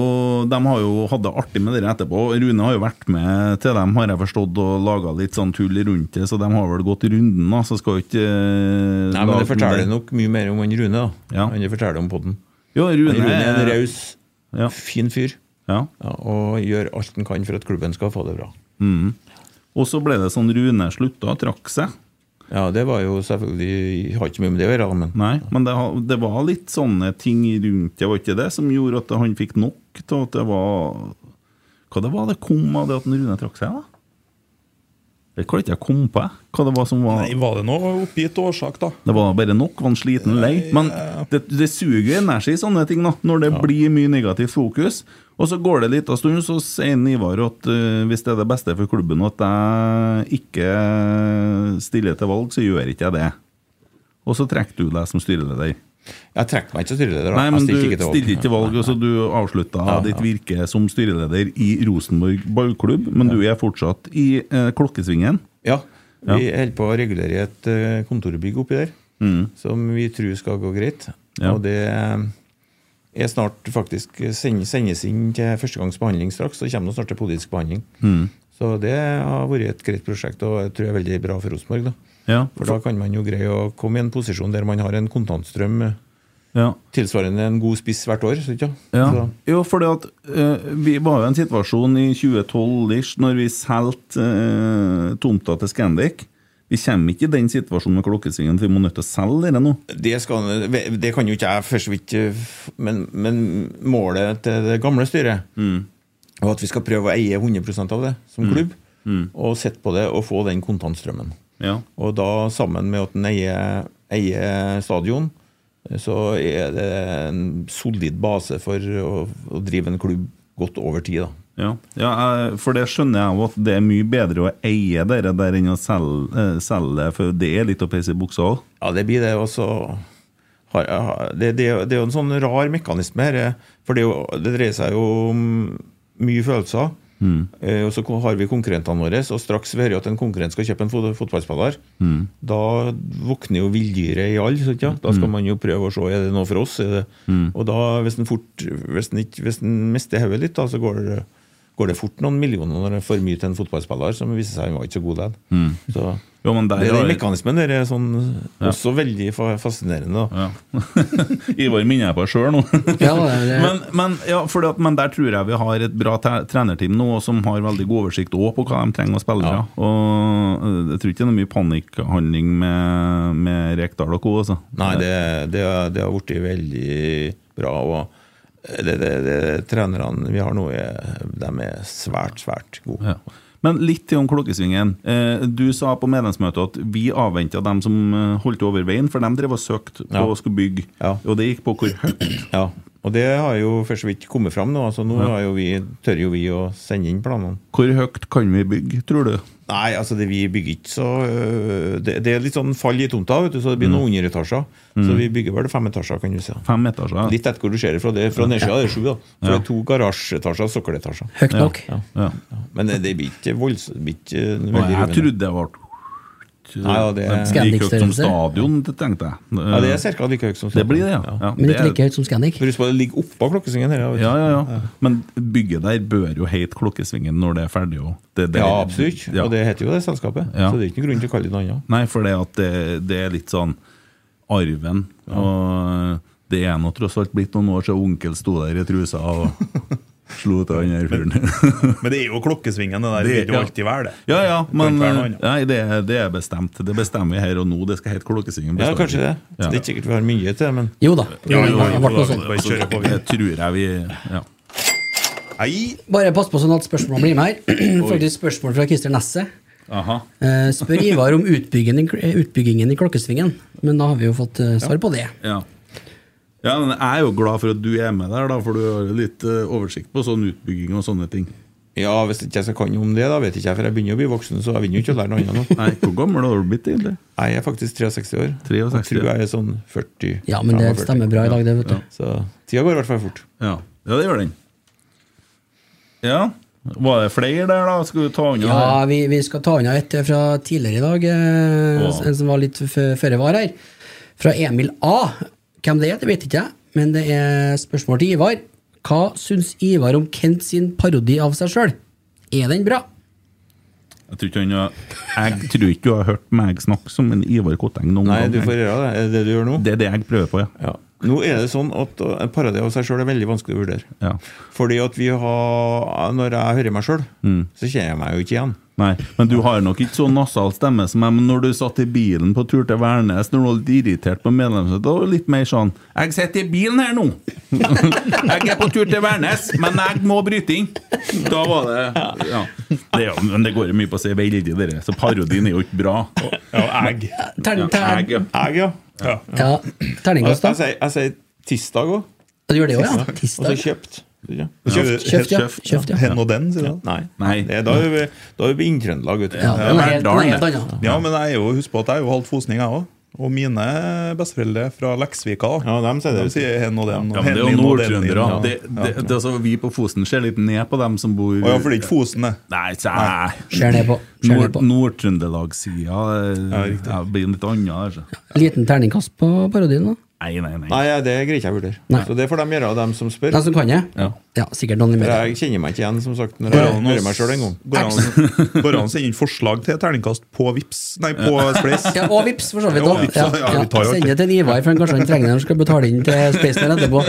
S2: dem har jo hatt det artig med dere etterpå. Rune har jo vært med til dem, har jeg forstått, og laga litt sånn tull rundt det, så de har vel gått runden, da. Så skal jo ikke eh,
S5: Nei, men det
S2: lage-
S5: forteller nok mye mer om han Rune, da.
S2: Ja.
S5: Han det forteller om podden.
S2: Jo, Rune,
S5: Rune er en
S2: er-
S5: raus,
S2: Ja.
S5: fin fyr,
S2: Ja.
S5: ja, og gjør alt han kan for at klubben skal få det bra.
S2: Mm. Og så ble det sånn Rune slutta, trakk seg.
S5: Ja, det var jo selvfølgelig Har ikke mye med det å gjøre, da, men
S2: Nei, men det, ha- det var litt sånne ting rundt det, var ikke det, som gjorde at han fikk nok til at det var Hva det var det kom av det at Rune trakk seg, da? Det klarte ikke jeg å komme på, jeg. Hva det var som var
S3: Nei, var det noe oppgitt årsak, da?
S2: Det var bare nok, var han sliten og lei. Men det, det suger jo energi, sånne ting, da, når det blir mye negativt fokus. Og så går det litt av stund, så sier Ivar at eh, hvis det er det beste for klubben at jeg ikke stiller til valg, så gjør ikke jeg det. Og så trekker du deg som styreleder.
S5: jeg trekker meg ikke som styreleder. da.
S2: Nei,
S5: Jeg
S2: men du
S5: stilte ikke til valg.
S2: stiller ikke til valg, og så du avslutta
S5: Ja, ja.
S2: ditt virke som styreleder i Rosenborg ballklubb, men du er fortsatt i eh, klokkesvingen.
S5: Ja.
S2: Ja.
S5: Vi holder på å regulere et eh, kontorbygg oppi der, som vi tror skal gå greit.
S2: Ja.
S5: Og det er snart faktisk send, sendes inn til førstegangsbehandling straks, og kommer nå snart til politisk behandling.
S2: Mm.
S5: Så det har vært et greit prosjekt, og jeg tror det er veldig bra for Rosenborg. da.
S2: Ja.
S5: For da kan man jo greie å komme i en posisjon der man har en kontantstrøm eh,
S2: ja.
S5: tilsvarende en god spiss hvert år. Så, ikke?
S2: Ja.
S5: Så,
S2: Jo, fordi at eh, vi var jo i en situasjon i 2012-ish når vi solgte eh, tomta til Scandic. Vi kommer ikke i den situasjonen med klokkesvingen, for vi må nødt til å selge det nå.
S5: det, skal, det kan jo ikke jeg for så vidt eh, f- men, men målet til det gamle styret var at vi skal prøve å eie 100 av det som klubb. Og sette på det og få den kontantstrømmen.
S2: Ja.
S5: Og da sammen med at den eier, eier stadion, så er det en solid base for å, å drive en klubb godt over tid. da.
S2: Ja, ja jeg- for det skjønner jeg jo at det er mye bedre å eie dere der enn å selge, eh, selge det, for det er litt å pisse i buksa òg.
S5: Ja, det blir det. Og så har jeg- har- det, det, er jo- det er jo en sånn rar mekanisme her. eh, For det, er jo, det dreier seg jo om mye følelser. Eh, og så ko- har vi konkurrentene våre, og straks vi hører at en konkurrent skal kjøpe en fot fotballspiller, da våkner jo villdyret i alle. så ikke sant? Da skal man jo prøve å se er det noe for oss. Er det, Og da, hvis en fort, hvis en, ikke, hvis en mister hodet litt, da, så går det, går det fort noen millioner når det er for mye til en fotballspiller, som viser seg han var ikke så god likevel. Så
S2: Jo, men der
S5: det er
S2: har-
S5: den mekanismen der er sånn, også veldig fa- fascinerende. Da.
S2: Ja. Ivar minner jeg på sjøl nå.
S4: Ja, det- det-
S2: men, men, ja, fordi at, men der tror jeg vi har et bra te- trenerteam nå, og som har veldig god oversikt også på hva de trenger av spillere. Og øh, jeg tror ikke det er noe mye panikkhandling med, med Rekdal og co. Altså.
S5: Nei, det, det, det har blitt veldig bra. Og det, det, det, trenerne vi har nå, er, de er svært, svært gode.
S2: Ja. Men litt til om klokkesvingen. Eh, Du sa på medlemsmøtet at vi avventa dem som eh, holdt over veien, for de drev og søkte på
S5: Ja.
S2: å skulle bygge,
S5: Ja.
S2: og det gikk på hvor høyt.
S5: Ja, Og det har jo for så vidt kommet fram nå. altså Nå har jo vi, tør jo vi å sende inn planene.
S2: Hvor høyt kan vi bygge, tror du?
S5: Nei, altså det, vi bygger ikke så øh, det, det er litt sånn fall i tomta, vet du, så det
S2: Mm.
S5: blir noen underetasjer. Så vi bygger vel fem etasjer, kan du si.
S2: Fem etasjer?
S5: Litt etter hvor du ser det fra. Det, er fra nedsida er det sju, da. Så det er to garasjeetasjer og sokkeletasjer.
S4: Høyt nok.
S2: Ja.
S5: Men det, det blir ikke voldsomt det blir ikke veldig
S2: Nei, jeg
S5: rivende.
S2: trodde det var
S5: Nei, ja, det,
S2: Det
S5: ja,
S2: gikk høyt som
S4: Scandic-størrelse.
S2: stadion, det tenkte jeg. Eh,
S5: det er ca. like høyt som
S2: Det blir det, ja. ja.
S4: Men ikke
S2: det er-
S4: like høyt som Scandic.
S5: Husk på det ligger oppå klokkesvingen her. Ja, vet du.
S2: Ja, ja, ja. Men bygget der bør jo hete Klokkesvingen når det er ferdig. Og det, det,
S5: ja absolutt.
S2: Ja.
S5: Og det heter jo det selskapet.
S2: Ja.
S5: Så det er ikke noen grunn til å kalle det noe annet.
S2: Nei, for det, at det, det er litt sånn arven. Og det er nå tross alt blitt noen år siden onkel sto der i trusa og slo til han der fyren.
S3: Men det er jo klokkesvingen, det der. Det
S2: Det-
S3: vil jo
S2: ja.
S3: alltid være det.
S2: ja, ja,
S3: kan
S2: men
S3: ikke være noe annet.
S2: nei, det, er- det er bestemt. Det bestemmer vi her og nå. Det skal hete Klokkesvingen.
S5: Ja,
S2: bestandig.
S5: kanskje det.
S2: Ja.
S5: Det er ikke sikkert vi har mye til, men
S4: Jo da.
S3: Ja, jo, jo,
S4: det ble noe sånt.
S3: bare kjøre på.
S2: Det tror jeg vi ja.
S3: Nei,
S4: Bare pass på sånn at spørsmålene blir med her. Faktisk spørsmål fra Christer Nesse.
S2: Aha.
S4: Eh, Spør Ivar om utbyggingen, i- eh, utbyggingen i klokkesvingen, men da har vi jo fått eh, svar på det.
S2: Ja. ja, men jeg er jo glad for at du er med der, da, for du har jo litt eh, oversikt på sånn utbygging og sånne ting.
S5: ja, hvis ikke jeg skal kan om det, da vet ikke jeg, for jeg begynner å bli voksen, så jeg vil jo ikke å lære noe annet nå.
S2: Nei, hvor gammel har du blitt egentlig?
S5: Jeg er faktisk 63 år.
S2: 63.
S5: Og tror jeg er sånn 40.
S4: Ja, men det
S5: 45.
S4: stemmer bra i dag, det, vet du.
S5: Så tida går i hvert fall fort.
S2: Ja, ja det gjør den. Ja, var det flere der da? Skal du ta unna
S4: Ja, vi, vi skal ta unna et fra tidligere i dag, eh,
S2: Åh.
S4: en som var litt f- føre var her. Fra Emil A. Hvem det er, det vet ikke jeg, men det er spørsmål til Ivar. Hva syns Ivar om Kent sin parodi av seg sjøl? Er den bra?
S2: Jeg tror ikke han har Jeg tror ikke du har hørt meg snakke som en Ivar Kotteng noen
S5: Nei,
S2: gang.
S5: du får gjøre det. Er det det du gjør nå?
S2: Det er det jeg prøver på, ja.
S5: Ja. Nå er det sånn at uh, en parodi av seg sjøl er veldig vanskelig å vurdere.
S2: ja.
S5: Fordi at vi har Når jeg hører meg sjøl, så kjenner jeg meg jo ikke igjen.
S2: Nei, men du har nok ikke så nasal stemme som jeg, men når du satt i bilen på tur til Værnes, når du var litt irritert på medlemsmøtet, da var du litt mer sånn 'Jeg sitter i bilen her nå! Jeg er på tur til Værnes, men jeg må bryte inn!' Da var det Ja. Det, er jo- men det går jo mye på å si veldig, dere, så parodien er jo ikke bra.
S3: Ja, egg.
S2: Ja,
S4: Tern,
S2: jeg,
S4: tern,
S2: ja.
S5: Jeg, ja.
S3: Ja.
S4: ja,
S5: Jeg,
S4: terningkast,
S5: jeg,
S4: da?
S5: sier- jeg sier tisdag òg,
S4: Du gjør det òg, ja?
S5: og så
S4: Tirsdag.
S5: kjøpt. Ja.
S3: Kjøpt,
S4: Kjøft, ja. Kjøft, ja.
S3: Hen og den, sier du.
S5: Nei.
S2: Nei.
S5: Det, er- da er vi, da er vi i Trøndelag, vet du.
S4: ja den er helt, den er helt annen.
S3: Ja, men jeg er jo, husk på at jeg er jo halvt fosning, jeg òg. Og mine besteforeldre fra Leksvika
S5: Ja, dem sier det.
S3: de sier hen og den. og
S2: Ja, men det er jo
S3: hen og den.
S2: nordtrøndere.
S3: Ja.
S2: Det, det, det, altså, vi på Fosen ser litt ned på dem som bor
S3: Å ja, for det er ikke Fosen, det.
S2: Nei, sæ
S4: Ser ned på. Ser ned
S2: Nord-
S4: på.
S2: Nord-Trøndelag-sida
S3: Ja,
S2: eh,
S3: riktig.
S2: ja, blir litt annet. Altså.
S4: Liten terningkast på parodien, da?
S2: Nei, nei, nei.
S5: Nei, det greier ikke jeg å vurdere.
S4: Nei.
S5: Så det får de gjøre, dem som spør.
S4: Den som kan det?
S2: Ja.
S4: Ja, sikkert noen i
S5: For
S4: media.
S5: Jeg kjenner meg ikke igjen, som sagt, når
S3: Går
S5: jeg
S3: an å-
S5: Eh, hører meg sjøl en gang.
S3: Går an å- går an å sende inn forslag til terningkast på Vips Nei, på Spleis.
S4: Ja, og vips, for så
S3: Ja,
S4: vidt. da.
S3: og Vipps,
S4: Ja,
S3: ja,
S4: ja.
S3: vi tar jo
S4: Send
S3: alltid.
S4: det til en Ivar, for han kanskje han trenger det når han skal betale inn til Spacener etterpå.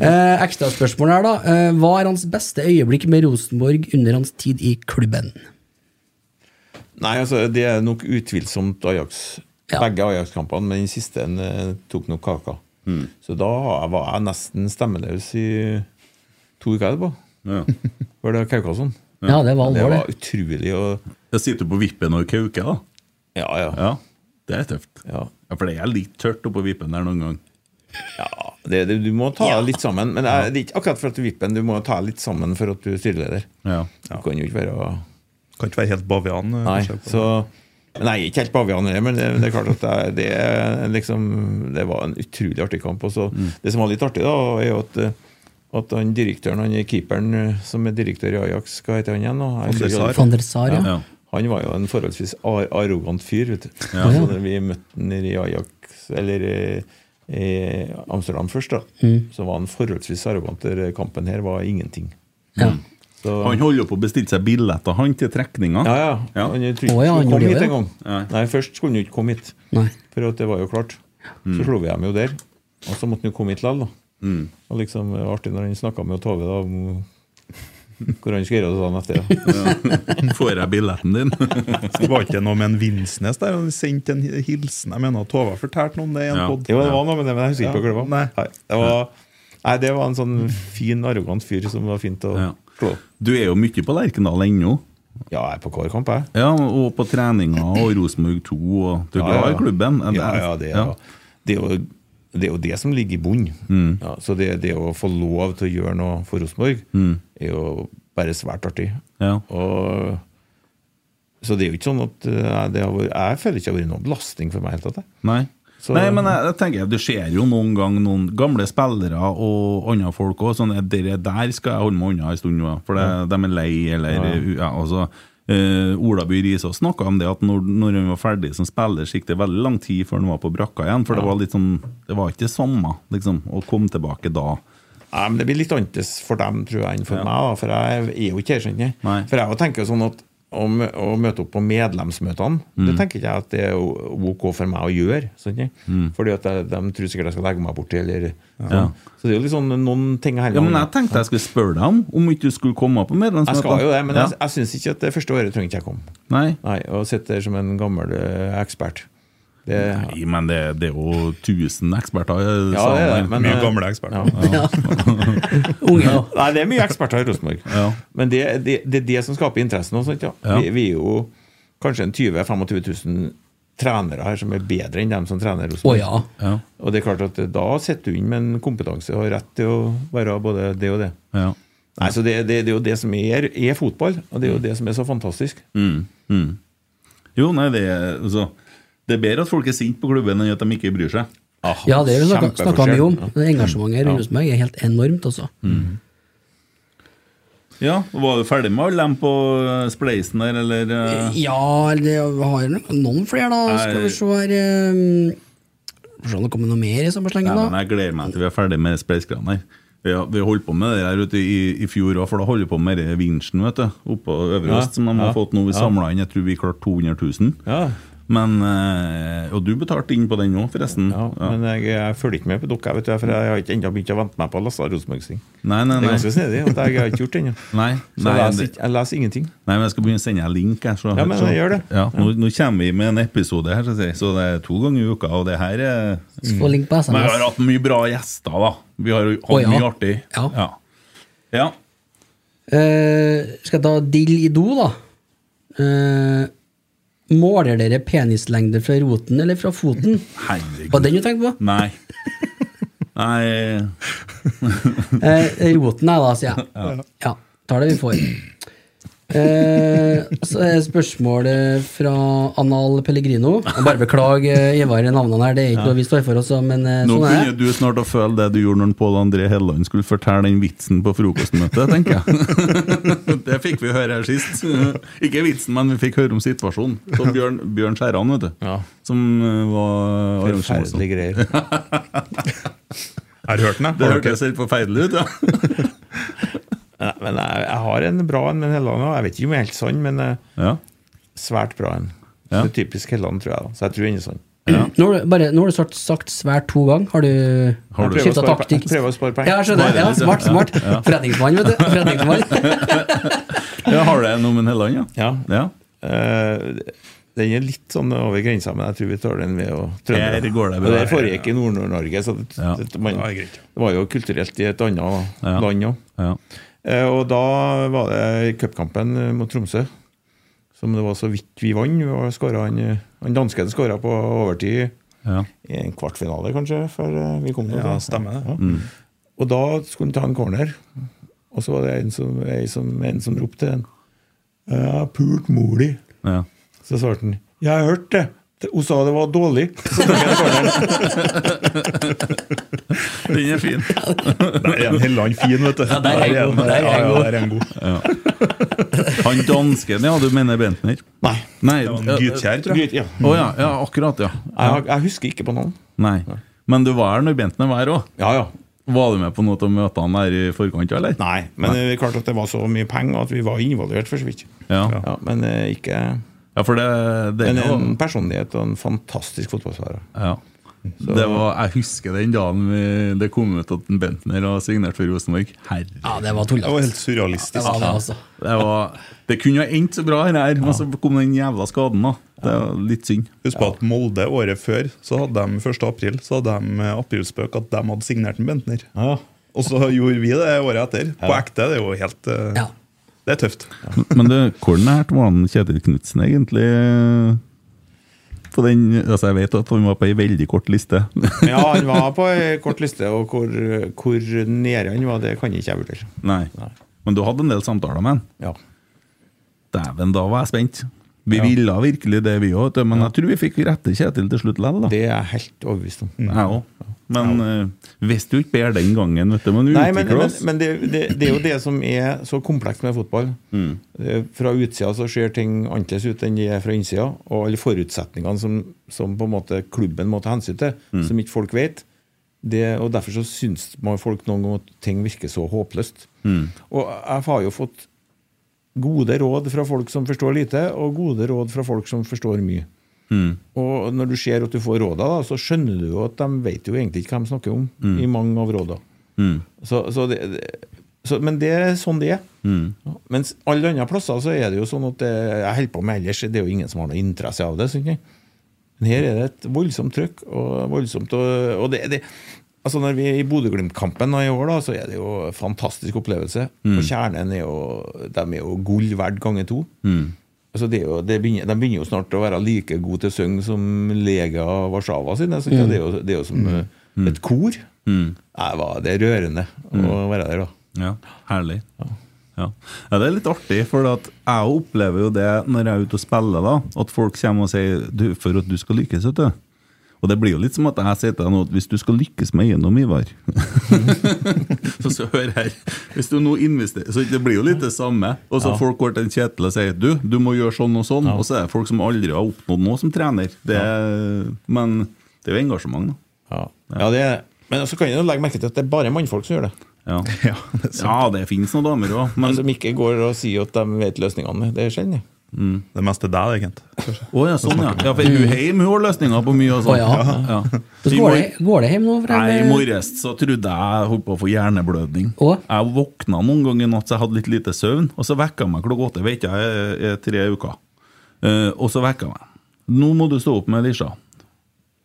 S4: Eh, Ekstraspørsmål her, da. Eh, hva er hans beste øyeblikk med Rosenborg under hans tid i klubben?
S5: Nei, altså, det er nok utvilsomt Ajax.
S4: Ja.
S5: Begge Ajax-kampene, men den siste en, eh, tok nok kaka. Så da var jeg nesten stemmeløs i to uker etterpå.
S2: Ja.
S5: Var det Kaukason?
S4: Ja, det var
S5: Det
S4: alvor,
S5: var
S4: det.
S5: utrolig å
S2: Jeg sitter på vippen og kauker, da.
S5: Ja, ja.
S2: Ja, det er tøft.
S5: ja.
S2: Ja, For det er litt tørt oppå vippen der noen gang.
S5: ja det, det, du må ta deg litt sammen. Men jeg, det er ikke akkurat for at du vipper den, du må ta deg litt sammen for at du er styreleder.
S2: Ja.
S5: Du kan jo ikke være
S3: Kan ikke være helt bavian. eh,
S5: Nei,
S3: kanskje.
S5: så men Nei, ikke helt bavian heller, men det, det er klart at det, er- det er liksom Det var en utrolig artig kamp. Og så,
S4: Mm.
S5: Det som var litt artig, da, er jo at, eh, at han direktøren, han keeperen eh, som er direktør i Ajax, hva heter han igjen? da? Jeg
S3: der
S5: husker ikke-
S3: Sar.
S4: Van der Sar, ja.
S2: Ja.
S5: Han var jo en forholdsvis ar arrogant fyr, vet du. Så da vi møtte han i Ajax, eller eh, i Amsterdam først, da,
S4: Mm.
S5: så var han forholdsvis arrogant. Den kampen her var ingenting.
S4: ja.
S5: Så,
S2: Han holder jo på å bestille seg billetter, han, til trekninga.
S5: ja, ja.
S2: Ja.
S5: Han trodde ikke
S4: Å, ja, han
S5: han
S4: gjorde
S5: kom
S4: det,
S5: hit
S4: ja.
S5: engang.
S2: Nei.
S5: Nei, først skulle han jo ikke komme hit.
S4: Nei.
S5: For at det var jo klart. Så slo vi dem jo der. Og så måtte han jo komme hit likevel, da. Og liksom, det var artig når han snakka med Tove da, om hvor han skulle gjøre det dagen etter. da.
S2: Får jeg billetten din?
S3: Så det var ikke noe med en Vinsnes der? Han sendte en hilsen. Jeg mener at Tove har fortalt noe om det i en
S2: Ja.
S3: podd.
S5: Jo, det var noe med det, men jeg husker
S3: Ja.
S5: ikke hva det var.
S3: Nei.
S5: det var. Nei, det var en sånn fin, arrogant fyr som var fint å
S2: Ja.
S5: slå opp.
S2: Du er jo mye på Lerkendal ennå.
S5: Ja, jeg er på hver kamp, jeg.
S2: Ja, og på treninga og Rosenborg 2 og Du er glad i klubben? er det-
S5: Ja, ja, det, er- det er jo det er jo det som ligger i bunnen. Ja, så det, det å få lov til å gjøre noe for Rosenborg, er jo bare svært artig.
S2: Ja.
S5: Og, så det er jo ikke sånn at eh, det har vært, jeg føler ikke det har vært noen belastning for meg. i det hele tatt, jeg.
S2: Nei.
S5: Så-
S2: Nei, men jeg, jeg tenker Du ser jo noen gang noen gamle spillere og andre folk òg sånn Dere der skal jeg holde meg unna en stund, nå, for det, de er lei, eller ja. altså, eh, Ola By Riise snakka om det at når, når han var ferdig som spiller, så gikk det veldig lang tid før han var på brakka igjen. For det var litt sånn Det var ikke det samme liksom, å komme tilbake da.
S5: Nei, men Det blir litt annerledes for dem tror jeg, enn for
S2: Ja.
S5: meg. da, For jeg er jo ikke erkjent. jeg.
S2: Nei.
S5: For jeg tenker sånn at å, mø- å møte opp på medlemsmøtene,
S2: Mm.
S5: det tenker ikke jeg at det er o- ok for meg å gjøre. Sånn, jeg.
S2: Mm.
S5: Fordi at jeg, de tror sikkert jeg skal legge meg borti, eller sånn. Så det er jo litt sånn noen ting jeg
S2: Ja, men
S5: holder
S2: Jeg
S5: meg
S2: tenkte jeg skulle spørre deg om om ikke du skulle komme på medlemsmøtet.
S5: Jeg skal jo det, men
S2: ja.
S5: jeg, jeg syns ikke at det første året trenger ikke jeg komme.
S2: Nei.
S5: Nei, Å sitte der som en gammel eh, ekspert. Det,
S2: Nei, men det, det er jo 1000 eksperter. i
S5: Ja, det er
S2: salen
S5: det,
S2: her.
S5: men- eh,
S3: Mye gamle eksperter.
S5: ja.
S4: Unge, da.
S5: Nei, det er mye eksperter i Rosenborg.
S2: Ja.
S5: Men det, det, det er det som skaper interessen. Også, ikke? sant, Ja.
S2: Ja.
S5: Vi, vi er jo kanskje en 20 000-25 000 trenere her som er bedre enn dem som trener
S4: Å
S5: Rosenborg.
S4: ja.
S2: ja.
S5: Og det er klart at eh, da sitter du inn med en kompetanse og har rett til å være både det og det.
S2: Ja.
S5: Nei, så det, det, det er jo det som er, er fotball, og det er jo det som er så fantastisk.
S2: Jo, nei, det er, altså, det er bedre at folk er sinte på klubben enn at de ikke bryr seg.
S5: Ah,
S4: Ja, det har vi snakka
S5: kjempeforskjell.
S4: mye om.
S5: Ja.
S4: Det Engasjementet rundt meg er helt enormt, altså.
S2: Ja, Var du ferdig med alle dem på eh, spleisen der, eller? eh?
S4: Ja, det har noen flere, da. Skal vi se her eh, Får se om det kommer noe mer i samme slengen,
S2: Nei, men
S4: da.
S2: jeg gleder meg til vi er ferdig med spleisgreiene her. Vi har, vi har holdt på med det her ute i, i fjor òg, for da holder vi på med det vinsjen vet du, oppå Øvre
S5: Ja,
S2: Øst, som de har
S5: ja,
S2: fått nå. Vi
S5: ja.
S2: samla inn, jeg tror vi klarte 200 000.
S5: Ja,
S2: Men, eh, og du betalte inn på den òg, forresten.
S5: ja, men jeg, jeg følger ikke med på dere, vet du, for jeg har ikke ennå begynt å vente meg på Lassa Rosenborg-ting.
S2: Nei, nei,
S5: Det er
S2: nei.
S5: ganske snedig at jeg har ikke gjort det ennå.
S2: Nei,
S5: Så
S2: nei,
S5: jeg, leser,
S2: det-
S5: ikke- jeg leser ingenting.
S2: nei, men jeg skal begynne å sende deg link. Jeg, så,
S5: Ja, men
S2: så-
S5: jeg gjør det.
S2: Ja, nå, nå kommer vi med en episode her, så, jeg, sier, så det er to ganger i uka. Og det her er
S4: Så Få link på
S2: Men vi
S4: SMS.
S2: har hatt mye bra gjester, da. Vi har jo hatt
S4: Å, ja.
S2: mye artig.
S4: Ja.
S2: Ja. ja.
S4: Eh, skal jeg ta dill i do, da? Eh, måler dere penislengde fra roten eller fra foten?
S2: Herregud.
S4: Var det den du tenkte på?
S2: Nei. Nei
S4: Eh, roten er da, sier jeg. Ja. tar det vi får. Eh, så er spørsmålet fra Anal Pellegrino. Og bare beklag eh, Ivar, navnene her, det er ikke noe vi står for også, men eh,
S2: Nå
S4: sånn er
S2: begynner
S4: det.
S2: du snart å føle det du gjorde når Pål André Helleland skulle fortelle den vitsen på frokostmøtet, tenker jeg. Det fikk vi høre her sist. Ikke vitsen, men vi fikk høre om situasjonen. Så Bjørn, Bjørn Skjæran, vet du.
S5: Ja.
S2: Som eh, var arrangør sånn også.
S5: Forferdelige greier.
S3: Har du hørt den? jeg? Har
S2: Det
S3: dere-
S2: hørtes helt forferdelig ut, ja.
S5: Nei, men jeg, jeg har en bra en med Helland òg. Jeg vet ikke om jeg er helt sann, men eh,
S2: ja.
S5: svært bra en.
S2: Ja.
S5: Så typisk Helland, tror jeg. da. Så jeg tror den er sann.
S4: Nå har du, bare, nå har du sagt, sagt svært to ganger. Har du,
S2: Har du-
S4: skiftet
S5: Jeg prøver å spare pe-
S4: taktikk?
S5: jeg prøver å spare penger.
S4: Ja, jeg skjønner. Ja, smart, smart. Forretningsmann, vet du. Forretningsmann.
S2: ja. Har du noe med Helleland, ja?
S5: Ja.
S2: ja.
S5: Eh, den er litt sånn over grensa, men jeg tror vi tar den ved å trøndere.
S2: Her går det bra.
S5: Og det foregikk i Nord-Norge, så det,
S2: Ja.
S5: det, man,
S3: Ja, det er greit.
S5: det var jo kulturelt i et annet
S2: Ja.
S5: land òg.
S2: ja.
S5: Eh, og da var det cupkampen eh, mot Tromsø, som det var så vidt vi vant. Vi var skåret han, eh, han dansken skåra på overtid
S2: ja.
S5: i en kvartfinale, kanskje, før eh, vi kom dit.
S3: Ja, stemmer det.
S5: Ja.
S4: Mm.
S5: Og da skulle han ta en corner, og så var det en som, en som, en som ropte til ham. Jeg har pult mor di.
S2: ja.
S5: Så svarte han Jeg har hørt det. Hun sa det var dårlig. Så tok jeg corneren.
S2: Den er fin.
S3: Der er en Helland fin, vet du.
S4: Ja, der er en god,
S3: en-
S4: der er en
S3: ja, ja,
S4: god.
S3: der er en god.
S2: Han dansken, ja, du mener Bentner?
S5: Nei.
S2: Nei.
S3: Det var
S2: ja,
S3: en Gytkjær, tror jeg.
S5: Gryt, ja.
S2: Å ja, ja, akkurat, ja.
S5: jeg, jeg husker ikke på navn.
S2: Nei. Men du var her når Bentner var her òg?
S5: Ja, ja.
S2: Var du med på noe av møtene der i forkant, eller?
S5: Nei, men det er klart at det var så mye penger og at vi var involvert, for så vidt.
S2: Ja, ja.
S5: Ja, men eh, ikke
S2: for det, det,
S5: Men
S2: er jo-
S5: en personlighet og en fantastisk fotballspiller.
S2: ja. det var, Jeg husker den dagen vi, det kom ut at Bentner har signert for Rosenborg. Herre.
S4: Ja,
S3: Det
S4: det var
S3: var
S4: tullete.
S3: helt surrealistisk.
S4: Det var det, altså.
S2: Det, var, det kunne ha endt så bra, her, her, men så kom den jævla skaden. da Det var litt synd.
S3: Husk på at Molde året før, så hadde de 1. april, så hadde de eh, aprilspøk at de hadde signert en Bentner.
S5: Ja.
S3: Og så gjorde vi det året etter. På ekte. Det er jo helt eh,
S4: Ja.
S3: Det er tøft.
S2: Men du, hvordan lærte man Kjetil Knutsen egentlig på den Altså, jeg vet at han var på ei veldig kort liste.
S5: ja, han var på ei kort liste, og hvor, hvor nede han var, det kan ikke jeg vurdere.
S2: Nei. Men du hadde en del samtaler med han?
S5: Ja.
S2: Dæven, da var jeg spent. Vi ville virkelig det, vi òg, men jeg tror vi fikk rette Kjetil til slutt likevel.
S5: Det er jeg helt overbevist om.
S2: Jeg òg. Men eh, visste jo ikke bedre den gangen, vet du. Men vi
S5: Nei, men,
S2: utvikler
S5: men,
S2: oss.
S5: men det, det, det er jo det som er så komplekst med fotball. Eh, Fra utsida så ser ting annerledes ut enn de er fra innsida. Og alle forutsetningene som, som på en måte klubben må ta hensyn til, som ikke folk vet. Det, og Derfor så syns man folk noen ganger at ting virker så håpløst. Og jeg har jo fått gode råd fra folk som forstår lite, og gode råd fra folk som forstår mye. Mm. Og når du ser at du får råda, da, så skjønner du jo at de vet jo egentlig ikke hva de snakker om. i mange av råda. Så, så det, det, så, men det er sånn det er. Ja, Mens alle andre plasser så er det jo sånn at det, jeg holder på med ellers, det er jo ingen som har noe interesse av det. synes jeg. Men her er det et voldsomt trøkk. Og, voldsomt, og, og det, det, altså når vi er i Bodø-Glimt-kampen nå i år, da, så er det jo en fantastisk opplevelse. Og kjernen er jo, de er jo gull verdt ganger to. Altså det er jo, det begynner, de begynner jo snart å være like gode til å synge som Lega Warszawa sine. Så det, er jo, det er jo som eh, et kor. Nei, hva- det er rørende å være der, da.
S2: Ja, herlig. Ja. ja, det er litt artig, for at jeg opplever jo det når jeg er ute og spiller, da, at folk kommer og sier du, 'for at du skal lykkes', vet du. Og det blir jo litt som at jeg sier til deg nå at hvis du skal lykkes med eiendom, Ivar Så så hør her, hvis du nå investerer Så det blir jo litt det samme. Og så folk går til en Kjetil og sier 'du, du må gjøre sånn og sånn', og så er det folk som aldri har oppnådd noe som trener. Det, Men det er jo engasjement, da.
S5: Ja. Ja, det, men så kan jeg jo legge merke til at det er bare mannfolk som gjør det.
S2: Ja, Altså,
S3: Ja, det er sant.
S2: ja det finnes noen damer òg, men
S5: Som ikke går og sier at de vet løsningene. Det er sjelden.
S3: Det meste er deg, det, Kent. Kanskje.
S2: Å ja, sånn, ja. ja for hun hjemme hun har løsninger på mye og sånn.
S4: Å, ja.
S2: I
S4: Hvordan går det,
S2: mor-
S4: går det hjem nå? For
S2: Nei, I
S4: jeg-
S2: morges så trodde jeg jeg holdt på å få hjerneblødning.
S4: Å?
S2: Jeg våkna noen ganger i natt, så jeg hadde litt lite søvn. Og så vekka jeg meg klokka åtte, vet jeg, jeg er tre uker. Eh, og så vekka jeg meg. Nå må du stå opp med Lisha.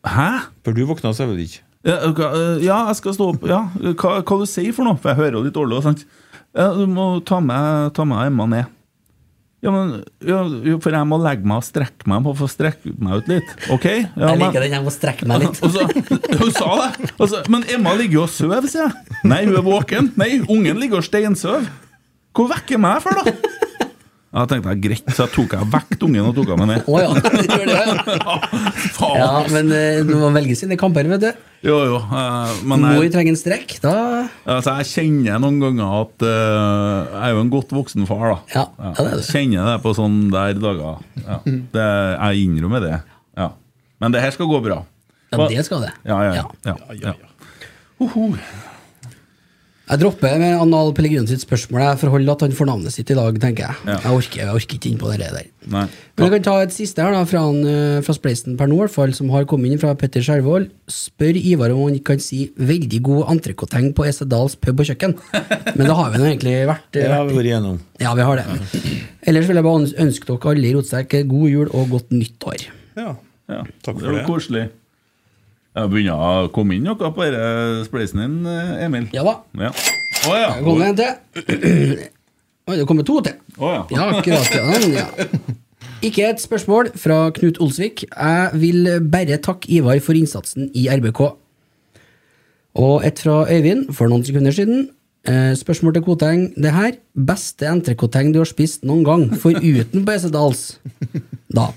S2: Hæ?
S5: For du våkna selvfølgelig ikke.
S2: Ja, ok, eh, ja, jeg skal stå opp. Ja, hva, hva du sier for noe? For jeg hører jo litt dårlig. også, Sant? Ja, du må ta med, ta med Emma ned. Ja, men, ja, jo, for jeg må legge meg og strekke meg. Jeg Må få strekke meg ut litt. Ok? Ja,
S4: Jeg
S2: men-
S4: liker den, jeg må strekke meg litt.
S2: og så, hun sa det! Og så, men Emma ligger jo og sover, sier jeg. Nei, hun er våken. Nei, ungen ligger og steinsøv. Hvor vekker meg for, da? Jeg tenkte jeg, greit, så jeg tok jeg vekk ungen og tok henne med ned.
S4: Å ja, det gjør det, ja.
S2: Faen!
S4: ja, men eh, du må velge sine kamper, vet du.
S2: Jo, jo. eh, Men
S4: Når
S2: jeg,
S4: vi trenger en strekk, da
S2: altså, jeg kjenner noen ganger at eh, Jeg er jo en godt voksen far, da.
S4: Ja, ja, det er
S2: jeg
S4: det.
S2: kjenner det på sånne der dager. Ja. Det, jeg innrømmer det. Ja. Men det her skal gå bra.
S4: Ja, det skal det.
S2: Ja, ja, ja. ja, ja. Hoho.
S4: Jeg dropper med Anal Pellegrino sitt spørsmål. Jeg forholder at han får navnet sitt i dag, tenker jeg.
S2: Ja.
S4: Jeg, orker, jeg orker ikke inn på det der.
S2: Nei.
S4: Men jeg kan ta et siste her, da, fra, han, eh, fra Spleisen per nå, i hvert fall, som har kommet inn fra Petter Skjervold. Spør Ivar om han kan si 'veldig god entrecôteng på Esedals pub og kjøkken'. Men det har vi nå egentlig vært.
S5: Det
S4: Ja.
S5: har vi vært igjennom.
S4: ja, vi har det. Ellers vil jeg bare øns- ønske dere alle i Rotsekk god jul og godt nyttår.
S3: Ja.
S2: Ja,
S3: Takk
S2: det
S3: for
S2: var
S3: det.
S2: koselig. Jeg begynner å komme inn noe på denne spleisen din, eh, Emil.
S4: Ja da.
S2: Ja. Å ja.
S4: Det kommer en til. Oi, det kommer to til.
S2: Å ja.
S4: Ja, akkurat. Ja. Ja. Ikke et spørsmål fra Knut Olsvik. Jeg vil bare takke Ivar for innsatsen i RBK. Og et fra Øyvind for noen sekunder siden. Eh, Spørsmål til Koteng. Det her beste entrecôteng du har spist noen gang, foruten på Esedals. Da.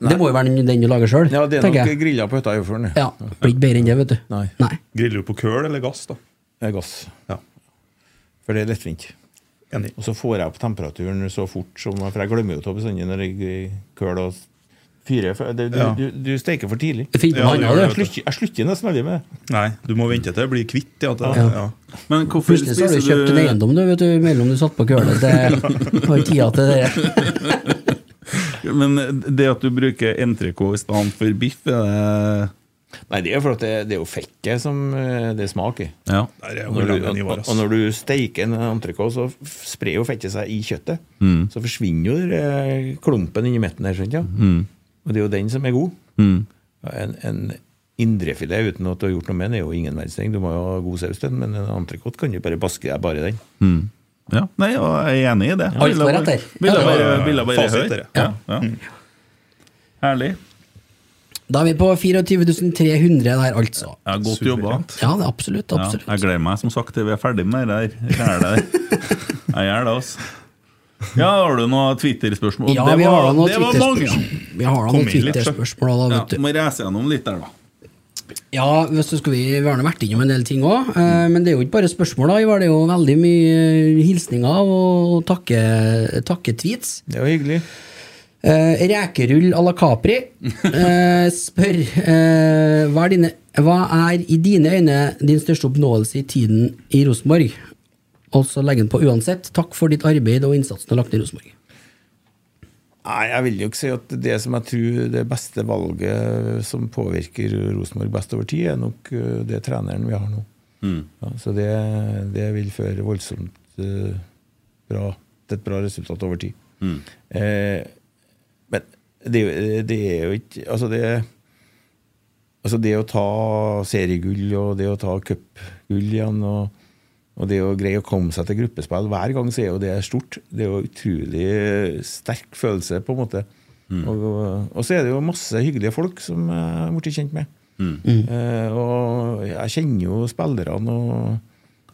S4: Det må jo være den, den du lager sjøl,
S5: Ja, det er
S4: tenker
S5: nok
S4: jeg.
S5: grilla på hytta i Øyfjorden.
S4: Ja, Blir ikke bedre enn det, vet du.
S5: Nei.
S4: Nei.
S3: Griller du på køl eller gass, da?
S5: Det er gass.
S3: Ja.
S5: For det er lettvint.
S3: Enig.
S5: Og så får jeg opp temperaturen så fort som For jeg glemmer jo å ta bestandig når jeg køler og fyrer. for det- Du,
S3: Ja.
S5: du, du steiker for tidlig.
S4: Fint med
S3: Ja, det gjør
S4: handa,
S5: Jeg
S3: det.
S4: du.
S5: slutter, jeg slutter nesten aldri med det.
S3: Nei, du må vente til det blir kvitt. Ja, det,
S4: Ja.
S3: ja.
S2: Men hvorfor
S4: Plutselig så har du
S2: spiser
S4: kjøpt en
S2: du
S4: eiendom, du, vet du, mellom du satt på køla til har tida til det der.
S2: Men det at du bruker entrecôte i stedet for biff, er det
S5: Nei, det er for at det, det er jo fettet som eh, det smaker.
S2: Ja.
S3: Der er jo
S5: Når du,
S3: Olav
S5: og,
S3: Nivar, ass.
S5: og når du steiker en entrecôte, så f- sprer jo fettet seg i kjøttet. Så forsvinner jo eh, klumpen inni midten her. skjønner du? Og det er jo den som er god. Ja, En, en indrefilet uten at du har gjort noe med den, er jo ingen verdens ting. Du må jo ha god saus til den, men en entrecôte kan du bare baske deg bare i den.
S2: ja. Nei, og jeg er enig i det.
S4: Alt går etter.
S2: Ville
S4: Ja,
S2: bare,
S3: ja, ja.
S2: ville bare
S3: Fasit
S2: høre.
S3: er det.
S2: Ja. Ja. Herlig.
S4: Da er vi på 24.300 der, altså.
S2: Ja, godt jobba.
S4: Ja, det er absolutt.
S2: Ja,
S4: absolutt.
S2: jeg gleder meg som sagt til vi er ferdig med det her. Jeg gjør det, jeg gjør det altså. Ja, har du noe Twitter-spørsmål?
S4: Ja,
S2: Det
S4: vi har da
S2: var-
S4: noen
S2: det var mange.
S4: Twitter-spørsmål. Vi har da
S2: Kom
S4: noen
S2: inn litt, så.
S4: Twitter-spørsmål da,
S2: Ja,
S4: vet du.
S2: må reise gjennom litt der, da.
S4: Ja, hvis du skulle vi har nå vært innom en del ting òg.
S2: Mm.
S4: Men det er jo ikke bare spørsmål, da. Ivar. Det er jo veldig mye eh, hilsninger og takke- takke-tweets.
S5: Det er jo hyggelig.
S4: Eh, rekerull à la Capri eh, spør eh, hva, er dine, hva er i dine øyne din største oppnåelse i tiden i Rosenborg? Og så legger han på uansett. Takk for ditt arbeid og innsatsen du har lagt ned i Rosenborg.
S5: Nei, jeg vil jo ikke si at det som jeg tror det beste valget som påvirker Rosenborg best over tid, er nok øh, det treneren vi har nå. Ja, så det, det vil føre voldsomt øh, bra til et bra resultat over tid. Eh, men det, er jo- det er jo ikke Altså, det Altså det å ta seriegull og det å ta cupgull igjen og, og det å greie å komme seg til gruppespill hver gang, så er jo det stort. Det er jo utrolig sterk følelse, på en måte. Og, og så er det jo masse hyggelige folk som jeg har blitt kjent med. Eh, og jeg kjenner jo spillerne og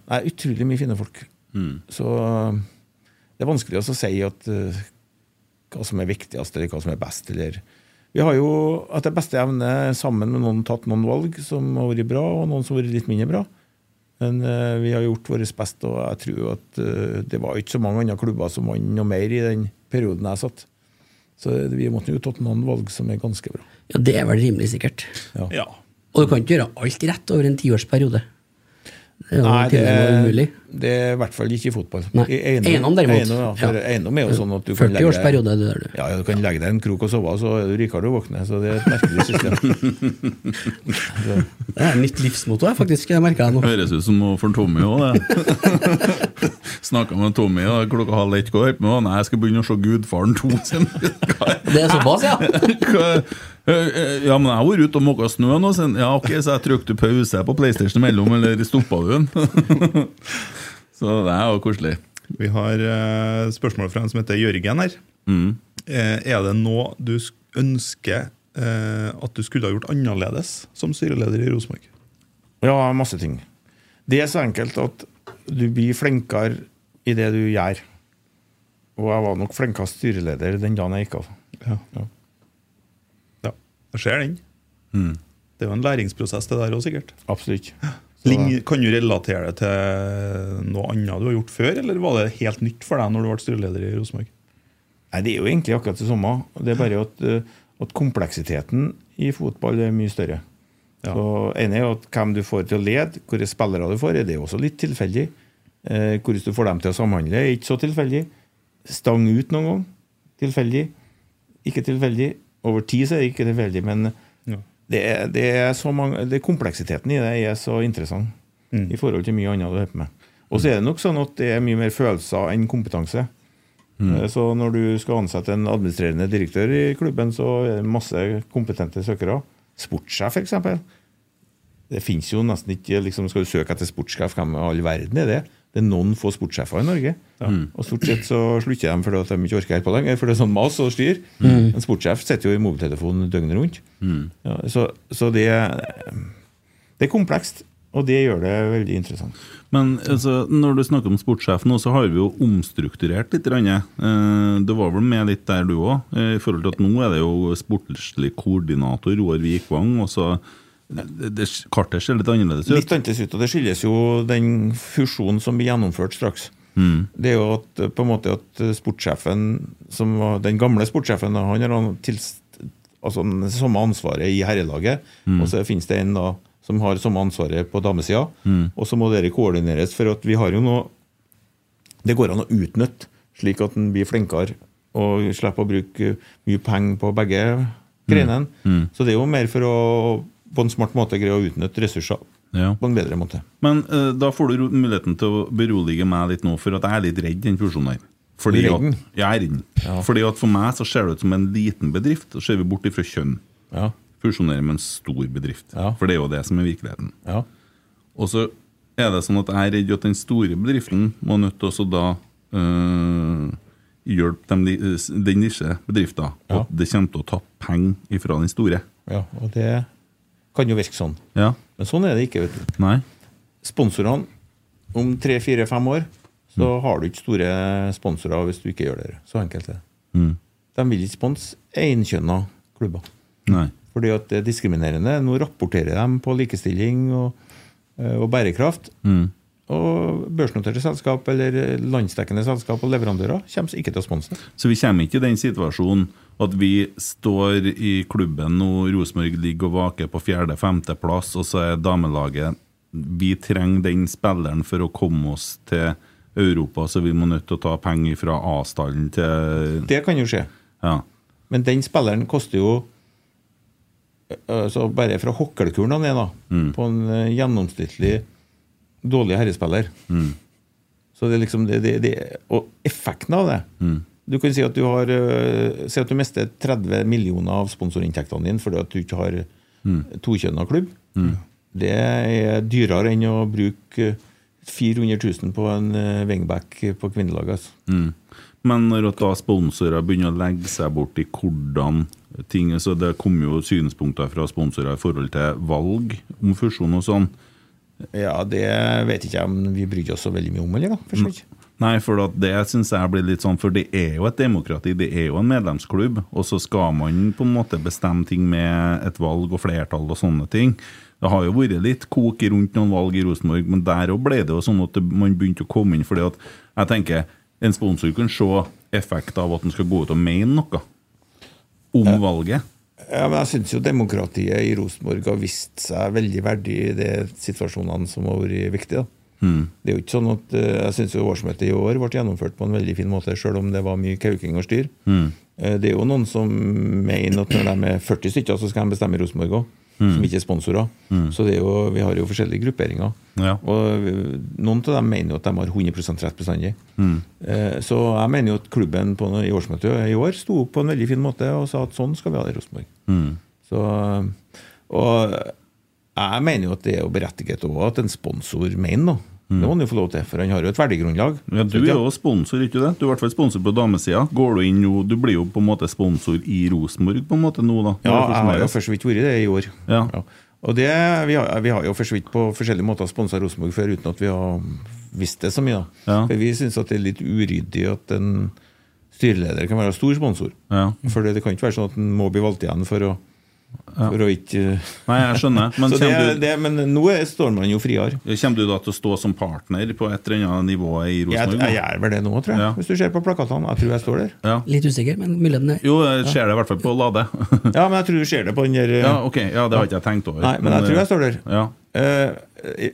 S5: Det er utrolig mye fine folk. Så eh, det er vanskelig også å si at eh, hva som er viktigst, eller hva som er best. Eller. Vi har jo etter beste evne sammen med noen tatt noen valg som har vært bra, og noen som har vært litt mindre bra. Men eh, vi har gjort vårt beste, og jeg tror at eh, det var ikke så mange andre klubber som vant noe mer i den perioden jeg satt. eh, Så vi måtte jo tatt noen valg som er ganske bra.
S4: Ja, det er vel rimelig sikkert.
S3: Ja.
S4: Og du kan ikke gjøre alt rett over en tiårsperiode. Det er jo
S5: Nei, det
S4: tilnærmet
S5: er,
S4: umulig.
S5: det er i hvert fall ikke i fotball.
S4: Nei.
S5: I
S4: Eiendom, derimot.
S5: Eiendom, ja, for
S4: Ja.
S5: eiendom er jo sånn at du kan legge
S4: 40-årsperiode er det der, du.
S5: Ja, ja, du kan legge deg i en krok og sove, og så er du rikere når du våkner. Så det er et merkelig system.
S4: Det er mitt livsmotto, jeg, faktisk. Jeg merker jeg nå.
S2: Høres ut som noe for Tommy òg, det. Snakka med Tommy da, klokka halv ett i går. Men han, Nei, jeg skal begynne å se Gudfaren 2. sin. Hva er-
S4: Det er såpass, ja.
S2: hva er- Ja, men jeg har vært ute og måka snø nå, sin. Ja, ok, så jeg trykte pause på PlayStation imellom, eller stoppa du den? Så det er jo koselig.
S3: Vi har eh, spørsmål fra en som heter Jørgen her. Eh, er det noe du sk- ønsker eh, at du skulle ha gjort annerledes som styreleder i Rosenborg?
S5: Ja, masse ting. Det er så enkelt at du blir flinkere i det du gjør. Og jeg var nok flinkest styreleder den dagen jeg gikk av.
S3: Ja. ja. Jeg ser den. Mm. Det er jo en læringsprosess, det der òg, sikkert.
S5: Absolutt. Så-
S3: Lign- Kan du relatere det til noe annet du har gjort før, eller var det helt nytt for deg når du ble styreleder i Rosenborg?
S5: Nei, Det er jo egentlig akkurat det samme. Det er bare at, eh, at kompleksiteten i fotball er mye større.
S3: Ja.
S5: Så en er jo at hvem du får til å lede, hvilke spillere du får, er det jo også litt tilfeldig. Eh, hvordan du får dem til å samhandle, er ikke så tilfeldig. Stang ut noen gang, tilfeldig. Ikke tilfeldig. Over tid så er det ikke tilfeldig, men
S3: Ja.
S5: det er, det er så mange, det kompleksiteten i det er så interessant i forhold til mye annet du holder på med. Og så er det nok sånn at det er mye mer følelser enn kompetanse. Eh, Så når du skal ansette en administrerende direktør i klubben, så er det masse kompetente søkere. Sportssjef, f.eks. Det fins jo nesten ikke liksom, Skal du søke etter sportssjef, hvem i all verden er det? Det er noen få sportssjefer i Norge. Og stort sett så slutter de fordi at de ikke orker her på lenger, for det er sånn mas og styr. En sportssjef sitter jo i mobiltelefonen døgnet rundt. Ja, så så det, eh, det er komplekst, og det gjør det veldig interessant.
S2: Men altså, når du snakker om sportssjef nå, så har vi jo omstrukturert litt. grann, Eh, Det var vel med litt der du òg, i forhold til at nå er det jo sportslig koordinator Roar Vikvang. og så det, det, Kartet ser litt annerledes ut.
S5: Litt annerledes ut, og det skyldes jo den fusjonen som blir gjennomført straks. Det er jo at, eh, på en måte at sportssjefen, som var den gamle sportssjefen, da, han har an- tilst- altså, det samme ansvaret i herrelaget, og så finnes det en da som har samme ansvaret på damesida, og så må dere koordineres, for at vi har jo noe det går an å utnytte, slik at en blir flinkere og slipper å bruke eh, mye penger på begge grenene. Så det er jo mer for å på en smart måte greie å utnytte ressurser
S2: Ja.
S5: på en bedre måte.
S2: Men eh, da får du ro- muligheten til å berolige meg litt nå, for at jeg er litt redd den fusjonen her. Fordi
S5: Du er redd
S2: at,
S5: den?
S2: jeg er redd den. Fordi at for meg så ser det ut som en liten bedrift, og ser vi bort ifra kjønn.
S5: Ja,
S2: Fusjonerer med en stor bedrift.
S5: Ja.
S2: For det er jo det som er virkeligheten.
S5: ja.
S2: Og så er det sånn at jeg er redd at den store bedriften må nødt til også da øh, hjelpe dem, de- den nisje bedriften.
S5: Ja.
S2: At det kommer til å ta penger ifra den store.
S5: ja. Og det kan jo virke sånn.
S2: Ja.
S5: Men sånn er det ikke. vet du.
S2: Nei.
S5: Sponsorene om tre-fire-fem år så har du ikke store sponsorer hvis du ikke gjør det. Så enkelt er det.
S2: Mm.
S5: De vil ikke sponse enkjønna klubber.
S2: Nei.
S5: Fordi at det er diskriminerende. Nå rapporterer de på likestilling og, eh, og bærekraft.
S2: Mm.
S5: Og børsnoterte selskap eller landsdekkende selskap og leverandører kommer ikke til å sponse. det.
S2: Så vi kommer ikke i den situasjonen at vi står i klubben nå, Rosenborg ligger og vaker på fjerde-femteplass, og så er damelaget Vi trenger den spilleren for å komme oss til Europa, så vi må nødt til å ta penger fra A-stallen til
S5: Det kan jo skje.
S2: Ja.
S5: Men den spilleren koster jo ø, så Bare fra hokkelkuren han er, da, på en ø, gjennomsnittlig dårlig herrespiller Så det er liksom det, det, det Og effekten av det Du kan si at du har ø, Si at du mister 30 millioner av sponsorinntektene dine fordi at du ikke har mm. tokjønna klubb. Det er dyrere enn å bruke ø, 400 000 på en ø, wingback på kvinnelaget. Altså.
S2: Men når at da sponsorer begynner å legge seg bort i hvordan ting så Det kommer jo synspunkter fra sponsorer i forhold til valg om fusjon og sånn.
S5: Ja, det vet ikke jeg om vi brydde oss så veldig mye om, eller da? For så vidt.
S2: Nei, for at det syns jeg blir litt sånn, for det er jo et demokrati, det er jo en medlemsklubb, og så skal man på en måte bestemme ting med et valg og flertall og sånne ting. Det har jo vært litt kok rundt noen valg i Rosenborg, men der òg ble det jo sånn at det- man begynte å komme inn, fordi at jeg tenker en sponsor kan se effekt av at den skal gå ut og mene noe om valget.
S5: Ja, men jeg syns jo demokratiet i Rosenborg har vist seg veldig verdig i de situasjonene som har vært viktige. da. Det er jo ikke sånn at, eh, Jeg syns årsmøtet i år ble gjennomført på en veldig fin måte, selv om det var mye kauking og styr. Eh, Det er jo noen som mener at når de er 40 stykker, så skal de bestemme i Rosenborg òg. Som ikke er sponsorer. Så det er jo, vi har jo forskjellige grupperinger.
S2: Ja.
S5: Og vi- noen av dem mener jo at de har 100 rett bestandig. Eh, Så jeg mener jo at klubben på, i årsmøtet i år sto opp på en veldig fin måte og sa at sånn skal vi ha det i Rosenborg. Så, og jeg mener jo at det er jo berettiget også at en sponsor mener noe. Det må han jo få lov til, for han har jo et verdigrunnlag.
S2: Ja, Du
S5: Så
S2: er
S5: ikke-
S2: jo sponsor, ikke det? Du er i hvert fall sponsor på damesida. Går du inn nå Du blir jo på en måte sponsor i Rosenborg på en måte nå, da? Når det
S5: Ja, jeg har jo
S2: fusjoneres.
S5: for så vidt vært det i år.
S2: Ja.
S5: Og det, vi, har, vi har jo for så vidt på forskjellige måter sponsa Rosenborg før uten at vi har visst det så mye. da.
S2: Ja.
S5: For vi syns det er litt uryddig at en styreleder kan være stor sponsor.
S2: Ja.
S5: For det kan ikke være sånn at en må bli valgt igjen for å, for å ikke
S2: Nei, jeg skjønner. Men
S5: så det,
S2: kommer du,
S5: det, Men nå er- står man jo friere.
S2: kommer du da til å stå som partner på et eller annet nivå i
S5: Jeg,
S2: Rosenborg? da?
S5: jeg gjør vel det nå, tror jeg.
S2: Ja.
S5: Hvis du ser på plakatene. Jeg tror jeg står der.
S2: Ja.
S4: Litt usikker, men mulig den er
S2: Jo, jeg ser det i hvert fall på Lade.
S5: Ja, men jeg tror du ser det på den der eh,
S2: ja, eh, ok, ja, det har ikke jeg tenkt over.
S5: Nei, men jeg tror jeg står der.
S2: Ja.
S5: Eh,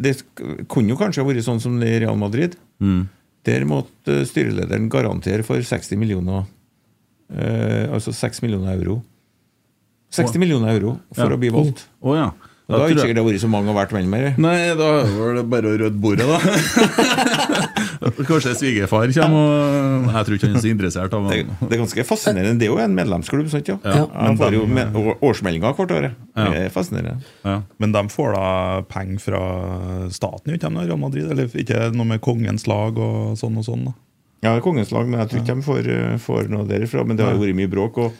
S5: det sk- kunne jo kanskje ha vært sånn som det i Real Madrid.
S2: Mm.
S5: Der måtte eh, styrelederen garantere for 60 millioner eh, Altså 6 millioner euro. 60 millioner euro for
S2: Ja.
S5: å bli valgt.
S2: Å ja.
S5: Da har
S2: tror
S5: ikke
S2: jeg-
S5: sikkert det vært så mange og vært mellom her.
S2: Nei, da var det bare å rydde bordet, da. Kanskje svigerfar kommer og Jeg tror ikke han er så interessert. av
S5: Det,
S2: han.
S5: det er ganske fascinerende. Det er jo en medlemsklubb. sant ja?
S4: Ja.
S5: De får jo med, å- årsmeldinger hvert år.
S2: Ja.
S5: Det er fascinerende.
S2: Ja.
S3: Men de får da penger fra staten, gjør ikke de det? Real Madrid? Eller ikke noe med kongens lag og sånn og sånn? da?
S5: Ja, det er Kongens lag, men jeg tror ikke de får, eh, får noe derifra. Men det har jo vært mye bråk. og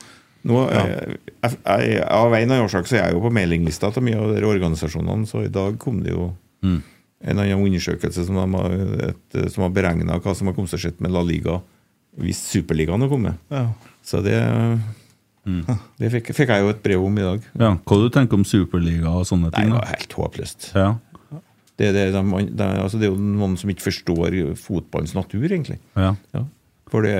S5: nå, eh, jeg, jeg, Av en eller annen årsak så er jeg jo på mailinglista til mye av de organisasjonene, så i dag kom det jo en annen undersøkelse som, de har, et, eh, som har beregna hva som har kommet til å skje med La Liga hvis Superligaen har kommet.
S3: Ja.
S5: Så det, det fikk, fikk jeg jo et brev om i dag.
S2: ja, Hva du tenker om Superliga og sånne
S5: Nei,
S2: ting?
S5: det
S2: da?
S5: var helt håpløst.
S2: Ja.
S5: Det, er det, de, de, altså, det er jo noen som ikke forstår fotballens natur, egentlig.
S2: ja.
S5: Ja. For det,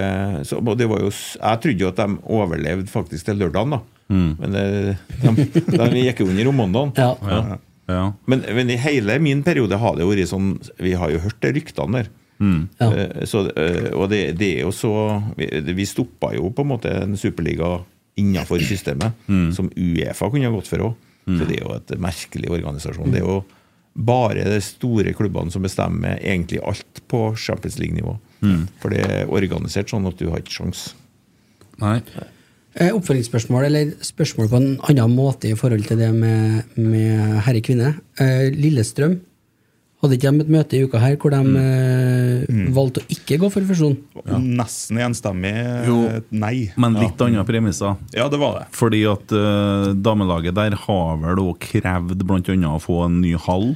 S5: så, og det var jo, s- jeg trodde jo at de overlevde faktisk til lørdagen, da. Men det, de, de gikk jo under om mandagen.
S4: Ja.
S5: Ja.
S2: ja.
S5: Men, men i hele min periode har det jo vært sånn Vi har jo hørt de ryktene der.
S4: Ja.
S5: Eh, Så, eh, og det, det er jo så Vi, vi stoppa jo på en måte en superliga innenfor systemet, som Uefa kunne ha gått for òg. Så det er jo et merkelig organisasjon. Det er jo bare de store klubbene som bestemmer egentlig alt på Champions League-nivå. For det er organisert sånn at du har ikke sjans.
S2: Nei.
S4: Eh, Oppfølgingsspørsmål, eller spørsmål på en annen måte i forhold til det med, med herre-kvinne. Eh, Lillestrøm, hadde ikke de et møte i uka her hvor de eh, valgte å ikke gå for fusjon?
S3: Nesten enstemmig
S2: Jo.
S3: nei.
S2: Men litt andre premisser.
S3: Ja, det var det.
S2: Fordi at eh, damelaget der har vel òg krevd bl.a. å få en ny hall.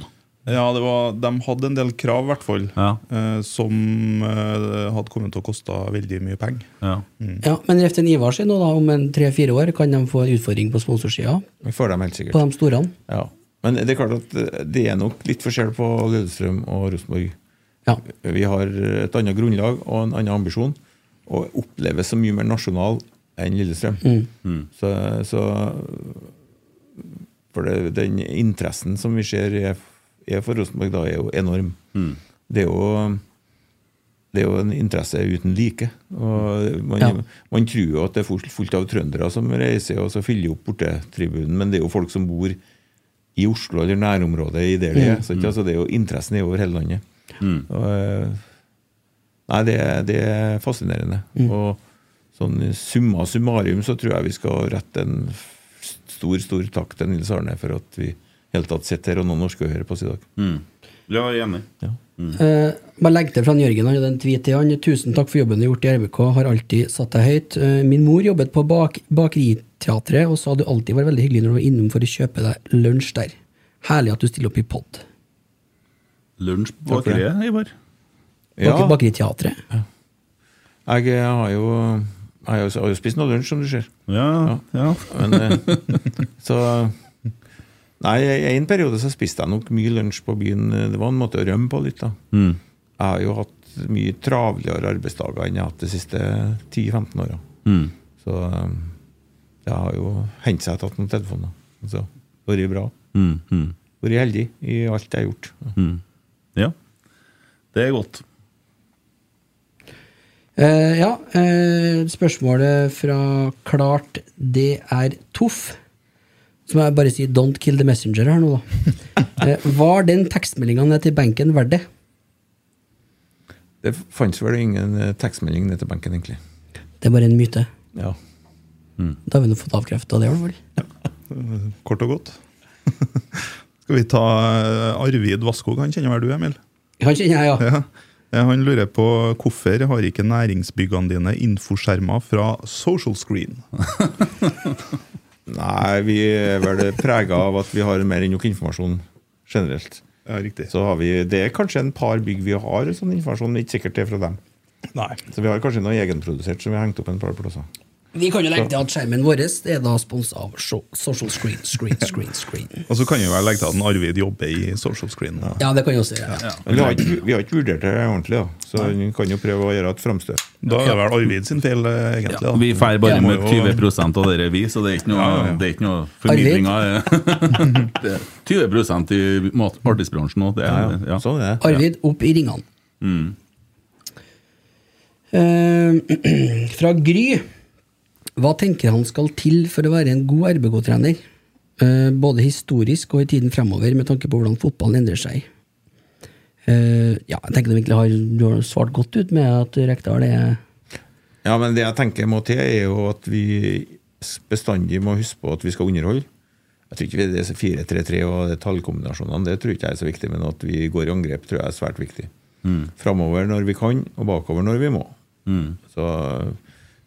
S3: Ja, det var, De hadde en del krav, i hvert fall,
S2: Ja.
S3: eh, som eh, hadde kommet til å koste veldig mye penger.
S2: Ja.
S4: Ja, men Reften Ivar sier nå da, om en tre-fire år kan de få en utfordring på sponsorsida,
S5: Vi får dem helt sikkert.
S4: på de store.
S5: Ja. Men det er klart at eh, det er nok litt forskjell på Lillestrøm og Rosenborg.
S4: Ja.
S5: Vi har et annet grunnlag og en annen ambisjon, og oppleves som mye mer nasjonal enn Lillestrøm. Så, så For det, den interessen som vi ser er, er for Rosenborg, da, er jo enorm. Det er jo det er jo en interesse uten like. Og man,
S4: Ja.
S5: man tror jo at det er fullt- fullt av trøndere som reiser og så fyller opp bortetribunen, men det er jo folk som bor i Oslo eller nærområdet i der det er. Så ikke? Altså, det er jo interessen er over hele landet. Og, eh, nei, det, er- det er fascinerende. Og sånn summa summarum så tror jeg vi skal rette en f- stor, stor takk til Nils Arne for at vi i hele tatt sitter her og noen norske hører på oss i dag.
S2: Ja, jeg er enig.
S5: Ja.
S4: Eh, bare legg til fra han Jørgen, han hadde en tweet til han. Tusen takk for jobben du har gjort i RBK, har alltid satt deg høyt. Eh, min mor jobbet på bak bakeriteatret og sa du alltid var veldig hyggelig når du var innom for å kjøpe deg lunsj der. Herlig at du stiller opp i pod.
S2: Lunsj
S5: Takk for det.
S2: bakeriet, Ivar.
S4: Bak, Bakeriteatret.
S5: Jeg, eh, har jo jeg har jo- jeg har jo spist noe lunsj, som du ser.
S2: Ja, ja.
S5: Men, eh, så Nei, i en periode så spiste jeg nok mye lunsj på byen. Det var en måte å rømme på litt, da.
S2: Mm.
S5: Jeg har jo hatt mye
S2: Mm.
S5: travlere arbeidsdager enn jeg har hatt de siste 10-15 åra. Så eh, det har jo hendt seg at jeg har tatt noen telefoner. Så vært bra.
S2: Mm, mm,
S5: Vært heldig i alt jeg har gjort.
S2: mm. Ja. Det er godt.
S4: Eh, ja, eh, spørsmålet fra Klart det er Toff. Så må jeg bare si 'don't kill the messenger' her nå, da. Eh, var den tekstmeldinga ned til benken verdt det?
S5: Det fantes vel ingen eh, tekstmelding ned til benken, egentlig.
S4: Det er bare en myte.
S5: Ja.
S4: Da har vi nå fått avkrefta det, i hvert fall.
S3: Kort og godt. Skal vi ta eh, Arvid Vasskog? Han kjenner vel du, Emil?
S4: Han kjenner jeg, ja.
S3: Ja. Eh, Han lurer på hvorfor har ikke næringsbyggene dine infoskjermer fra social screen?
S5: Nei, vi er vel prega av at vi har mer enn nok informasjon generelt.
S3: Ja, riktig.
S5: Så har vi, Det er kanskje en par bygg vi har sånn informasjon, men ikke sikkert det er fra dem.
S3: Nei.
S5: Så vi har kanskje noe egenprodusert som vi har hengt opp en par plasser.
S4: Vi kan jo legge til at skjermen vår er da sponsa av so Social Screen, Screen, Screen, Screen.
S3: Og så kan jo jeg legge til at en Arvid jobber i social screen.
S4: Ja, det kan jeg også gjøre. Ja.
S5: Men vi har, ikke, vi har ikke vurdert det ordentlig, da. så vi kan jo prøve å gjøre et framstøt.
S3: Da er det vel Arvid sin feil, eh, egentlig. Da.
S2: Vi drar bare
S4: Ja.
S2: med 20 av dere, vi, så det er ikke noe, det er ikke noe formidlinger. Det er 20 i mat- artistbransjen òg. Ja, ja.
S5: Sånn er det.
S4: Arvid, opp i ringene. Eh, fra Gry. Hva tenker han skal til for å være en god RBK-trener? Eh, både historisk og i tiden fremover, med tanke på hvordan fotballen endrer seg. Eh, ja, jeg tenker du egentlig har, du har svart godt ut med at Rekdal er
S5: Ja, men det jeg tenker må til, er jo at vi bestandig må huske på at vi skal underholde. Jeg tror ikke vi- det er så 4-3-3 og det tallkombinasjonene det tror ikke jeg er så viktig, men at vi går i angrep tror jeg er svært viktig. Framover når vi kan, og bakover når vi må. Så,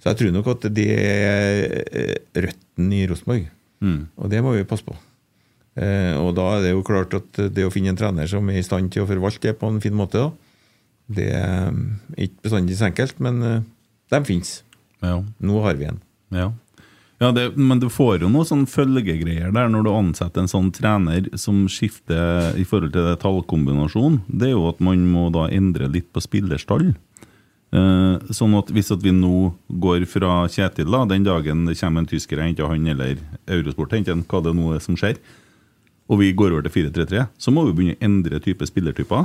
S5: så jeg tror nok at det er eh, røtten i Rosenborg, og det må vi passe på. Eh, og da er det jo klart at det å finne en trener som er i stand til å forvalte det på en fin måte, da, det er eh, ikke bestandig så enkelt, men eh, de fins.
S2: Ja,
S5: Nå har vi en.
S2: ja. ja det, men du får jo noe sånn følgegreier der når du ansetter en sånn trener som skifter i forhold til det tallkombinasjonen. Det er jo at man må da endre litt på spillerstall. Eh, sånn at hvis at vi nå går fra Kjetil, da, den dagen det kommer en tysker og henter han, eller Eurosport henter han, hva det nå er som skjer, og vi går over til 4-3-3, så må vi begynne å endre type spillertyper.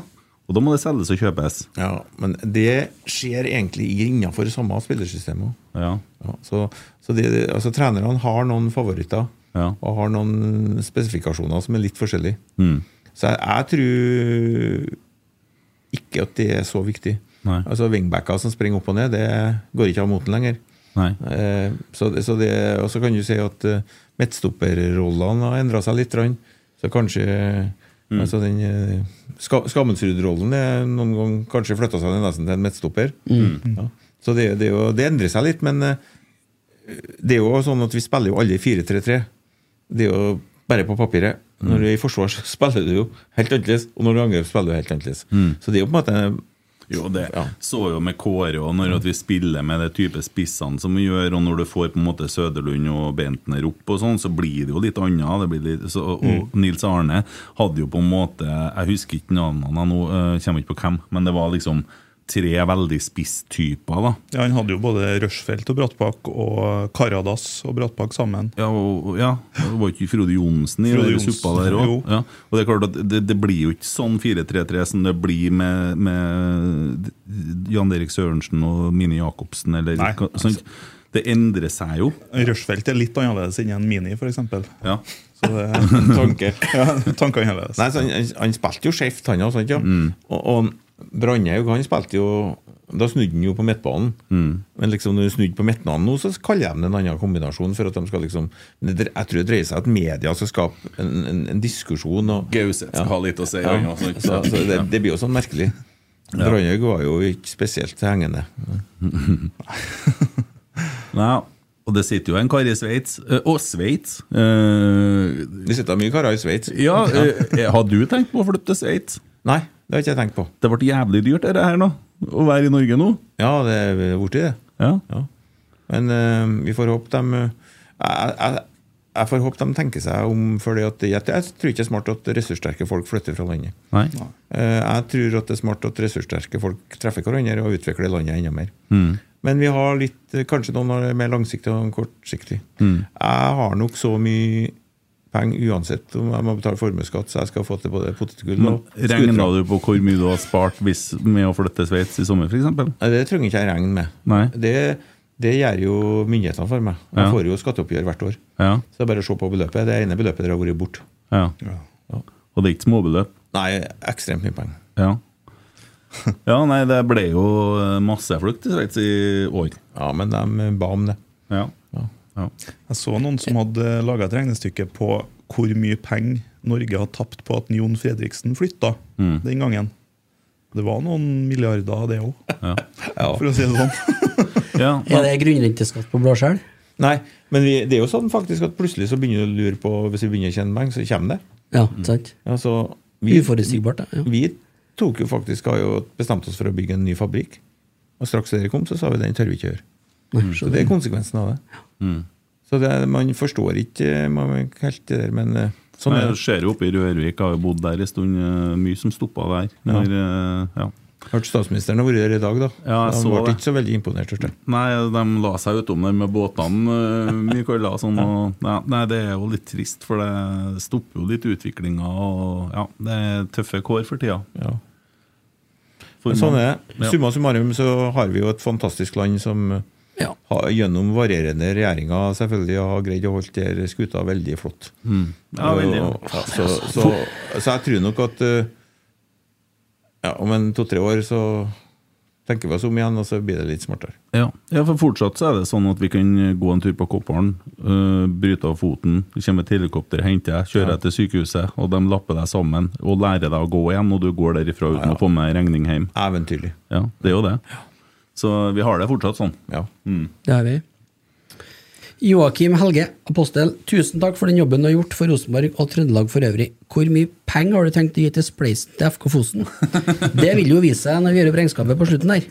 S2: Og da må det selges og kjøpes.
S5: Ja, Men det skjer egentlig innafor samme spillersystem også.
S2: Ja,
S5: Ja, så så det, det- altså, trenerne har noen favoritter
S2: Ja.
S5: og har noen spesifikasjoner som er litt forskjellige.
S2: Mm.
S5: Så jeg, jeg tror ikke at det er så viktig.
S2: Nei.
S5: Altså Wingbacker som springer opp og ned, det går ikke av moten lenger.
S2: nei.
S5: Eh, så, det- så det, og så kan du si at eh, midtstopperrollene har endra seg litt. grann. Så kanskje altså den eh, Ska, Skammensrud-rollen er noen gang kanskje flytta seg ned nesten til en midtstopper. Ja. Så det, det, er jo, det endrer seg litt, men eh, det er jo sånn at vi spiller jo alle i 4-3-3. Det er jo bare på papiret. Når du er i forsvar, så spiller du jo helt annerledes. Og når du angriper, spiller du helt annerledes. Så det er jo på en måte
S2: Jo, det
S5: Ja.
S2: så jo med Kåre og når at vi spiller med det type spissene som vi gjør, og når du får på en måte Søderlund og Bentner opp og sånn, så blir det jo litt annet. Det blir litt, så, og Nils Arne hadde jo på en måte Jeg husker ikke navnene nå, eh, kommer ikke på hvem, men det var liksom tre veldig spisstyper, da.
S3: Ja, han hadde jo både Rushfeldt og Brattbakk og Karadas og Brattbakk sammen.
S2: Ja, og, og- ja, det var ikke Frode Johnsen i
S3: Frode
S2: den
S3: Johnsen,
S2: suppa der
S3: jo.
S2: òg? Ja. Og det er klart at det, det blir jo ikke sånn 4-3-3 som det blir med, med Jan Erik Sørensen og Mini Jacobsen. Eller,
S3: Nei.
S2: hva- sånt. Det endrer seg jo.
S3: Rushfeldt er litt annerledes enn en Mini, f.eks.
S2: Ja.
S3: Så det
S5: tanker.
S3: ja, tanker annerledes.
S5: Nei, så han, han- han spilte jo skjevt, han også, sant, ja? Og, og Brandhaug, han spilte jo Da snudde han jo på midtbanen. Men liksom når du snudde på midtbanen nå, så kaller de det en annen kombinasjon. For at de skal liksom men det, dre- Jeg tror det dreier seg at media skal skape en, en, en diskusjon. Og,
S2: Gauseth har litt å si.
S5: ja,
S2: han også,
S5: så,
S2: ikke
S5: så
S2: sant?
S5: det, det blir jo sånn merkelig. Brandhaug var jo ikke spesielt hengende.
S2: Ja. Og det sitter jo en kar i Sveits. eh, Og Sveits! eh,
S5: Det sitter mye karer i Sveits.
S2: ja, eh, har du tenkt på å flytte til Sveits?
S5: Nei, det har ikke jeg tenkt på.
S2: Det ble jævlig dyrt, dette her nå. Å være i Norge nå.
S5: Ja, det er borti det.
S2: Ja.
S5: Ja. Men eh, vi får håpe de jeg, jeg, jeg får håpe de tenker seg om, for jeg, jeg tror ikke det er smart at ressurssterke folk flytter fra landet.
S2: Nei. Mm.
S5: Eh, jeg tror at det er smart at ressurssterke folk treffer hverandre og utvikler landet enda mer. Men vi har litt, eh, kanskje noen har det mer langsiktig og noen kortsiktig.
S2: Mm.
S5: Jeg har nok så mye penger uansett om jeg må betale formuesskatt, så jeg skal få til både potetgull og
S2: Regna
S5: skuddfrakt.
S2: du på hvor mye du har spart hvis, med å flytte til Sveits i sommer, f.eks.?
S5: Nei, Det trenger ikke jeg regne med.
S2: Nei.
S5: Det, det gjør jo myndighetene for meg. Jeg
S2: Ja.
S5: får jo skatteoppgjør hvert år.
S2: Ja,
S5: Så det er bare å se på beløpet. Det ene beløpet dere har vært borte.
S2: ja. Og det er ikke småbeløp?
S5: Nei, ekstremt mye penger.
S2: Ja. ja, nei, det ble jo eh, masseflukt i Sveits i år.
S5: Ja, men de ba om det.
S2: Ja.
S5: Ja.
S2: ja.
S3: Jeg så noen som hadde laga et regnestykke på hvor mye penger Norge har tapt på at Jon Fredriksen flytta den gangen. Det var noen milliarder av det òg, for å si det sånn.
S2: ja.
S4: Er det grunnrenteskatt på blåskjell?
S5: Nei, men vi, det er jo sånn faktisk at plutselig så begynner du å lure på Hvis vi begynner å tjene penger, så kommer det.
S4: Ja, sant?
S5: Altså,
S4: Mm.
S5: vi,
S4: Uforutsigbart, ja.
S5: vi tok jo faktisk, har jo bestemt oss for å bygge en ny fabrikk. Og straks dere kom, så sa vi den tør vi ikke gjøre.
S4: Nei,
S5: Så det er konsekvensen av det.
S2: Mm.
S5: Så det, er- man forstår ikke man, vet ikke helt det der, men eh, sånn
S2: Nei,
S5: er
S2: jeg
S5: det.
S2: ser jo oppe i Rørvik, har jo bodd der en stund. eh, Mye som stoppa der.
S5: Ja.
S2: Når, eh, ja.
S5: Hørte statsministeren har vært her i dag, da.
S2: Ja, jeg
S5: han
S2: så
S5: ble
S2: det.
S5: ikke så veldig imponert. hørte jeg.
S2: Nei, de la seg utom der med båtene, eh, Mikael. da, Sånn, og, nei, nei, det er jo litt trist, for det stopper jo litt utviklinga. og Ja, det er tøffe kår for tida.
S5: Ja.
S2: For
S5: Men sånn
S2: mange.
S5: er det.
S2: Ja.
S5: Summa summarum så har vi jo et fantastisk land som eh,
S4: Ja.
S5: har, gjennom varierende regjeringer selvfølgelig har greid å holde der skuta veldig flott. Eh,
S2: Ja, veldig.
S5: Og- ja, så, så, så jeg tror nok at eh, ja, om en to-tre år så tenker vi oss om igjen, og så blir det litt smartere.
S2: Ja. ja, for fortsatt så er det sånn at vi kan gå en tur på Kopparen, øh, bryte av foten, det kommer et helikopter, henter deg, kjører deg til sykehuset, og de lapper deg sammen og lærer deg å gå igjen, og du går derifra uten å få med deg regning hjem.
S5: Eventyrlig.
S2: Ja, det er jo det. Så vi har det fortsatt sånn.
S5: Ja.
S4: Det har vi. Joakim Helge, apostel, tusen takk for den jobben du har gjort for Rosenborg og Trøndelag for øvrig. Hvor mye penger har du tenkt å gi til spleisen til FK Fosen? Det vil jo vise seg når vi gjør opp regnskapet på slutten der.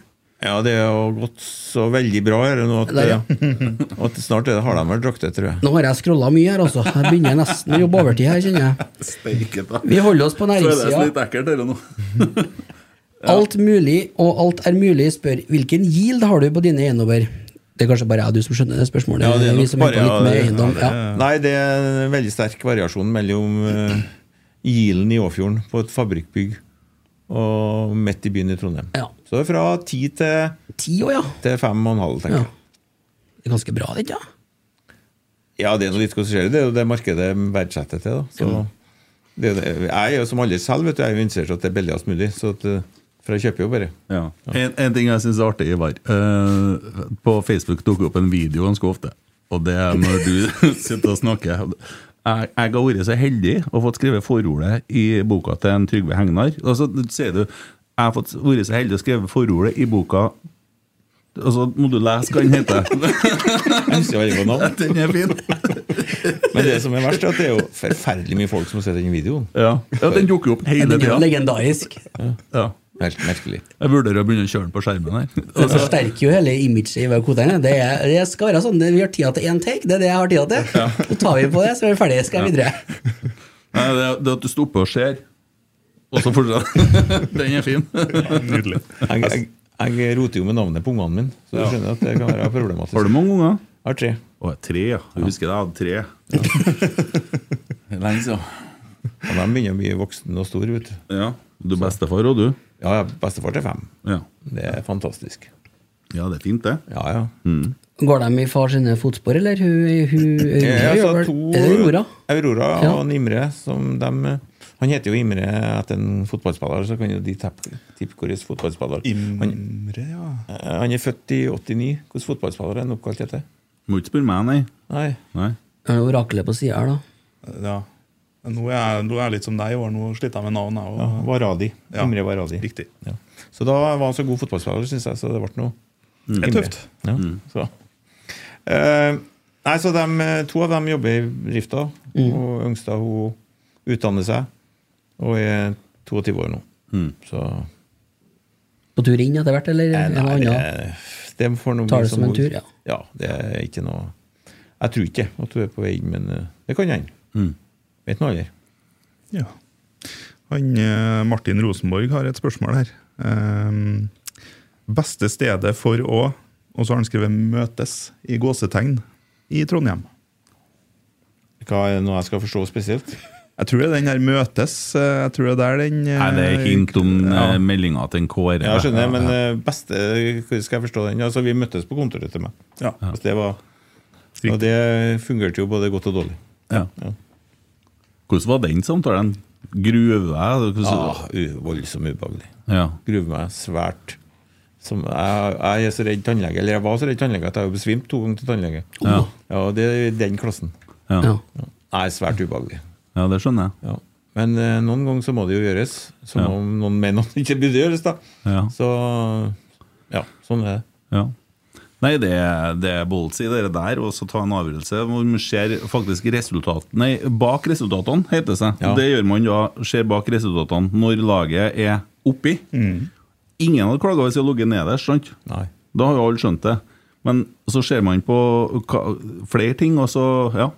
S5: ja, det har gått så veldig bra her nå at,
S4: Der, ja.
S5: eh, at snart er det, har de vel drakter, tror jeg.
S4: Nå har jeg scrolla mye her, altså. Jeg begynner nesten å jobbe overtid her, kjenner jeg. Vi holder oss på næringssida.
S2: ekkelt, dette nå.
S4: Alt mulig og alt er mulig spør hvilken yield har du på dine eiendommer? Det er kanskje bare jeg og du som skjønner det spørsmålet.
S5: Ja, det er
S4: vi
S5: nok
S4: som er
S5: bare-
S4: på litt med
S5: ja, det-
S4: eiendom. Ja.
S5: Nei, det er en veldig sterk variasjon mellom uh, Gilen i Åfjorden på et fabrikkbygg og midt i byen i Trondheim.
S4: Ja.
S5: Så det er fra ti til,
S4: Ti år, ja.
S5: til fem og en halv, tenker
S4: ja.
S5: jeg.
S4: Det er ganske bra, det, ikke? Ja.
S5: Ja, det er noe litt konsentrert. Det er jo det markedet verdsetter til. da. Så det, er det- jeg er jo som alle selv, vet du, jeg er jo interessert i at det er billigst mulig. Så at, eh, for jeg kjøper jo bare.
S2: Ja. En, en ting jeg syns er artig, Ivar. Eh, på Facebook dukker opp en video ganske ofte. Og det er når du sitter og snakker. Jeg, jeg har vært så heldig og fått skrevet forordet i boka til en Trygve Hegnar. Og så sier du jeg har fått vært så heldig og skrevet forordet i boka Og så må du lese hva den heter.
S5: Jeg husker veldig godt navn.
S2: Den er fin.
S5: Men det som er verst, er at det er jo forferdelig mye folk som har sett den videoen.
S2: Ja, ja Den dukker opp
S4: Den
S2: hele
S4: er jo
S2: tida.
S4: legendarisk.
S2: Ja.
S5: Helt merkelig.
S2: Jeg vurderer å begynne å kjøre den på skjermen her.
S4: Det forsterker jo hele imaget i Vakoteien. Det, er- det skal være sånn, vi har tida til én take, det er det jeg har tida til. Så tar vi på det, så er vi ferdige, skal jeg videre.
S2: Nei, det, er- det er at du stopper og ser, og så fortsetter. Den er fin.
S3: Nydelig.
S5: Jeg, jeg, jeg roter jo med navnet på ungene mine, så du skjønner at det kan være problematisk.
S2: Har du mange unger?
S5: Jeg har tre.
S2: Å, tre, ja. Jeg husker jeg hadde tre. Lenge siden.
S5: Og de begynner å bli voksne og store, vet du.
S2: Ja. Du er bestefar og du?
S5: Ja, ja, bestefar til fem.
S2: Ja.
S5: Det er fantastisk.
S2: ja, det er fint, det.
S5: Ja, ja.
S3: Mm.
S4: Går de i far sine fotspor, eller? Hun, hun, hun,
S5: Ja,
S4: gjør
S5: altså
S4: vel-
S5: to
S4: er det Aurora?
S5: Aurora
S4: Ja.
S5: og en Imre. Som dem- han heter jo Imre etter en fotballspiller, så kan jo de teppe- tippe hvilken fotballspiller han,
S3: Imre, ja.
S5: eh, han er født i 89. Hvilken fotballspiller er han oppkalt etter?
S2: Må ikke spørre meg, nei.
S5: Nei.
S2: nei.
S4: Ja, det er Oraklet på sida her, da.
S3: ja. Nå, er jeg, nå er jeg litt som deg i år, nå sliter jeg med navn. Jeg,
S5: Ja,
S3: og,
S5: Varadi.
S3: Ja,
S5: Imre Varadi.
S3: riktig.
S5: Ja. Så da var han så god fotballspiller, syns jeg, så det ble noe.
S3: Mm. Det er
S5: Imre.
S3: tøft.
S5: Ja, så. Eh, nei, så dem, eh, to av dem jobber i bedrifter.
S4: Mm.
S5: Og Yngstad hun utdanner seg og er 22 år nå. Så
S4: På tur inn etter hvert, eller
S5: Nei,
S4: en eller annen?
S5: det, det får noe
S4: Tar det som en tur, ja.
S5: Ja, det er ikke noe Jeg tror ikke at du er på vei inn, men eh, det kan hende. Vet nå aldri.
S3: Ja. Han, eh, Martin Rosenborg har et spørsmål her. Eh, beste stedet for å Og så har han skrevet 'møtes' i gåsetegn i Trondheim.
S5: Hva er det nå jeg skal forstå spesielt?
S3: Jeg tror det er den der 'møtes'. eh, Jeg tror det er der den eh,
S2: Nei, det er hint om
S3: ja.
S2: eh, meldinga til en Kåre.
S5: Ja, skjønner jeg, men eh, beste Hvordan skal jeg forstå den? Altså, Vi møttes på kontoret til meg.
S3: Ja.
S5: Altså, det var, og det fungerte jo både godt og dårlig.
S2: Ja.
S5: Ja.
S2: Hvordan var den samtalen? Gruve? Hvordan-
S5: Ah, u- voldsomt ubehagelig.
S2: Ja.
S5: Gruer meg svært. Som, jeg, jeg er så redd tannlege, eller jeg var så redd tannlege at jeg har besvimt to ganger til tannlege.
S2: Ja.
S5: Ja, og det er i den klassen.
S2: Ja.
S4: Ja.
S2: Ja.
S5: Nei, svært ubehagelig.
S2: ja, det skjønner jeg.
S5: Ja. Men eh, noen ganger så må det jo gjøres. Som
S2: Ja.
S5: om noen mener at det ikke burde gjøres, da.
S2: Ja.
S5: Så ja, sånn er det.
S2: Ja. Nei, det, er- det er ballsy, det der, og så ta en avgjørelse. hvor Man ser faktisk resultat, nei, bak resultatene, heter det seg.
S5: Ja.
S2: Det gjør man da, ser bak resultatene, når laget er oppi. Ingen hadde klaga hvis de hadde ligget nederst, sant?
S5: Nei.
S2: Da har jo alle skjønt det. Men så ser man på hva- flere ting, og så Ja.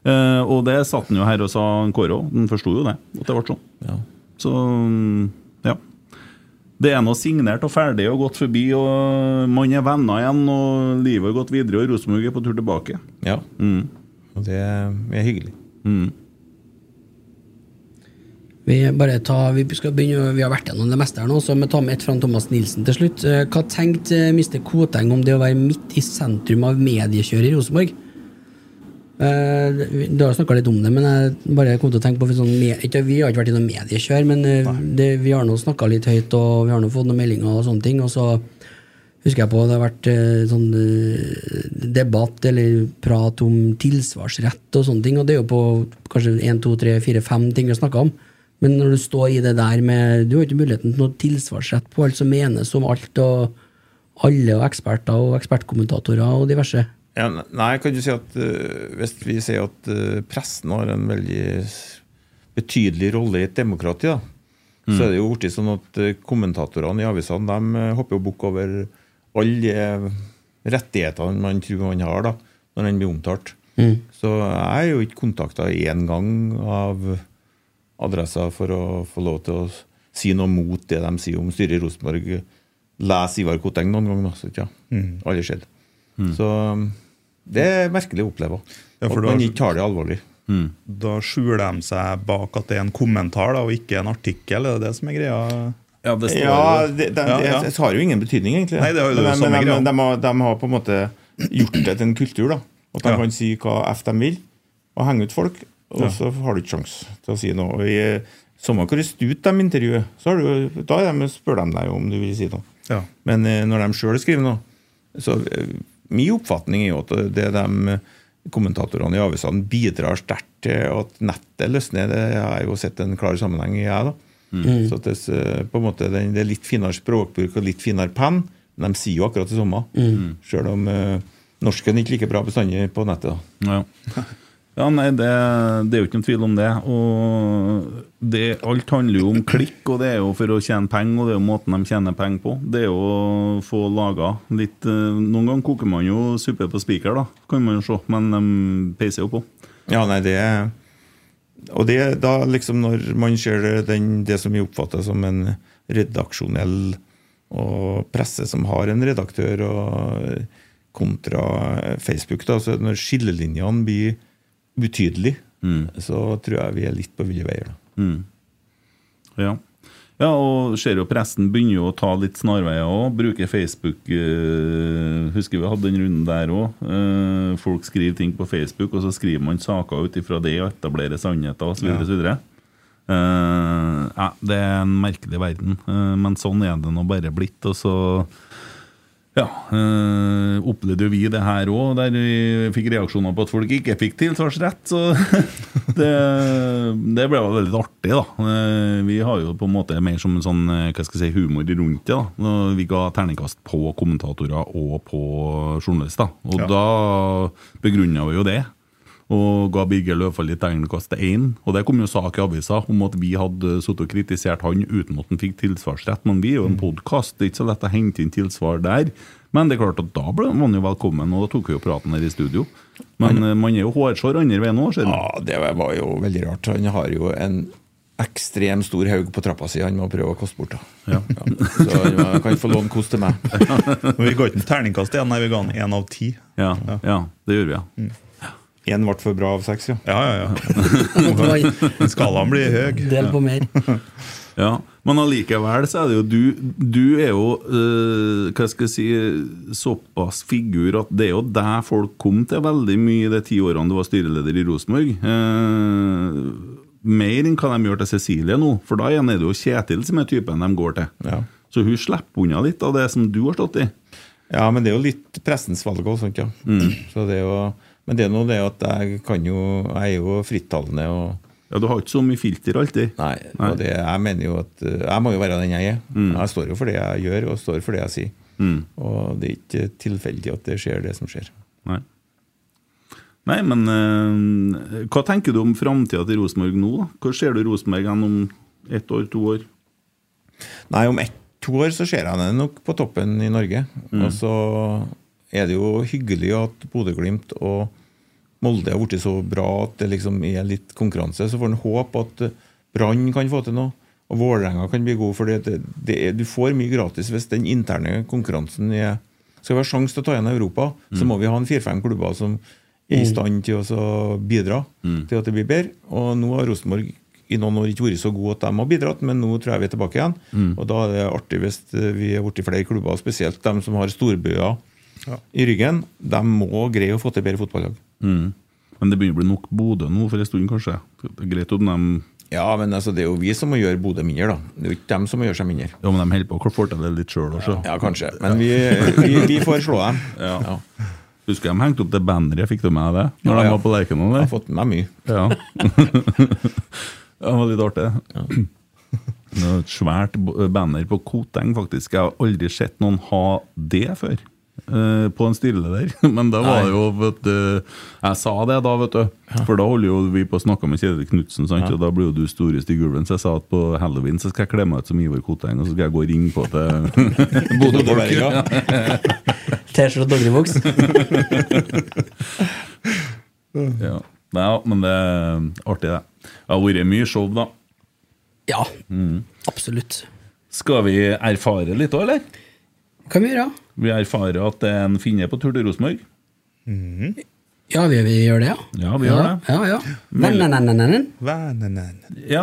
S2: Eh, og det satt han jo her og sa, han Kåre òg. Han forsto jo det, at det ble sånn.
S5: Ja.
S2: Så mm, ja. Det er nå signert og ferdig og gått forbi, og man er venner igjen, og livet har gått videre, og Rosenborg er på tur tilbake.
S5: ja.
S2: Mm.
S5: Og det er hyggelig.
S4: Vi, bare ta, vi, skal begynne, å- vi har vært gjennom det meste her nå, så vi tar med et fra Thomas Nilsen til slutt. Eh, Hva tenkte eh, Mr. Koteng om det å være midt i sentrum av mediekjøret i Rosenborg? Eh, vi- Du har snakka litt om det, men jeg bare kom til å tenke på for sånn, me- ikke- Vi har ikke vært i noe mediekjør, men eh, det, vi har nå snakka litt høyt, og vi har nå fått noen meldinger og sånne ting. Og så husker jeg på det har vært eh, sånn eh, debatt eller prat om tilsvarsrett og sånne ting, og det er jo på kanskje én, to, tre, fire, fem ting vi har snakka om. Men når du står i det der med Du har ikke muligheten til noe tilsvarsrett på alt som menes om alt, og alle, og eksperter og ekspertkommentatorer og diverse.
S5: Ja, ne- nei, kan du si at øh, hvis vi sier at øh, pressen har en veldig s- betydelig rolle i et demokrati, da,
S3: Mm.
S5: så er det jo blitt sånn at øh, kommentatorene i avisene de øh, hopper jo bukk over alle øh, rettighetene man tror man har da, når man blir omtalt.
S3: Mm.
S5: Så jeg er jo ikke kontakta én gang av adressa for å få lov til å s- si noe mot det de sier om styret i Rosenborg. Les Ivar Koteng noen gang, da. Så ikke, ja.
S3: Mm.
S5: Aldri skjedd. Så um, det er merkelig å oppleve.
S3: Ja, for
S5: at
S3: du
S5: man
S3: har-
S5: ikke tar det alvorlig.
S3: Da skjuler de seg bak at det er en kommentar da, og ikke en artikkel. Er det det som er greia?
S2: Ja, det
S5: Ja, det, de,
S3: Ja, ja.
S5: det har jo ingen betydning, egentlig.
S3: Nei, det har jo det
S5: men,
S3: samme
S5: men,
S3: greia.
S5: men de, har, de har på en måte gjort det til en kultur. da At de
S3: Ja.
S5: kan si hva F de vil, og henge ut folk. Og
S3: Ja.
S5: så har du ikke sjans til å si noe. Og i, Samme hvor stut de intervjuer, så har du, da er de, spør de deg om du vil si noe.
S3: Ja.
S5: Men eh, når de sjøl skriver noe Så eh, min oppfatning er jo at det de eh, kommentatorene i avisene bidrar sterkt til at nettet løsner. Det har jeg jo sett en klar sammenheng i, jeg. da. Så at det, s- på en måte, den- det er litt finere språkbruk og litt finere penn, men de sier jo akkurat det samme. Sjøl om eh, norsken ikke like bra bestandig på nettet. da.
S2: Ja. Ja, nei, det, det er jo ikke noen tvil om det. Og det, alt handler jo om klikk, og det er jo for å tjene penger, og det er jo måten de tjener penger på. Det er jo å få laga litt eh, Noen ganger koker man jo suppe på spiker, da, kan man jo se, men de peiser jo på.
S5: Ja, nei, det Og det da liksom når man ser den, det som vi oppfatter som en redaksjonell og presse som har en redaktør, og kontra Facebook, da, så når skillelinjene blir utydelige, så tror jeg vi er litt på ville veier. da.
S2: Ja. ja, og ser jo pressen begynner jo å ta litt snarveier òg. Bruker Facebook eh, Husker vi hadde den runden der òg. folk skriver ting på Facebook, og så skriver man saker ut ifra det og etablerer sannheter osv.
S3: Ja.
S2: videre Uh, ja, det er en merkelig verden, eh, men sånn er det nå bare blitt. Og så ja, eh, opplevde jo vi det her òg, der vi fikk reaksjoner på at folk ikke fikk tilsvarsrett. Så det, det ble jo veldig artig, da. Eh, vi har jo på en måte mer som en sånn eh, hva skal jeg si, humor rundt det. da Når Vi ga terningkast på kommentatorer og på journalister, og
S3: Ja.
S2: da begrunna vi jo det. Og ga Birger Løvfall i terningkast én. Og det kom jo sak i avisa om at vi hadde sittet og kritisert han uten at han fikk tilsvarsrett. Men vi er jo en podkast, det er ikke så lett å hente inn tilsvar der. Men det er klart at da ble man jo velkommen, og da tok vi jo praten her i studio. Men eh, man er jo hårsår andre veien òg, ser du.
S5: Ja, det var jo veldig rart. Han har jo en ekstremt stor haug på trappa si han må prøve å koste bort. da. Ja. Så han må- kan ikke få låne kost til meg.
S3: Men vi ga ikke en terningkast igjen, nei, vi ga den én av ti.
S2: Ja, ja, det gjør vi, ja.
S5: Én ble for bra av seks, ja.
S3: Ja, ja, ja.
S4: Oi,
S3: Skalaen blir høy.
S4: Del på mer.
S2: ja. Men allikevel så er det jo du Du er jo eh, hva skal jeg si, såpass figur at det er jo der folk kom til veldig mye i de ti årene du var styreleder i Rosenborg. Eh, mer enn hva de gjør til Cecilie nå, for da igjen er det jo Kjetil som er typen de går til.
S5: Ja.
S2: Så hun slipper unna litt av det som du har stått i.
S5: Ja, men det er jo litt pressens valg òg, sånt, ja. Så det er jo, men det er nå det at jeg kan jo Jeg er jo frittalende og
S2: Ja, Du har ikke så mye filter alltid.
S5: Nei. Og det, jeg mener jo at eh, jeg må jo være den jeg er. Jeg står jo for det jeg gjør, og står for det jeg sier. Og det er ikke tilfeldig at det skjer, det som skjer.
S2: Nei. Nei, men eh, hva tenker du om framtida til Rosenborg nå? da? Hvor ser du Rosenborg hen om ett år, to år?
S5: Nei, om ett, to år så ser jeg den nok på toppen i Norge. Og så er det jo hyggelig at Bodø-Glimt og Molde har blitt så bra at det liksom er litt konkurranse. Så får en håpe at eh, Brann kan få til noe, og Vålerenga kan bli god. For det, det, det, er- du får mye gratis hvis den interne konkurransen er Skal vi ha sjanse til å ta igjen Europa, så må vi ha en fire-fem klubber som er i stand til å så bidra til at det blir bedre. Og nå har Rosenborg i noen år ikke vært så gode at de har bidratt, men nå tror jeg vi er tilbake igjen. Og da er det artig hvis eh, vi er blitt flere klubber, spesielt de som har storbyer i ryggen. De må greie å få til bedre fotballag.
S2: Mm. Men det begynner å bli nok Bodø nå for en stund, kanskje? Det er greit om de,
S5: Ja, men altså, det er jo vi som må gjøre Bodø mindre, da. Det er jo ikke dem som må gjøre seg mindre.
S2: ja, men de holder på å få til det litt sjøl også.
S5: Ja, kanskje. Men vi, vi, vi får slå dem. Ja.
S2: Husker de hengte opp det banneret, fikk du med deg det? Når
S5: Ja, ja.
S2: de var på Lerkendal
S5: Jeg
S2: der?
S5: har fått med meg mye.
S2: Ja. det var litt artig. Det var Et svært bo- banner på Koteng, faktisk. Jeg har aldri sett noen ha det før. eh, På en styreleder. Men da var det jo vet du, Jeg sa det da, vet du. For da holder jo vi på å snakke med Kjetil Knutsen, sant? og da blir jo du storest i gulven. Så jeg sa at på halloween så skal jeg kle meg ut som Ivar Koteng, og så skal jeg gå og ringe på til
S5: Bodø-Berga.
S4: T-skjorte og doggyboks.
S2: ja. Nei, ja, men det er artig, det. Det har vært mye show, da.
S4: Ja,
S2: Mm.
S4: absolutt.
S2: Skal vi erfare litt òg, eller?
S4: Hva vi gjør, ja?
S2: Vi erfarer at det er en finne på tur til Rosenborg.
S4: Ja, vi, vi gjør det, ja.
S2: Ja, vi gjør det.
S4: Ja, ja. Nei, nei, nei, nei, nei, nei.
S3: Vænenein.
S2: Ja.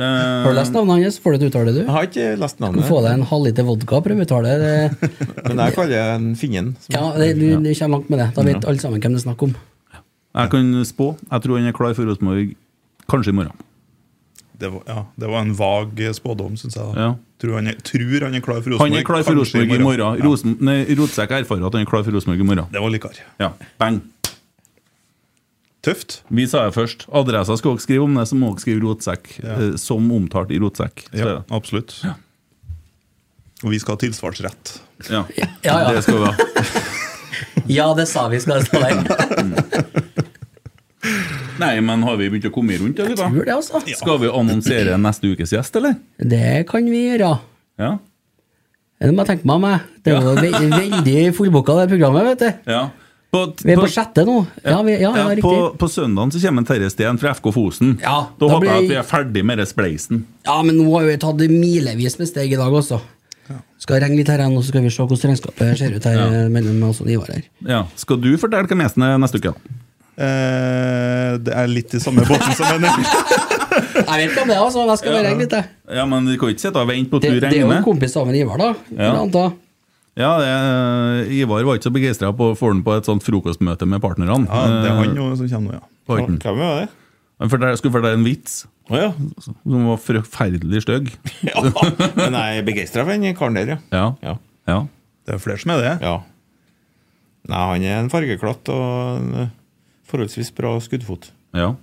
S2: Eh,
S4: Har du lest navnet hans, får du et uttale,
S5: Jeg
S4: du.
S5: har ikke lest
S4: Du
S5: navnet,
S4: får deg en halvliter vodka, prøv å uttale det.
S5: men jeg kaller den Finnen.
S4: Ja, det, du, du kommer langt med det. Da vet alle sammen hvem det er snakk om.
S2: Jeg kan spå. Jeg tror han er klar for Rosenborg kanskje i morgen.
S3: Det var, ja, det var en vag spådom, syns jeg.
S2: Ja.
S3: da. Tror han, er, tror han er klar for Rosenborg.
S2: Han er klar for
S3: kanskje
S2: Rosenborg i morgen. Rosen, nei, Rotsekk erfarer at han er klar for Rosenborg i morgen.
S3: Det var likere.
S2: Ja, Bang!
S3: Tøft.
S2: Vi sa det først. Adressa skal dere skrive om det, så må dere skrive Rotsekk. eh, Som omtalt i Rotsekk. Så
S3: Ja,
S2: er det.
S3: absolutt. Og vi skal ha tilsvarsrett.
S2: Ja.
S4: Ja, ja.
S2: Det skal vi ha.
S4: Ja, det sa vi skal stå der.
S2: Nei, men har vi begynt å komme rundt, eller?
S4: Tror
S2: da?
S4: det, altså.
S2: Skal vi annonsere neste ukes gjest, eller?
S4: Det kan vi gjøre.
S2: Ja.
S4: Det må jeg tenke meg om, jeg. Det er jo ve veldig fullbooka, det programmet, vet du.
S2: ja. På,
S4: Vi er på sjette nå. Ja, vi, ja, ja,
S2: Ja,
S4: riktig.
S2: på, på søndagen så kommer en Terje Steen fra FK Fosen.
S4: Ja,
S2: da
S4: da
S2: håper jeg
S4: blir-
S2: at vi er ferdig med det spleisen.
S4: Ja, men nå har vi tatt milevis med steg i dag også. Skal regne litt her igjen, og så skal vi se hvordan regnskapet ser ut her eh, mellom oss og Ivar her.
S2: Ja. Skal du fortelle hvem gjesten er neste uke? da?
S3: Eh, det er litt i samme båten som henne.
S4: Jeg vet ikke om det, altså, men jeg skal bare regne litt, jeg.
S2: Ja, men Vi kan ikke sitte og vente på at
S4: Det,
S2: du
S4: det er jo en
S2: regner.
S4: kompis sammen med Ivar, da. Ja.
S2: Ja.
S4: Anta.
S2: Ja, det, er- eh, Ivar var ikke så begeistra på å få den på et sånt frokostmøte med partnerne.
S3: Ja, det er han jo som kommer nå, ja.
S2: Eh, Horten.
S5: Hvem var det?
S2: Han fortell- skulle fortelle en vits
S5: Å ja.
S2: som var forferdelig stygg.
S5: ja. Men jeg er begeistra for den karen der, ja.
S2: Ja.
S5: ja.
S2: ja.
S3: Det er flere som er det.
S5: Ja. Nei, han er en fargeklatt og en eh, forholdsvis bra skuddfot.
S2: Ja.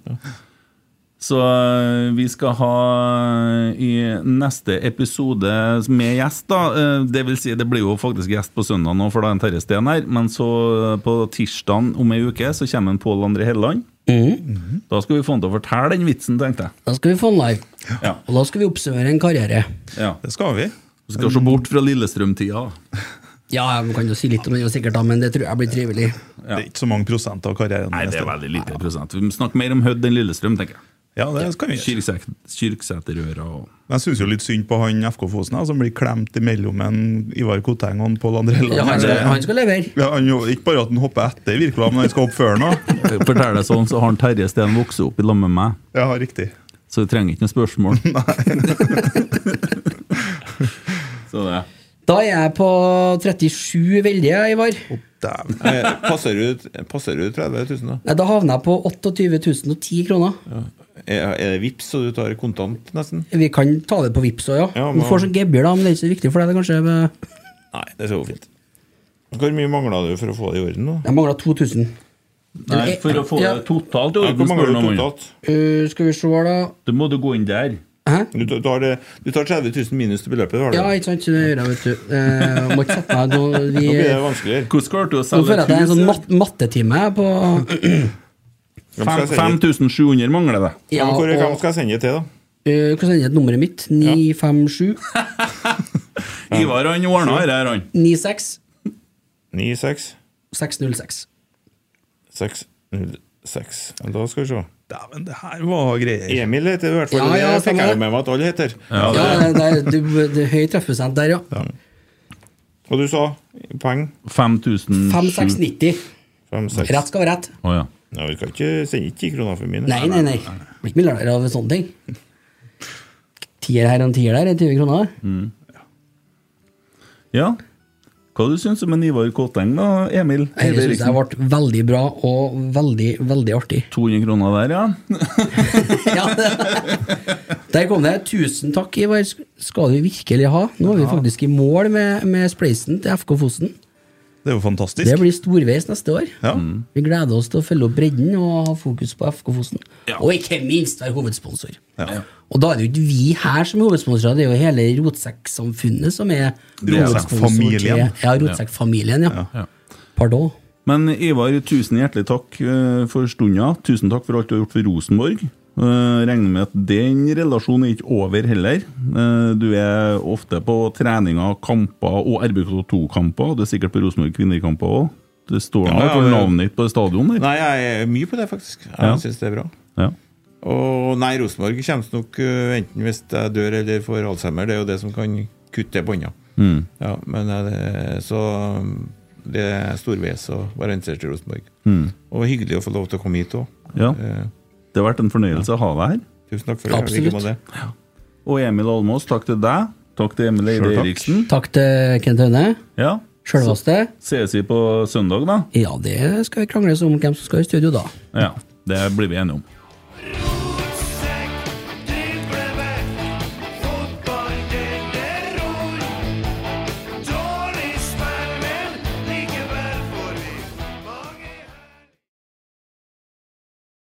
S2: Så eh, vi skal ha eh, i neste episode med gjest, da. eh, Det vil si, det blir jo faktisk gjest på søndag nå, for da er en Terje Steen her. Men så eh, på tirsdagen om ei uke så kommer en Pål André Helleland. Da skal vi få han til å fortelle den vitsen, tenkte jeg.
S4: Da skal vi få en live.
S2: Ja.
S4: Og da skal vi oppsummere en karriere.
S2: Ja.
S3: Det skal vi.
S2: Vi skal se bort fra Lillestrøm-tida.
S4: Ja, jeg kan jo si litt om det, jo sikkert, da, men det tror jeg blir trivelig.
S3: Det er ikke så mange prosent av karrieren.
S2: Nei, det er
S3: neste.
S2: veldig lite prosent. Vi må snakke mer om Hødd enn Lillestrøm, tenker jeg.
S3: Ja, det kan vi gjøre.
S2: Kyrksæk- Kyrksæterøra og
S3: Men Jeg syns jo litt synd på han FK Fosen da, som blir klemt imellom en Ivar Koteng og en Pål André Land.
S4: Ja, han, skal,
S3: Det-
S4: han skal levere.
S3: Ja, han jo- ikke bare at han hopper etter Virkola, men han skal hoppe før nå.
S2: Fortell det sånn, så har han Terje Steen vokst opp i lag med meg.
S3: Ja, riktig.
S2: Så vi trenger ikke noe spørsmål. så det.
S4: Da er jeg på 37 veldige, Ivar.
S3: Dæven.
S5: Eh, Passer du, passer du 30 000, da?
S4: Nei, Da havner jeg på 28 010 kroner.
S5: Er, er det vips, så du tar kontant, nesten?
S4: Vi kan ta det på Vipps òg, ja.
S5: Ja,
S4: Du
S5: men-
S4: får sånn gebyr, da, men det er ikke så viktig for deg. Det er kanskje
S5: Nei, det skal gå fint. Hvor mye mangla du for å få det i orden? da?
S4: Jeg mangler 2000.
S2: Nei, for å få
S4: eh, Ja.
S2: det totalt i
S5: Ja,
S2: orden,
S5: Hvor
S2: spør
S5: mangler du
S2: noen.
S5: totalt?
S4: Eh, skal vi se her, da.
S2: Da må du gå inn der.
S4: Hæ?
S5: Du, tar- du, har det, du tar 30 000 minus til beløpet? Har du.
S4: Ja, ikke sant. Det gjør jeg, vet du. Eh, må ikke sette meg noe vi,
S5: Nå blir det
S4: Nå
S5: vanskeligere.
S2: Hvordan klarte du å
S4: føler jeg
S2: selge
S4: at det er en sånn
S2: et
S4: mat mattetime på
S5: Hvem skal jeg
S2: hus?
S5: sende-
S2: 5700 mangler det.
S5: Ja,
S4: Ja,
S5: men hvor, hvem
S4: og
S5: skal jeg sende det til, da?
S4: eh, Hva sender jeg nummeret mitt? 957
S2: Ivar han ordna dette, her, han.
S4: 96
S5: 9, 6,
S4: 606.
S5: 6, 0, 6. Da skal vi se.
S3: Dæven, det her var greier.
S5: Emil heter i hvert fall.
S4: Ja,
S5: det
S4: ja,
S5: fikk
S4: stemmer
S5: jeg
S4: det.
S5: jo med meg at alle heter.
S4: Ja, det, det, det, det er høy treffprosent der, ja.
S5: Og du sa poeng?
S2: 5700.
S4: 5690.
S5: 5, 6.
S4: Rett skal være rett.
S2: Å ja.
S5: Ja, vi skal ikke sende ikke 10 kroner for mine.
S4: Nei, nei, nei. Blir ikke milliardær av sånne ting. Tier her og en tier der er 20 kroner.
S2: ja. Hva du syns om en Ivar Kåteng, da, Emil?
S4: Jeg syns jeg ble veldig bra og veldig, veldig artig.
S2: 200 kroner der, ja?
S4: Ja. Der kom det. Tusen takk, Ivar. Skal du virkelig ha? Nå er vi faktisk i mål med, med spleisen til FK Fosen.
S3: Det er jo fantastisk.
S4: Det blir storveis neste år.
S3: Ja.
S2: Mm.
S4: Vi gleder oss til å følge opp bredden og ha fokus på FK Fosen. Og ikke minst være hovedsponsor.
S3: Ja.
S4: Og da er det jo ikke vi her som er hovedsponsorer, det er jo hele Rotsekk-samfunnet som er
S3: Rotsekk-familien.
S4: hovedsponsor til- Ja, Rotsekk-familien, ja. Pardon.
S2: Men Ivar, tusen hjertelig takk eh, for stunda. Tusen takk for alt du har gjort for Rosenborg. Eh, regner med at den relasjonen er ikke over heller. Eh, du er ofte på treninger, kamper og RBK2-kamper. Du er sikkert på Rosenborg kvinnekamper òg. Det står nå
S5: Ja, ja,
S2: for
S5: ja.
S2: navnet ditt på stadion der.
S5: Nei, jeg er mye på det, faktisk. Jeg
S2: Ja.
S5: synes det er bra.
S2: Ja.
S5: Og nei, Rosenborg kommer nok øh, enten hvis jeg dør eller får alzheimer. Det er jo det som kan kutte det båndet. Ja, men øh, det- så øh, det er storveis å være interessert i Rosenborg. Og hyggelig å få lov til å komme hit òg.
S2: Ja.
S5: Eh.
S2: Det har vært en fornøyelse å ha deg her.
S5: Tusen takk for det.
S4: Absolutt.
S5: Like måte.
S2: Og Emil Almås, takk til deg. Takk til Emil Eide
S3: Selv takk.
S2: Eriksen.
S4: Takk til Kent Aune.
S2: Ja.
S4: Sjølveste.
S2: Ses vi på søndag, da?
S4: Ja, det skal vi krangles om hvem som skal i studio da.
S2: Ja. Det blir vi enige om.